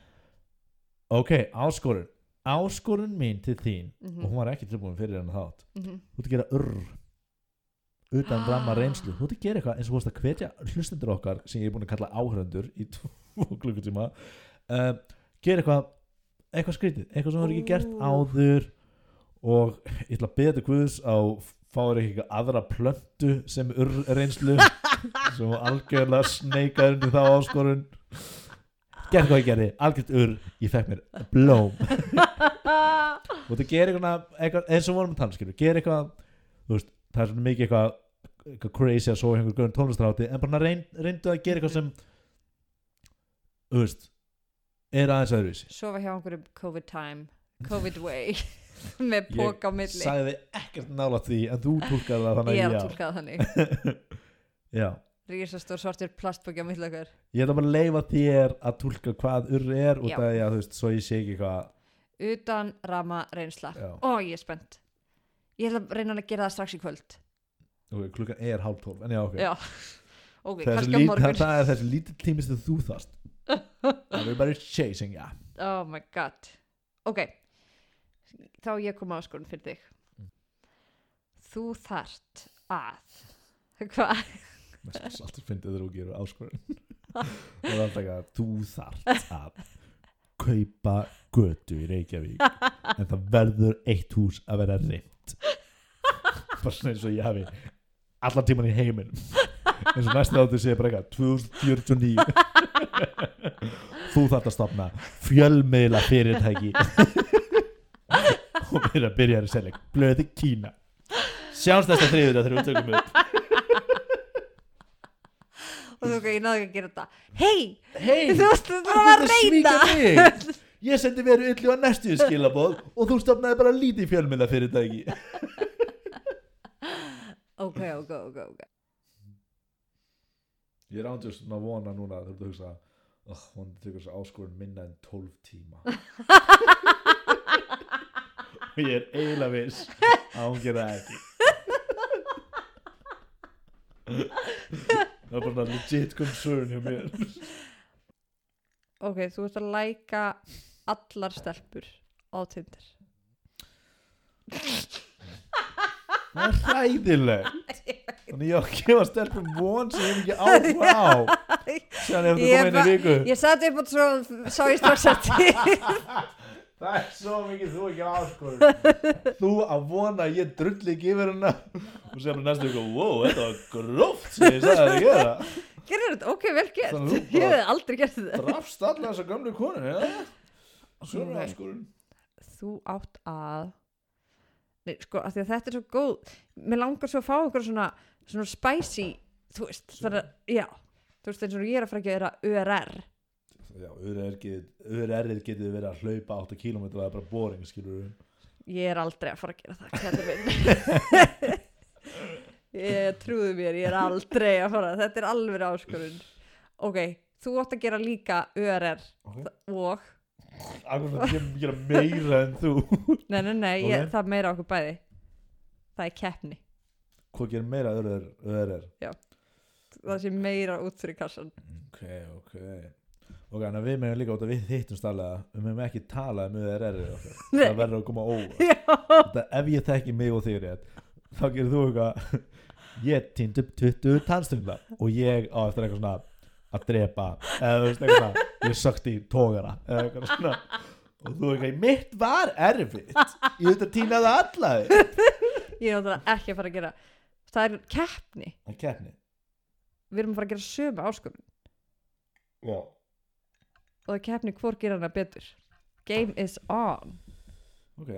A: ok, áskorun áskorun mín til þín
B: Mm
A: og hún var ekki tilbúin fyrir henni þátt
B: -hmm.
A: þú ert að gera urr utan
B: Ah.
A: ramma reynslu, þú ert að gera eitthvað eins og þú ert að hvetja hlustendur okkar sem ég er búin að kalla áhörundur í tvo klukkutíma um, gera eitthvað eitthvað skrítið, eitthvað sem þú hefur ekki gert
B: Ú.
A: áður og ég ætla að beða guðs á fáir ekki eitthvað aðra plöntu sem urr reynslu sem þú algjörlega sneikar undir þá áskorun gerð hvað ég gerði, algjört urr ég fekk mér blóm og þú gerir eitthvað, eitthvað eins og við vorum að tala skilur, gerir eitthvað þú veist, það er svona mikið eitthvað, eitthvað crazy að sofa einhver gauðin tónlistráti en bara reyn, reyndu að gera eitthvað sem þú veist er aðeins öðruvísi
B: Sofa hjá einhverjum COVID time COVID way Með póka á milli
A: sagði ekkert nála því en þú tólkar það þannig
B: Ég er
A: að
B: að tólka það þannig
A: já, já.
B: Rísastór svartur plastpóki á milli okkar
A: ég ætla bara að leifa þér að tólka hvað urri er út
B: Já.
A: af því að þú veist, svo ég sé ekki hvað
B: Utan rama reynsla
A: Já.
B: Ó, ég er spennt Ég ætla að reyna að gera það strax í kvöld
A: ok, klukkan er hálf tólf, en já ok
B: Já, ok,
A: Það
B: kannski
A: er þessi
B: á
A: lít-
B: morgun
A: það, það er þessi lítill tími sem þú þarst það er bara chasing, já
B: Oh my god Ok, þá ég kom áskorun fyrir þig
A: Mm.
B: Þú þart að Hvað?
A: Það er alltaf fyndið þegar þú gerur áskorun Það er alltaf að þú þart að kaupa götu í Reykjavík en það verður eitt hús að vera reynd bara svona eins og ég hafi allan tíman í heiminn eins og næsta áttu sé bara eitthvað 2049 þú þart að stopna fjölmiðla fyrirtæki og byrja að byrja að selja blöði Kína sjáumst næsta þriður þegar við tökum upp
B: Ok, ég náðu ekki að gera þetta Hei,
A: hei
B: þú varst að það
A: Þú
B: var að
A: ert að svíkja
B: reyna
A: mig. Ég sendi veru yllu að næstu skilabóð og þú stopnaði bara lítið fjölmjöla fyrirtæki
B: Ok, ok, ok, ok
A: Ég er ándjörst að vona núna þegar þú hugsa oh, hún tekur þessu áskorun minna en 12 tíma og ég er eiginlega viss að hún gera það ekki Það er bara svona legit concern hjá mér
B: Ok, þú ert að læka allar stelpur á Tinder
A: það er hræðileg þannig ég á að gefa stelpum von sem ég hef ekki áhuga á síðan ef þú
B: Ég
A: komið inn í
B: bara-
A: viku
B: ég satt upp og svo sá ég strax að
A: það er svo mikið þú ekki áskoður þú að vona að ég drulli ekki yfir hana og sem næstu ykkur, wow, þetta var gróft sem ég sagði þér að gera
B: gerir þetta, ok, vel
A: Þannig
B: gert
A: þú
B: ég
A: bara-
B: hef aldrei gert þetta
A: drafst allar þessar gamlu konur ja? svona
B: Nei.
A: áskorun
B: þú átt að Nei, sko, af því að þetta er svo góð mér langar svo að fá okkur svona, svona spicy, þú veist það er, já, þú veist eins og ég er að fara að gera URR
A: já, urerðir getur verið að hlaupa 8 km og það er bara boring skilur
B: ég er aldrei að fara að gera það kæri minn ég trúðu mér, ég er aldrei að fara þetta er alveg áskorun ok, þú átt að gera líka URR
A: Ok.
B: og,
A: akkur fyrir að ég gera meira en þú
B: nei, nei, nei ég,
A: Ok.
B: það er meira okkur bæði það er keppni
A: hvað gerir meira urerðir
B: það sé meira út fyrir kassan
A: ok, ok ok, en við meðum líka út að við hittum staðlega við meðum ekki tala um urerðir
B: Nei.
A: það verður að koma óvart
B: já,
A: Þetta, ef ég þekki mig og þig rétt þá gerir þú eitthvað ég týnd upp 20 tannstöngla og ég á eftir eitthvað svona að drepa eða þú veist eitthvað svona ég sökti í tógara eða eitthvað svona og þú eitthvað, mitt var erfitt ég þetta týnaði alla þig
B: ég er náttúrulega ekki að fara að gera það er keppni,
A: en keppni
B: við erum að fara að gera sömu áskorun
A: já,
B: og það er keppni hvort gera hana betur game is on
A: ok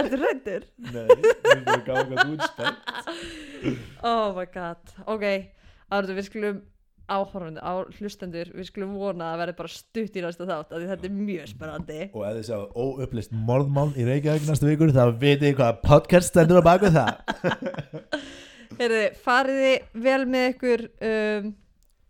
B: ertu reyndir?
A: nei, við erum að ganga þú útspæð
B: oh my god ok, árðu við skulum áhorfandi, á hlustendur við skulum vona að verði bara stutt í næsta þátt af því þetta er mjög spennandi
A: og ef þið sjá óupplist morðmál í Reykjavík næstu vikur þá vitið þið hvaða podcast stendur á baku það
B: Heyrði, fariði vel með ykkur um,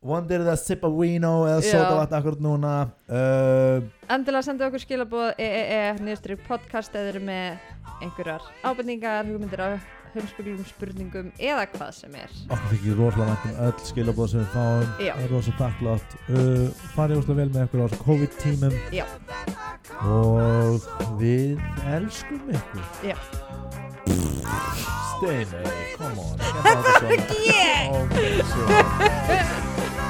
A: vondir það sippa vino eða
B: Já.
A: sótavatn akkur núna uh,
B: endilega senda okkur skilaboð E EEE nýðustrið podcast eða eru með einhverjar ábendingar, hugmyndir af heimsbyggljum spurningum eða hvað sem er
A: okkur þykir rosalega vænt um öll skilabóð sem við fáum
B: Já.
A: það er rosalega takklátt uh, farið rosalega vel með okkur á þessu COVID-tímum
B: Já.
A: og við elskum ykkur
B: Já.
A: Steinei, come on Þetta er ekki ég